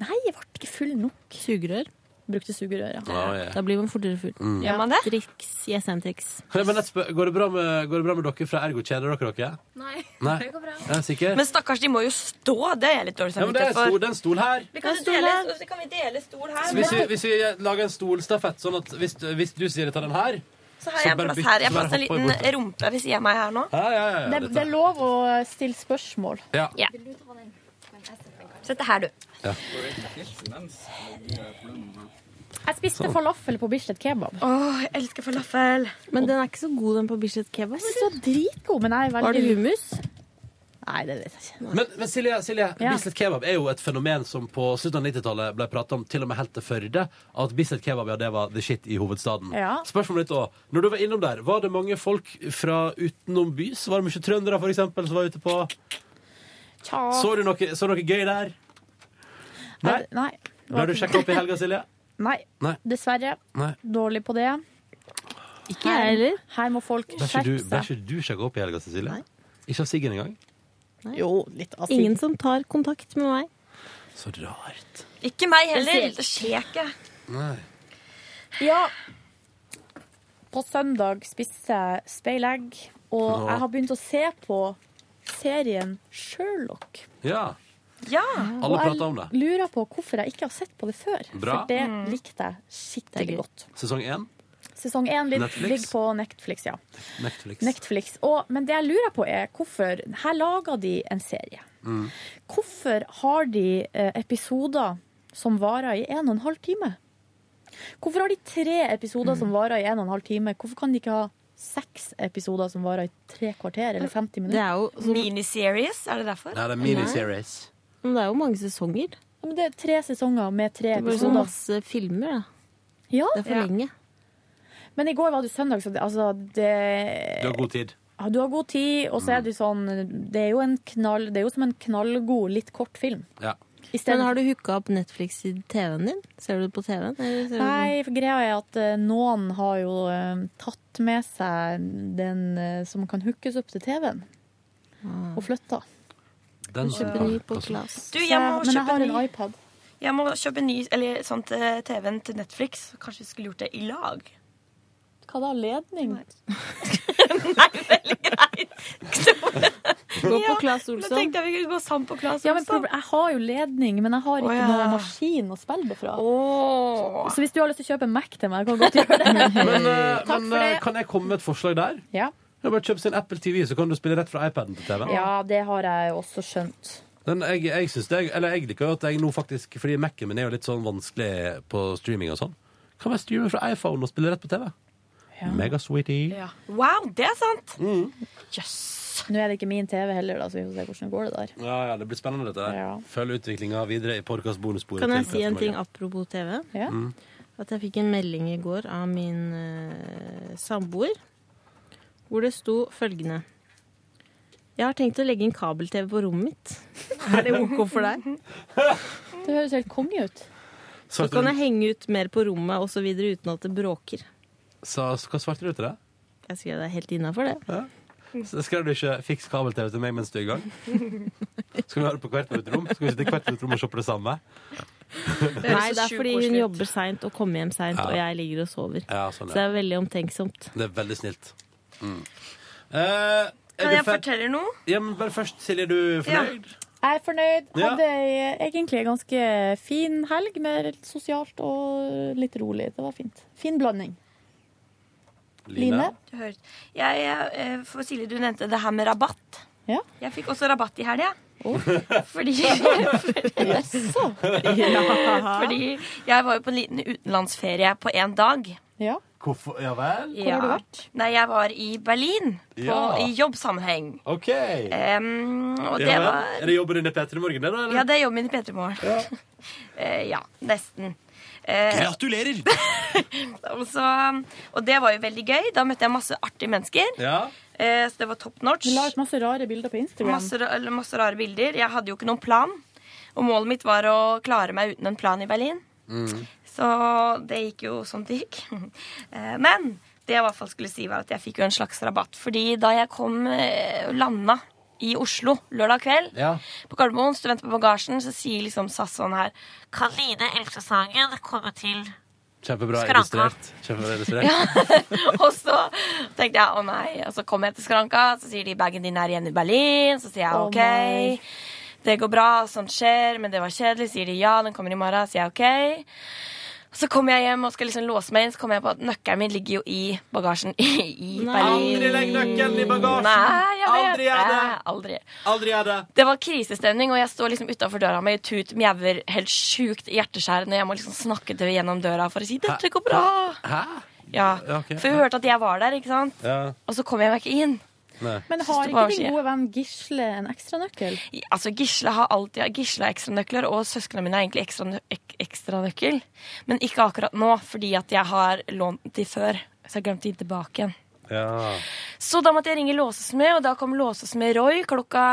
Nei, jeg ble ikke full nok. Sugerør? Brukte sugerør, ja. Ja, ja. Da blir man fortere full. Mm. Gjør man det? Triks, yes and tricks. Kan jeg bare nett spør- går, det bra med, går det bra med dere fra Ergo? Kjeder dere dere? Nei, Nei? Er jeg sikker? Men stakkars, de må jo stå. Det er jeg litt dårlig ja, men det er samvittighet en stol, for. det er en stol her. Vi kan, dele, så kan vi dele stol her. Så Hvis vi, hvis vi lager en stolstafett, sånn at hvis, hvis du sier ta den her så har jeg bare plass bytt- her. Jeg så bare har plass en hopper jeg bort liten der. rumpe ved siden av meg her nå. Ja, ja, ja, ja, Det, dette. det er lov å stille spørsmål. Ja. [LAUGHS] Sett det her, du. Ja. Jeg spiste Sånn. falafel på Bislett kebab. Åh, jeg elsker falafel. Men den er ikke så god, den på Bislett kebab. Den var dritgod, men jeg er veldig Var det hummus? Nei, det vet jeg ikke. Men, men Silje, Silje Ja. Bislett kebab er jo et fenomen som på slutten av 90-tallet ble pratet om til og med helt til Førde. At Bislett kebab ja, det var the shit i hovedstaden. Ja. Spørsmålet ditt også, Når du var innom der, var det mange folk fra utenom bys? Var det mye trøndere for eksempel, som var ute på Tja. Så du noe, så du noe gøy der? Nei? Nei, Nei. Ble du sjekka opp i helga, Silje? Nei. Nei. Dessverre. Nei. Dårlig på det. Ikke jeg heller. Her må folk Ble ikke du, skjerpe ble seg. ikke du sjekka opp i helga, Cecilie? Ikke av Siggen engang? Jo, litt av Ingen som tar kontakt med meg. Så rart. Ikke meg heller. Det skjer ikke. Nei. Ja. På søndag spiste jeg speilegg, og Ja. jeg har begynt å se på serien Sherlock. Ja. Ja. Alle prater om det. Og jeg lurer på hvorfor jeg ikke har sett på det før. Bra. For det likte jeg skikkelig godt. Sesong én? Sesong én lig- Netflix? ligger på Netflix, ja. Netflix. Netflix. Og, men det jeg lurer på, er hvorfor Her lager de en serie. Mm. Hvorfor har de eh, episoder som varer i en og en halv time? Hvorfor har de tre Mm. episoder som varer i en og en halv time? Hvorfor kan de ikke ha seks episoder som varer i tre kvarter eller 50 minutter? Miniseries, er det derfor? Nei, det er miniseries. Men det er jo mange sesonger. Ja, men det er tre sesonger med tre Det blir episoder. så masse filmer, da. Ja. Det er for lenge. Men i går var det jo søndag, så det, altså det Du har god tid. ja, Du har god tid, og Mm. så er det jo sånn Det er jo, en knall, det er jo som en knallgod, litt kort film. Ja. I stedet- Men har du hooka opp Netflix i TV-en din? Ser du det på TV-en? eller ser du Nei, det- for greia er at eh, noen har jo eh, tatt med seg den eh, som kan hookes opp til TV-en, Ah. og flytta. Den Kjøper ny på Du, jeg Men må jeg kjøpe har en ny. iPad. Jeg må kjøpe ny eller sånt eh, TV-en til Netflix. Kanskje vi skulle gjort det i lag? Hva da? Ledning? [LAUGHS] Gå på Claes Olsson. Da tenkte jeg vi kunne gå sammen på Claes Ja, men Olsson. proble- jeg har jo ledning, men jeg har ikke Å, ja. noen maskin å spille det fra. Så hvis du har lyst til å kjøpe en Mac til meg, kan jeg godt gjøre [LAUGHS] det. Men, eh, Takk men for eh, det. kan jeg komme med et forslag der? Ja. Ja, bare Kjøp sin Apple TV, så kan du spille rett fra iPaden til TV-en. ja, det har jeg jo også skjønt. Men jeg, jeg synes det, eller jeg liker jo at jeg nå faktisk Fordi Mac-en min er jo litt sånn vanskelig på streaming og sånn. Kan jeg streame fra iPhone og spille rett på TV? Mega sweetie. Wow, det er sant! Nå er det ikke min TV heller, da, så vi får se hvordan det går det der. Ja, ja, det blir spennende dette der. Følg utviklinga videre i podcast bonussporet. Kan jeg til si en Petermorgen. ting apropos TV? Mm. At jeg fikk en melding i går av min eh, samboer, hvor det sto følgende Jeg har tenkt å legge inn kabel-TV på rommet mitt. [LAUGHS] Er det OK for deg? Det høres helt konge ut. Så Svarte kan du- jeg henge ut mer på rommet osv. uten at det bråker. Så, så hva svarte du til det? Jeg skrev det er helt innafor, det. Så skrev du ikke 'fiks kabel-TV til meg mens du er i [LAUGHS] gang'? Skal vi høre på hvert vårt rom? Skal vi sitte i hvert vårt rom og se på det samme? Nei, det sjukt er fordi hun koselig ut. jobber seint og kommer hjem seint, Ja. og jeg ligger og sover. Ja, sånn, Så ja. det er veldig omtenksomt. Det er veldig snilt. Mm. Eh, er Kan du jeg fer- fortelle noe? Ja, men bare først, Silje, er du fornøyd? Jeg er fornøyd. Ja. Hadde ei- egentlig en ganske fin helg, med litt sosialt og litt rolig. Det var fint. Fin blanding. Line? Du hører- Jeg, eh, for Silje, du nevnte det her med rabatt. Jeg fikk også rabatt i helga. [LAUGHS] Fordi, [LAUGHS] fordi jeg var jo på en liten utenlandsferie på én dag. Hvorfor? Ja vel? Nei, jeg var i Berlin på, Ja. i jobbsammenheng. OK. Em, Um, og Ja det vel. var Er det jobben din i P3 Morgen, det, da? eller? Ja, det er jobben min i P3 Morgen. [LAUGHS] Ja. ja, nesten. Eh, Gratulerer! [LAUGHS] og, så, og det var jo veldig gøy. Da møtte jeg masse artige mennesker. Ja. Eh, så det var top notch. Vi la ut masse rare bilder på Instagram. Masse, ra- eller masse rare bilder. Jeg hadde jo ikke noen plan. Og målet mitt var å klare meg uten en plan i Berlin. Mm. Så det gikk jo som det gikk. [LAUGHS] Eh, Men det jeg i hvert fall skulle si, var at jeg fikk jo en slags rabatt. Fordi da jeg kom eh, landa i Oslo lørdag kveld Ja. på Gardermoen, studenter på bagasjen, så sier liksom SAS sånn her Kan Line Elfsesangen komme til Kjempebra Skranka. illustrert. Kjempebra illustrert. [LAUGHS] og så tenkte jeg å nei, og så kom jeg til skranka, så sier de bagen din er igjen i Berlin. Så sier jeg Å, OK, nei. det går bra, sånt skjer, men det var kjedelig. Sier de ja, den kommer i morgen. Sier jeg OK. Så kommer jeg hjem og skal liksom låse meg inn, så kommer jeg på at nøkkelen min ligger jo i bagasjen i, i Berlin. Aldri legg nøkkelen i bagasjen! Nei, jeg vet Aldri gjør det! det. Aldri. Aldri gjør det! Det var krisestemning, og jeg står liksom utafor døra med tut, mjauer, helt sjukt hjerteskjærende. Jeg må liksom snakke til gjennom døra for å si 'dette går bra'. Hæ? Ja, Ja, ok. For hun hørte at jeg var der, ikke sant? Ja. Og så kom jeg meg ikke inn. Nei. Men Synes har det ikke var din skje. gode venn Gisle en ekstranøkkel? Altså, Gisle har alltid Gisle har ekstranøkler, og søsknene mine har egentlig ekstra- ek- ekstranøkkel. Men ikke akkurat nå, fordi at jeg har lånt de før. Så jeg glemte de tilbake igjen. Ja. Så da måtte jeg ringe Låsesmed, og da kom Låsesmed Roy klokka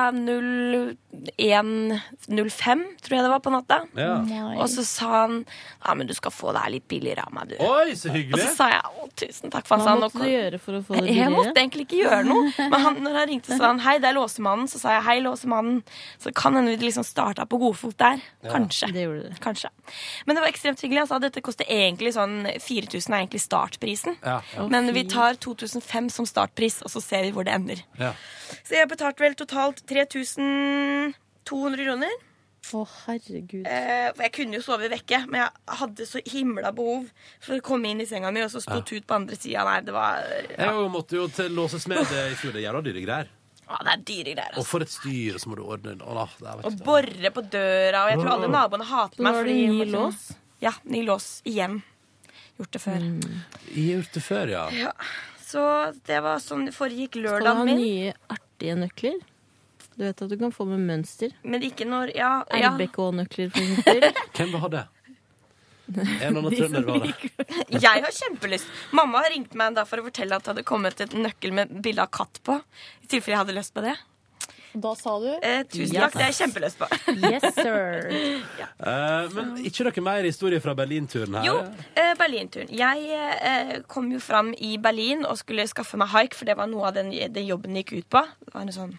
01.05, tror jeg det var, på natta. Ja. Nei. Og så sa han ja, men du skal få det her litt billigere av meg, du. Oi, så hyggelig. Og så sa jeg å, tusen takk. For han Hva sa, måtte «Nå kan- du gjøre for å få det Eh, Jeg billigere? måtte egentlig ikke gjøre noe. Men han, når han ringte, så sa han hei, det er Låsemannen. Så sa jeg hei, Låsemannen. Så kan hende vi liksom starta på godfot der. Ja, Kanskje. Kanskje. Men det var ekstremt hyggelig. Han sa dette koster egentlig sånn 4000 er egentlig startprisen. Ja, ja. Men vi tar 2005 som startpris, og så ser vi hvor det ender. Ja. Så jeg betalte vel totalt 3200 kroner. Å, herregud. Eh, for jeg kunne jo sove vekke, men jeg hadde så himla behov for å komme inn i senga mi, og så sto Ja. Tut på andre sida. Nei, det var Jeg jo måtte jo til låsesmed i fjor. Det er jævla dyre greier. Ja, det er dyre greier. altså. Og for et styr, og så må du ordne Å, da, det er, Å borre på døra, og jeg tror alle naboene hater meg. Nå har du fordi- ny lås? Ja, ny lås igjen. Gjort det før. Mm. Jeg har gjort det før, ja. Ja, så det var sånn foregikk Skal du ha lørdagen min. nye artige nøkler? Du vet at du kan få med mønster. Men ikke når Ja. ja. RBK-nøkler, for eksempel. Hvem vil ha det? En annen De som trønder vil ha det. [LAUGHS] Jeg har kjempelyst. Mamma har ringt meg en dag for å fortelle at det hadde kommet et nøkkel med bilde av katt på. I tilfelle jeg hadde lyst på det. Da sa du? Eh, tusen Yes. takk, det har jeg kjempelyst på. Yes, sir. [LAUGHS] Eh, men ikke noe mer historie fra Berlinturen her? Jo, eh, Berlinturen. Jeg eh, kom jo fram i Berlin og skulle skaffe meg haik, for det var noe av den, den jobben gikk ut på. Det var en sånn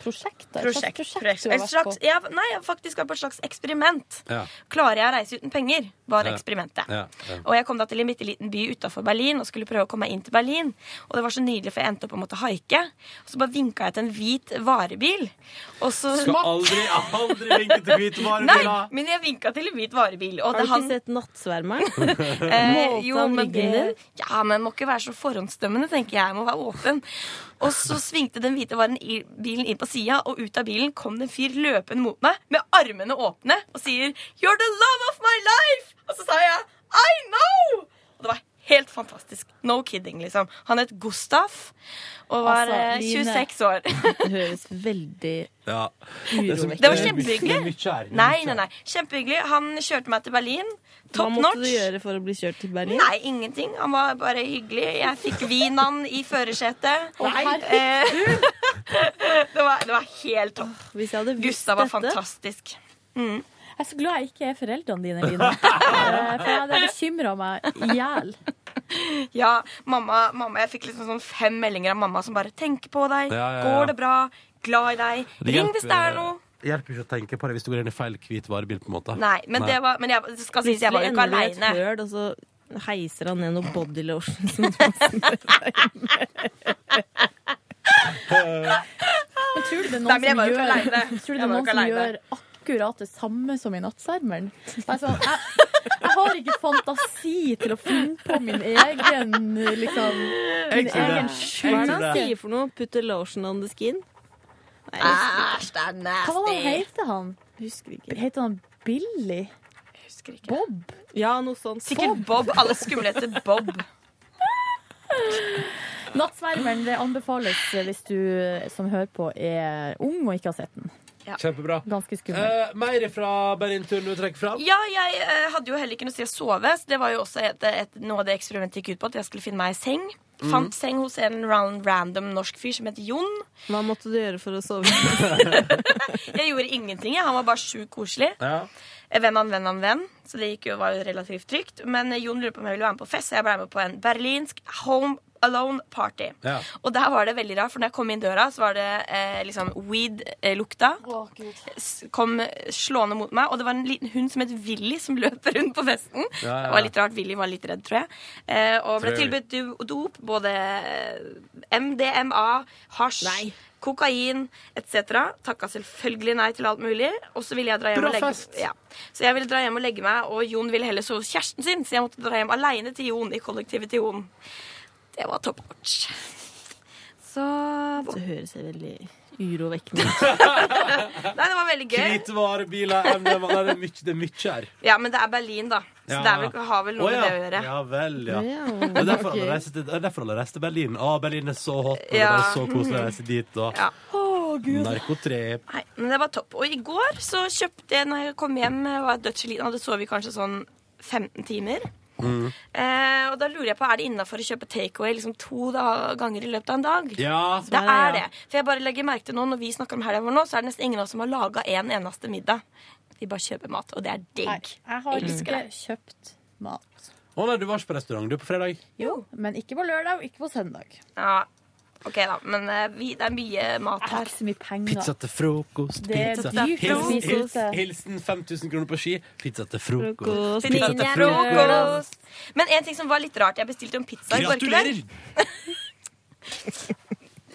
Prosjekt? da? Et Prosjekt, slags prosjekt. du har Et vært slags, på. ja, nei, jeg har faktisk vært på et slags eksperiment. [LAUGHS] Ja. Klarer jeg å reise uten penger? Var Ja. eksperimentet. Ja, ja. Og jeg kom da til en bitte liten by utafor Berlin og skulle prøve å komme meg inn til Berlin. Og det var så nydelig, for jeg endte opp og måtte haike. Og så bare vinka jeg til en hvit varebil. Og så Skal [LAUGHS] aldri, aldri vinke til hvite Nei, varebiler! men jeg vinka til en hvit varebil. Og Har du det ikke han- sett Nattsvermeren? Eh, [LAUGHS] Målte jo, han men ryggen det, din? ja, men må ikke være så forhåndsdømmende, tenker jeg. Jeg må være åpen. Og så svingte den hvite varen i bilen inn på sida, og ut av bilen kom det en fyr løpende mot meg med armene åpne og sier 'You're the love of my life'! Og så sa jeg 'I know'! Og det var helt fantastisk. No kidding, liksom. Han het Gustav og var Altså, eh, Line. 26 år. [LAUGHS] Det høres veldig Ja. urovekkende Det var kjempehyggelig. Nei, nei, nei. Kjempehyggelig. Han kjørte meg til Berlin. Hva Top måtte du notch. gjøre for å bli kjørt til Berlin? Nei, ingenting. Han var bare hyggelig. Jeg fikk vinan i førersetet. Nei. Eh, [LAUGHS] det, var, det var helt topp. Hvis jeg hadde visst Gustav var dette- fantastisk. Mm. Jeg er så glad jeg ikke er foreldrene dine, Line. Eh, [LAUGHS] For jeg hadde bekymra meg i hjel. [LAUGHS] Ja, mamma, mamma, jeg fikk liksom sånn fem meldinger av mamma som bare 'Tenker på deg. Ja, ja, ja. Går det bra? Glad i deg. Ring hvis det er noe.' Det hjelper ikke å tenke på det hvis du går inn i feil hvit varebil. på en måte Nei, men det var Men jeg, det skal sies, jeg var jo ikke Plutselig ender du i aleine. et høl, Og så heiser han ned noe body lotion. som du Men tror du det er Nei, noen men jeg som var jo ikke gjør, alene. tror du det Jeg er var jo noen ikke som alene. gjør akkurat det samme som i Nattsermeren? [LAUGHS] Det er sånn, jeg, jeg har ikke fantasi til å finne på min egen liksom, Jeg Min tror det. egen Hva er det skyld. han sier for noe? Put a lotion on the skin? Nei, Æsj, det er Hva var det han nasty. heter han? Husker ikke. Heter han Billy? Husker ikke. Bob? Ja, noe sånt. Sikkert Bob. Alle skumle heter [LAUGHS] Bob. Nattsvermeren, det anbefales eh, hvis du som hører på er ung og ikke har sett den. Kjempebra. Ganske skummel. Eh, mer fra Berlinturen du trekker fram? Ja, jeg eh, hadde jo heller ikke noe sted å sove, så det var jo også et, et, noe av det eksperimentet gikk ut på, at jeg skulle finne meg ei seng. Mhm. Fant seng hos en round, random norsk fyr som heter Jon. Hva måtte du gjøre for å sove? [LAUGHS] Jeg gjorde ingenting, jeg. Han var bare sjukt koselig. Ja. Eh, Venn av en venn av en venn, så det gikk jo, var jo relativt trygt. Men eh, Jon lurte på om jeg ville være med på fest, så jeg ble med på en berlinsk home alone party. Ja. Og der var det veldig rart, for når jeg kom inn døra, så var det eh, liksom weed-lukta. S- kom slående mot meg, og det var en liten hund som het Willy, som løp rundt på festen. Ja, ja, ja. Det var litt rart. Willy var litt redd, tror jeg. Eh, og ble Tror jeg. tilbudt do- dop, både eh, MDMA, hasj, kokain etc. Takka selvfølgelig nei til alt mulig. Og så ville jeg dra hjem Bra og legge fest. ja. Så jeg ville dra hjem og legge meg, og Jon ville heller sove hos kjæresten sin, så jeg måtte dra hjem aleine til Jon i kollektivet til Jon. Det var top notch. Så Det høres veldig urovekkende ut. Nei, det var veldig gøy. Hvite varebiler, MDMA Nei, det er mye, det er mye her. Ja, men det er Berlin, da. Så Ja. det er vel, har vel noe Å, ja. med det å gjøre. Ja vel, ja. Ja, Det er derfor ok. alle reiser til, det er derfor alle reiser til Berlin. Å, Berlin er så hot, og det Ja. er så koselig å reise dit. Og Ja. narkotrep. Nei, men det var topp. Og i går så kjøpte jeg, når jeg kom hjem, var jeg dødssliten. Hadde sovet i kanskje sånn 15 timer. Mm. Eh, og da lurer jeg på, er det innafor å kjøpe takeaway liksom to da ganger i løpet av en dag? Ja, Det er det. For jeg bare legger merke til nå, når vi snakker om helga vår nå, så er det nesten ingen av oss som har laga en eneste middag. Vi bare kjøper mat, og det er digg. Jeg har Elsker ikke det. kjøpt mat. Å nei, du var ikke på restaurant du på fredag? Jo, men ikke på lørdag og ikke på søndag. Ja, OK, da. Men eh, vi, det er mye mat her. Så mye penger. Pizza til frokost. Det er Pizza. dyrt å Hilsen, spise hilsen, ute. hilsen 5000 kroner på ski. Pizza til frokost. Pizza til frokost. Men en ting som var litt rart Jeg bestilte jo en pizza i går Gratulerer! kveld. [LAUGHS]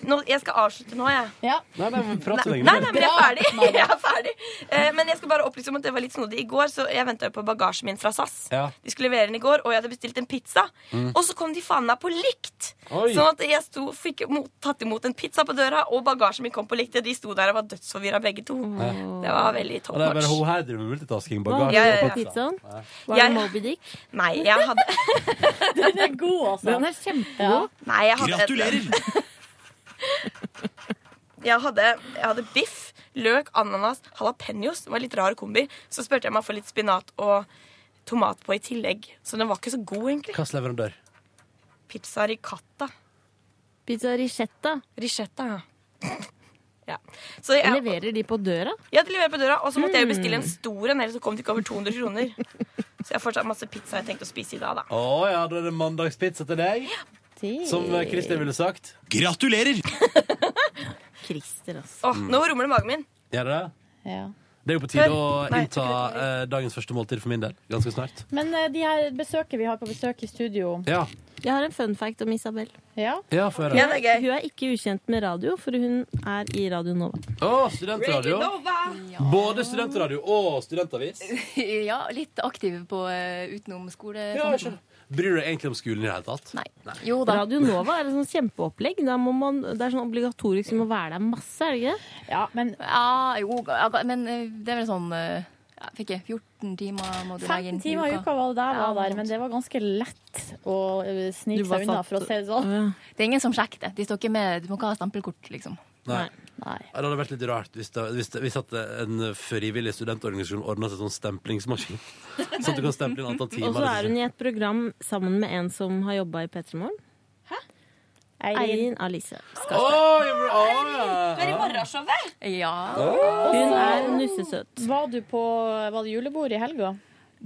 nå, jeg skal avslutte nå, jeg. Nei, nei, men prat så Nei, lenge. nei, nei, men jeg er ferdig. [LAUGHS] Jeg er ferdig. Eh, Men jeg skal bare opplyse om at det var litt snodig i går, så jeg venta på bagasjen min fra SAS. Ja. De skulle levere den i går, og jeg hadde bestilt en pizza. Mm. Og så kom de faen meg på likt! Oi. Sånn at jeg sto, fikk mot, tatt imot en pizza på døra, og bagasjen min kom på likt. Og de sto der og var dødsforvirra begge to. Ja. Det var Og veldig det er bare toppmatch. hun her driver med multitasking. Hva Bagasje hadde og du på pizzaen? Ja. Var det Moby Dick? Nei, jeg hadde [LAUGHS] Den er god, altså. Den er kjempegod. Nei, jeg hadde [LAUGHS] jeg hadde, jeg hadde biff, løk, ananas, jalapeños. Det var litt rar kombi. Så spurte jeg meg for litt spinat og tomat på i tillegg. Så den var ikke så god, egentlig. Hvilken leverandør? Pizza ricotta. Pizza ricetta. Ricetta, ja. ja. Så jeg, Leverer de på døra? ja, de leverer på døra, og så måtte jeg jo Mm. bestille en stor en, ellers så kom det ikke over 200 kroner. Så jeg har fortsatt masse pizza jeg tenkte å spise i dag, da. Å ja, da er det mandagspizza til deg. Som eh, Christer ville sagt. Gratulerer! Christer, altså. Åh, nå rumler magen min. Gjør det det? Ja. Det er jo på tide Hør. å Nei, innta eh, dagens første måltid for min del. Ganske snart. Men eh, de her besøket vi har på besøk i studio Ja, Jeg har en fun fact om Isabel. Ja. ja få Hun høre. er, hun er ikke ukjent med radio, for hun er i Radio Nova. Å, studentradio. Både studentradio og studentavis. [LAUGHS] ja, litt aktiv på eh, utenom skole. Ja, jeg skjønner. Bryr du deg egentlig om skolen i det hele tatt? Nei. Jo da. Radio Nova er et sånn kjempeopplegg. Da må man, det er sånn obligatorisk, du må være der masse, er det ikke det? Ja, men Ja, jo, ja, men eh, det er vel sånn eh, ja, Fikk jeg 14 timer må du legge 15 inn timer i uka var det der, var sånn. der men det var ganske lett å eh, snike Du var seg unna, satt- for å si det sånn. Det er ingen som sjekker det. De står ikke med, du må ikke ha stempelkort, liksom. Nei. Ja, Det hadde vært litt rart hvis, det, hvis, det, hvis at en frivillig studentorganisasjon ordna seg sånn stemplingsmaskin. Sånn at du kan stemple inn antall timer. Og så er hun i et program sammen med en som har jobba i P3 Morgen. Eirin Alice. Skarsberg. Oi, bra, ja. morgenshowet? Ja. Hun er nussesøt. Mm. Var du på var det julebord i helga?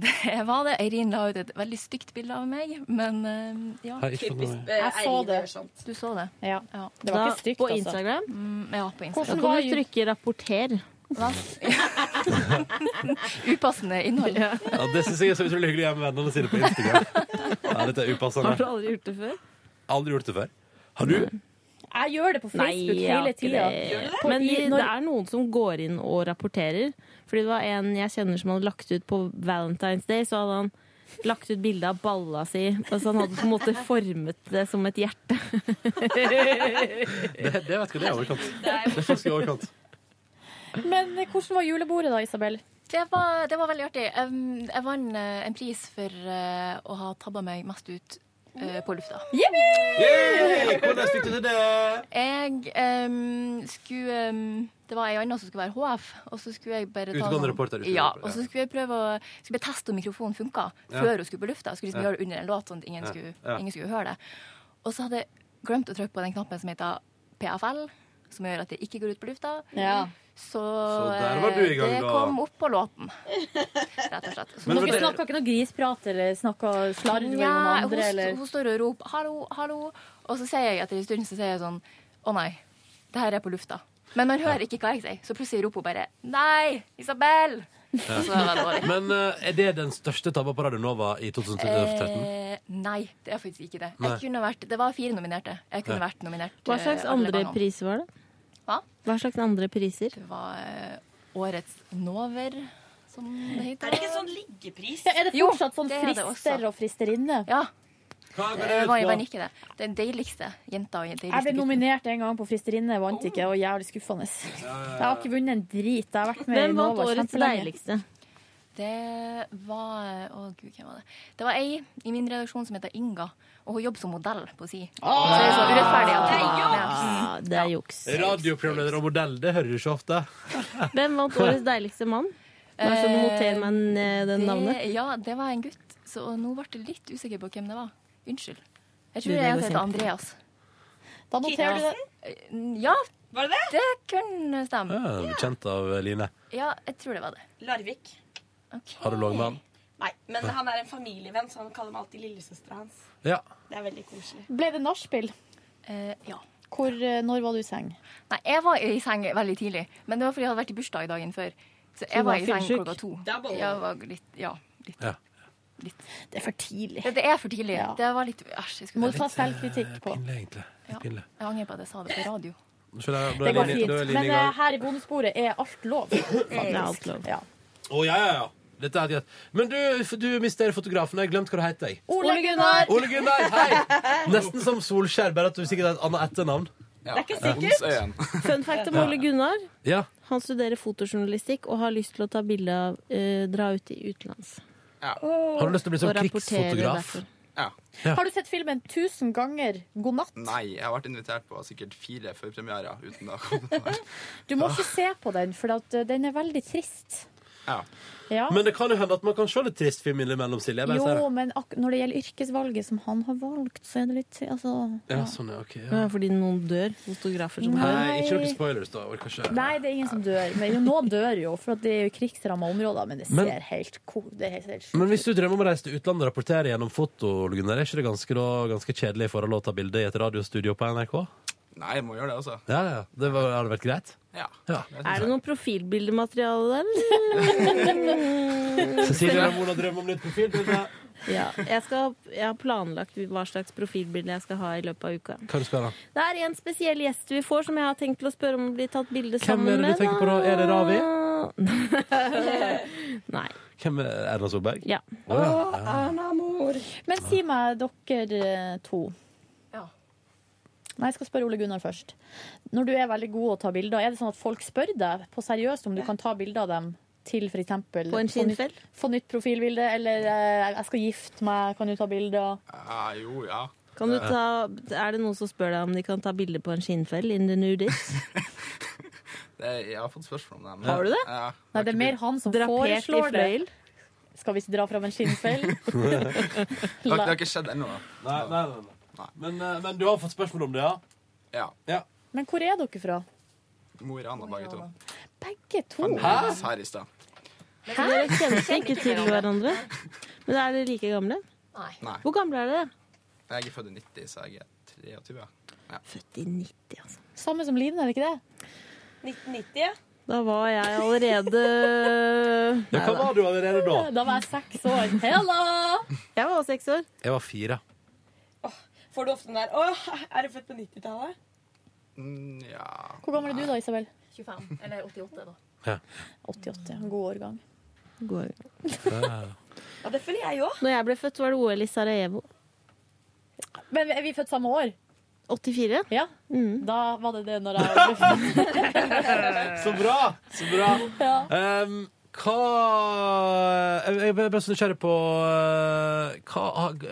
Det var det. Eirin la ut et veldig stygt bilde av meg, men eh, ja. Har ikke fått noe. Typisk, eh, Jeg så Eirin det. gjør Du så det? Ja. Det Da- var ikke stygt, på altså. Instagram? Mm, ja, på Da Instagram. kan du trykke 'rapporter'. [LAUGHS] Upassende innhold. Ja, det syns jeg er så utrolig hyggelig å gjøre med vennene sine på Instagram. Ja, dette er Har du upassende. aldri gjort det før? Aldri gjort det før. Har du? [LAUGHS] Jeg gjør det på Facebook jeg har hele ikke tida. det. Men i, det er noen som går inn og rapporterer. Fordi det var en jeg kjenner som hadde lagt ut på Valentine's Day, så hadde han lagt ut bilde av balla si. Og så han hadde på en [LAUGHS] måte formet det som et hjerte. Det, det vet ikke, det er overkant. Det er faktisk i overkant. Men eh, hvordan var julebordet da, Isabel? Det var, det var veldig artig. Um, jeg vant eh, en pris for eh, å ha tabba meg mest ut eh, på lufta. Yay! Hvordan fikk du til det? Jeg em, skulle em, Det var ei anna som skulle være HF, og så skulle jeg bare ta Utegående sånn- reporter, utegående Ja, reporter, og så skulle jeg prøve å skulle bare teste om mikrofonen funka Ja. før hun skulle på lufta. Jeg skulle liksom Ja. gjøre det under en låt, sånn at ingen, Ja. skulle, Ja. ingen skulle høre det. Og så hadde jeg glemt å trykke på den knappen som heter PFL, som gjør at det ikke går ut på lufta. Ja. Så, der var du i eh, gang det da. kom opp på låten, rett og slett. Så Men nå dere skal- snakka ikke noe grisprat eller snakka slarv med noen Nja, andre? hun, eller? hun står og roper 'hallo, hallo', og så sier jeg etter en stund så sier jeg sånn 'å nei, det her er på lufta'. Men man hører ikke hva jeg sier, så plutselig roper hun bare 'nei, Isabel'. Og så er det [LAUGHS] dårlig. Men eh, er det den største tabba på Radio Nova i Sånn 2013? Eh, nei, det er faktisk ikke det. Nei. Jeg kunne vært, det var fire nominerte. Jeg kunne Ja. vært nominert. Hva eh, slags alle andre vannene. priser var det? Hva? Hva slags andre priser? Det var eh, Årets Nover, som det heter. Er det ikke en sånn liggepris? Ja, er det Jo, fortsatt sånn det er det frister også. og fristerinne? Ja. Hva Det var jo bare ikke det. Den deiligste jenta og Jeg den ble deiligste gutten. nominert en gang på Fristerinne, vant ikke, og jævlig skuffende. Jeg har ikke vunnet en drit. Jeg har vært med i Hvem vant Nova årets kjempelenge. deiligste? Det var Å, gud, hvem var det? Det var ei i min redaksjon som heter Inga, og hun jobber som modell på si. Så det er så urettferdig at hun var med. Ah, det er juks. Radioprogramleder og modell, det hører du ikke ofte. Hvem vant årets deiligste mann? Bare så du noterer meg den, eh, den Det- navnet. Ja, det var en gutt, så og nå ble jeg litt usikker på hvem det var. Unnskyld. Jeg tror Du, det jeg går heter kjempefint. Andreas. Da noterer du det. det. Ja. Var det det? Det kunne Ja, stemme. Bekjent av eh, Line. Ja, jeg tror det var det. Larvik. Har du logmann? Nei, men han er en familievenn, så han kaller meg alltid lillesøstera hans. Ja. Det er veldig koselig. Ble det nachspiel? ja. Hvor, eh, når var du i seng? Nei, jeg var i seng veldig tidlig, men det var fordi jeg hadde vært i bursdag dagen før. Så du jeg var var i seng fyllesyk? klokka to. Det er bare- Jeg var litt, ja. Ja. litt. Det er for tidlig. Det, det er for tidlig. Ja. Det var litt Æsj. jeg skulle- Må ta selvkritikk på. Pinlig, egentlig. Litt Pinlig. Jeg angrer på at jeg sa det på radio. Så da- da er Det går Line- fint. da er Line i Men gang. eh, her i bondesporet er alt lov. Det er alt lov. Ja. Å, ja, ja, ja. Dette er helt greit. Men du, du mister fotografen. Jeg har glemt hva du heter. jeg. Ole Gunnar! Ole Gunnar, [LAUGHS] hei! Nesten som Solskjær, bare at du sikkert har et annet etternavn. Det er ikke sikkert. Fun [LAUGHS] fact om Ja. Ole Gunnar. Ja. Han studerer fotojournalistikk og har lyst til å ta bilde av eh, dra ut i utenlands. Har du lyst til å bli sånn Og rapportere krigsfotograf? derfor. Ja. Har du sett filmen 1000 ganger God natt? Nei, jeg har vært invitert på sikkert fire førpremierer uten å komme på det. Du må ikke se på den, for at eh, den er veldig trist. Ja. Ja. Men det kan jo hende at man kan se litt trist film innimellom, Silje. Jeg bare Jo, sier det. men ak når det gjelder yrkesvalget som han har valgt, så er det litt altså, Ja, sånn, ja, ok, ja. Ja, fordi noen dør. Fotografer som dør. Nei, ikke noen spoilers, da. Orker ikke. Nei, det er ingen som dør. Men jo, noen dør jo, for at det er jo krigsramma områder. Men det ser Men- helt ko- det er helt, helt Men hvis du drømmer om å reise til utlandet og rapportere gjennom foto, Ole Gunnar, er ikke det ganske, da, ganske kjedelig i forhold til å ta bilde i et radiostudio på NRK? Nei, jeg må gjøre det altså. også. Ja, ja. Det var, hadde vært greit? [LAUGHS] Ja. Er det noe profilbildemateriale der? [LAUGHS] eller? Cecilie Ramona drømmer om nytt profilbilde. Ja, jeg, skal, jeg har planlagt hva slags profilbilde jeg skal ha i løpet av uka. Hva du skal da? Det er en spesiell gjest vi får som jeg har tenkt til å spørre om å bli tatt bilde Hvem sammen er med. det du tenker på da? Er det Ravi? [LAUGHS] Nei. Hvem er Erna Solberg? Ja. Å, ja. ja. Men si meg, dere eh, to Nei, jeg skal spørre Ole Gunnar først. Når du er veldig god å ta bilder, er det sånn at folk spør deg på seriøst om du kan ta bilder av dem til f.eks. På en skinnfell? Få nytt profilbilde, eller eh, 'jeg skal gifte meg, kan du ta bilder'? Ja, jo, ja. Kan du ta, er det noen som spør deg om de kan ta bilde på en skinnfell in the nudies? Det, jeg har fått spørsmål om det. men- Har du det? Ja. [LAUGHS] [LAUGHS] Nei, det er mer han som Drapert i foreslår det. fløyel? Skal vi dra fram en skinnfell? [LAUGHS] Det har, det har ikke skjedd ennå. da. Nei, nei, nei, nei. Men, eh, men du har fått spørsmål om det, ja? Ja. Men hvor er dere fra? Mo i Rana, begge to. Begge to? Han møttes her i stad. Hæ? Dere kjenner seg ikke til hverandre. Men er dere like gamle? Nei. Nei. Hvor gamle er dere? Jeg er født i 90, så jeg er 23. Ja. Født i 90, altså. Samme som Line, er det ikke det? 1990, ja. Da var jeg allerede Ja, hva var du allerede da? Da var jeg seks år. Hello! Jeg var seks år. Jeg var fire. Får du ofte den der Åh, er du født på 90-tallet? Mm, ja. Hvor gammel er du da, Isabel? 25. Eller 88, da. 88. En god årgang. God. Ja, det føler jeg òg. Når jeg ble født, var det OL i Sarajevo. Men er vi født samme år? 84? Ja. Mm. Da var det det når jeg ble født. Så bra! Så bra. Ehm, hva Jeg jeg er bare så nysgjerrig på eh, hva,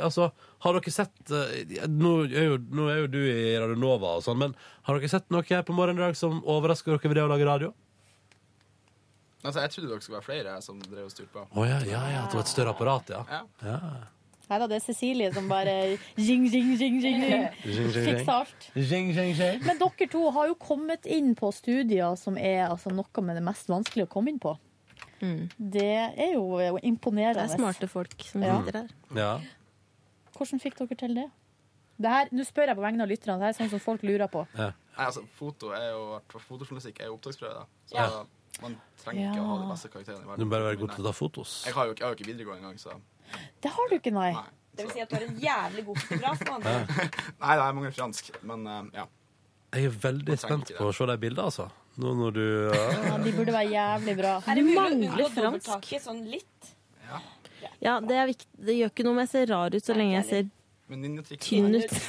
Altså, har dere sett eh, nå er, jo, nå er jo du i Radio Nova og sånn, men har dere sett noe her på morgenen i dag som overrasker dere ved det å lage radio? Altså, jeg trodde dere skulle være flere som drev og styrte på. Å ja, ja, ja, at det var et større apparat, ja. ja. Her er det Cecilie som bare jing, jing, jing, jing, jing. Jing, jing, jing. Fiksa alt. Jing, jing, jing. Men dere to har jo kommet inn på studier som er altså, noe med det mest vanskelige å komme inn på. Det er jo eh, imponerende. Mm. Det er smarte folk som Ja. sitter her. Ja. Hvordan fikk dere til det? det her, nå spør jeg på vegne av lytterne. Det her er sånn som folk lurer på. Nei, altså, foto er jo, fotojournalistikk er jo opptaksprøve, da. Så Ja. man trenger ikke Ja. å ha de beste karakterene i verden. eh, Du må bare være god til å ta fotos. Jeg har jo ikke, jeg har jo ikke videregående engang, så Det har du ikke, nei. Det vil si at du er en jævlig god fotograf. da, Anders. Nei, da, jeg mangler fransk, men eh, ja. Jeg er veldig spent på å se de bildene, altså. Nå når [LAUGHS] du Ja, de burde være jævlig bra. Er det mulig å unngå Mangler fransk. dobbelttaket sånn litt? Ja, det, er viktig. det gjør ikke noe om jeg ser rar ut, så lenge jeg ser Men ninjatrikset tynn ut. [LAUGHS]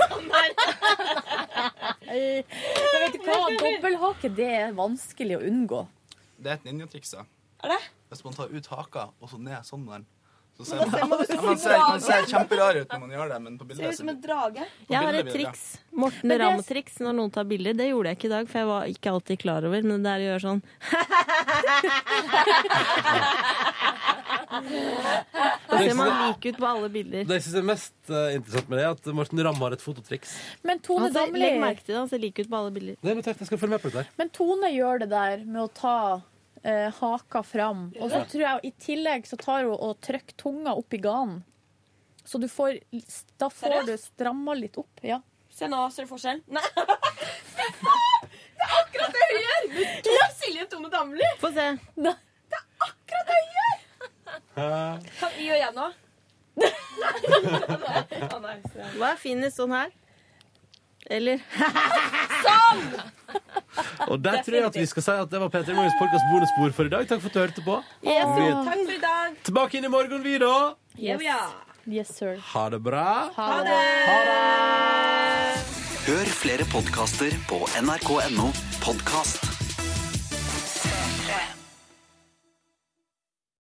Eh, Men vet du hva? Dobbelthake, det er vanskelig å unngå. Det er et ninjatriks, da. Er det? Hvis man tar ut haka og så ned sånn der, så ser Men da man, ser man ut som ja, man, en ser, man drage. [LAUGHS] ser kjemperar ut når man gjør det, men på Ser bildet ut som en drage. På [LAUGHS] Jeg har bildet et blir det bra. triks. Morten Men det- Ramm-triks når noen tar bilder. Det gjorde jeg ikke i dag, for jeg var ikke alltid klar over, men det er å gjøre sånn Da ser man lik ut på alle bilder. Det jeg syns er mest eh, interessant med det, er at Morten Ramm har et fototriks. Men Tone Han ser, Damli Altså, legg merke til det, han ser lik ut på alle [LAUGHS] bilder. Det er notert. Jeg skal følge med på det der. Men Tone gjør det der med å ta eh, haka fram. Og så Ja. tror jeg i tillegg så tar hun og trykker tunga opp i ganen. Så du får, da får du stramma litt opp. Ja. Se nå, ser du forskjell? Nei. [LAUGHS] Det er akkurat det hun gjør! Du er Silje Tone Damli. Få se. Det er akkurat det hun gjør! Kan vi gjøre jeg nå? Hva er finest sånn her? Eller Sånn! Og der tror jeg at vi skal si at det var Peter Morgens podkast bonusspor for i dag. Takk for at du hørte på. Yes, Vi er takk for i dag. tilbake inn i morgen, vi, da. Yes. Yes, sir. Ha det bra. Ha det. Hør flere podkaster på nrk.no podkast.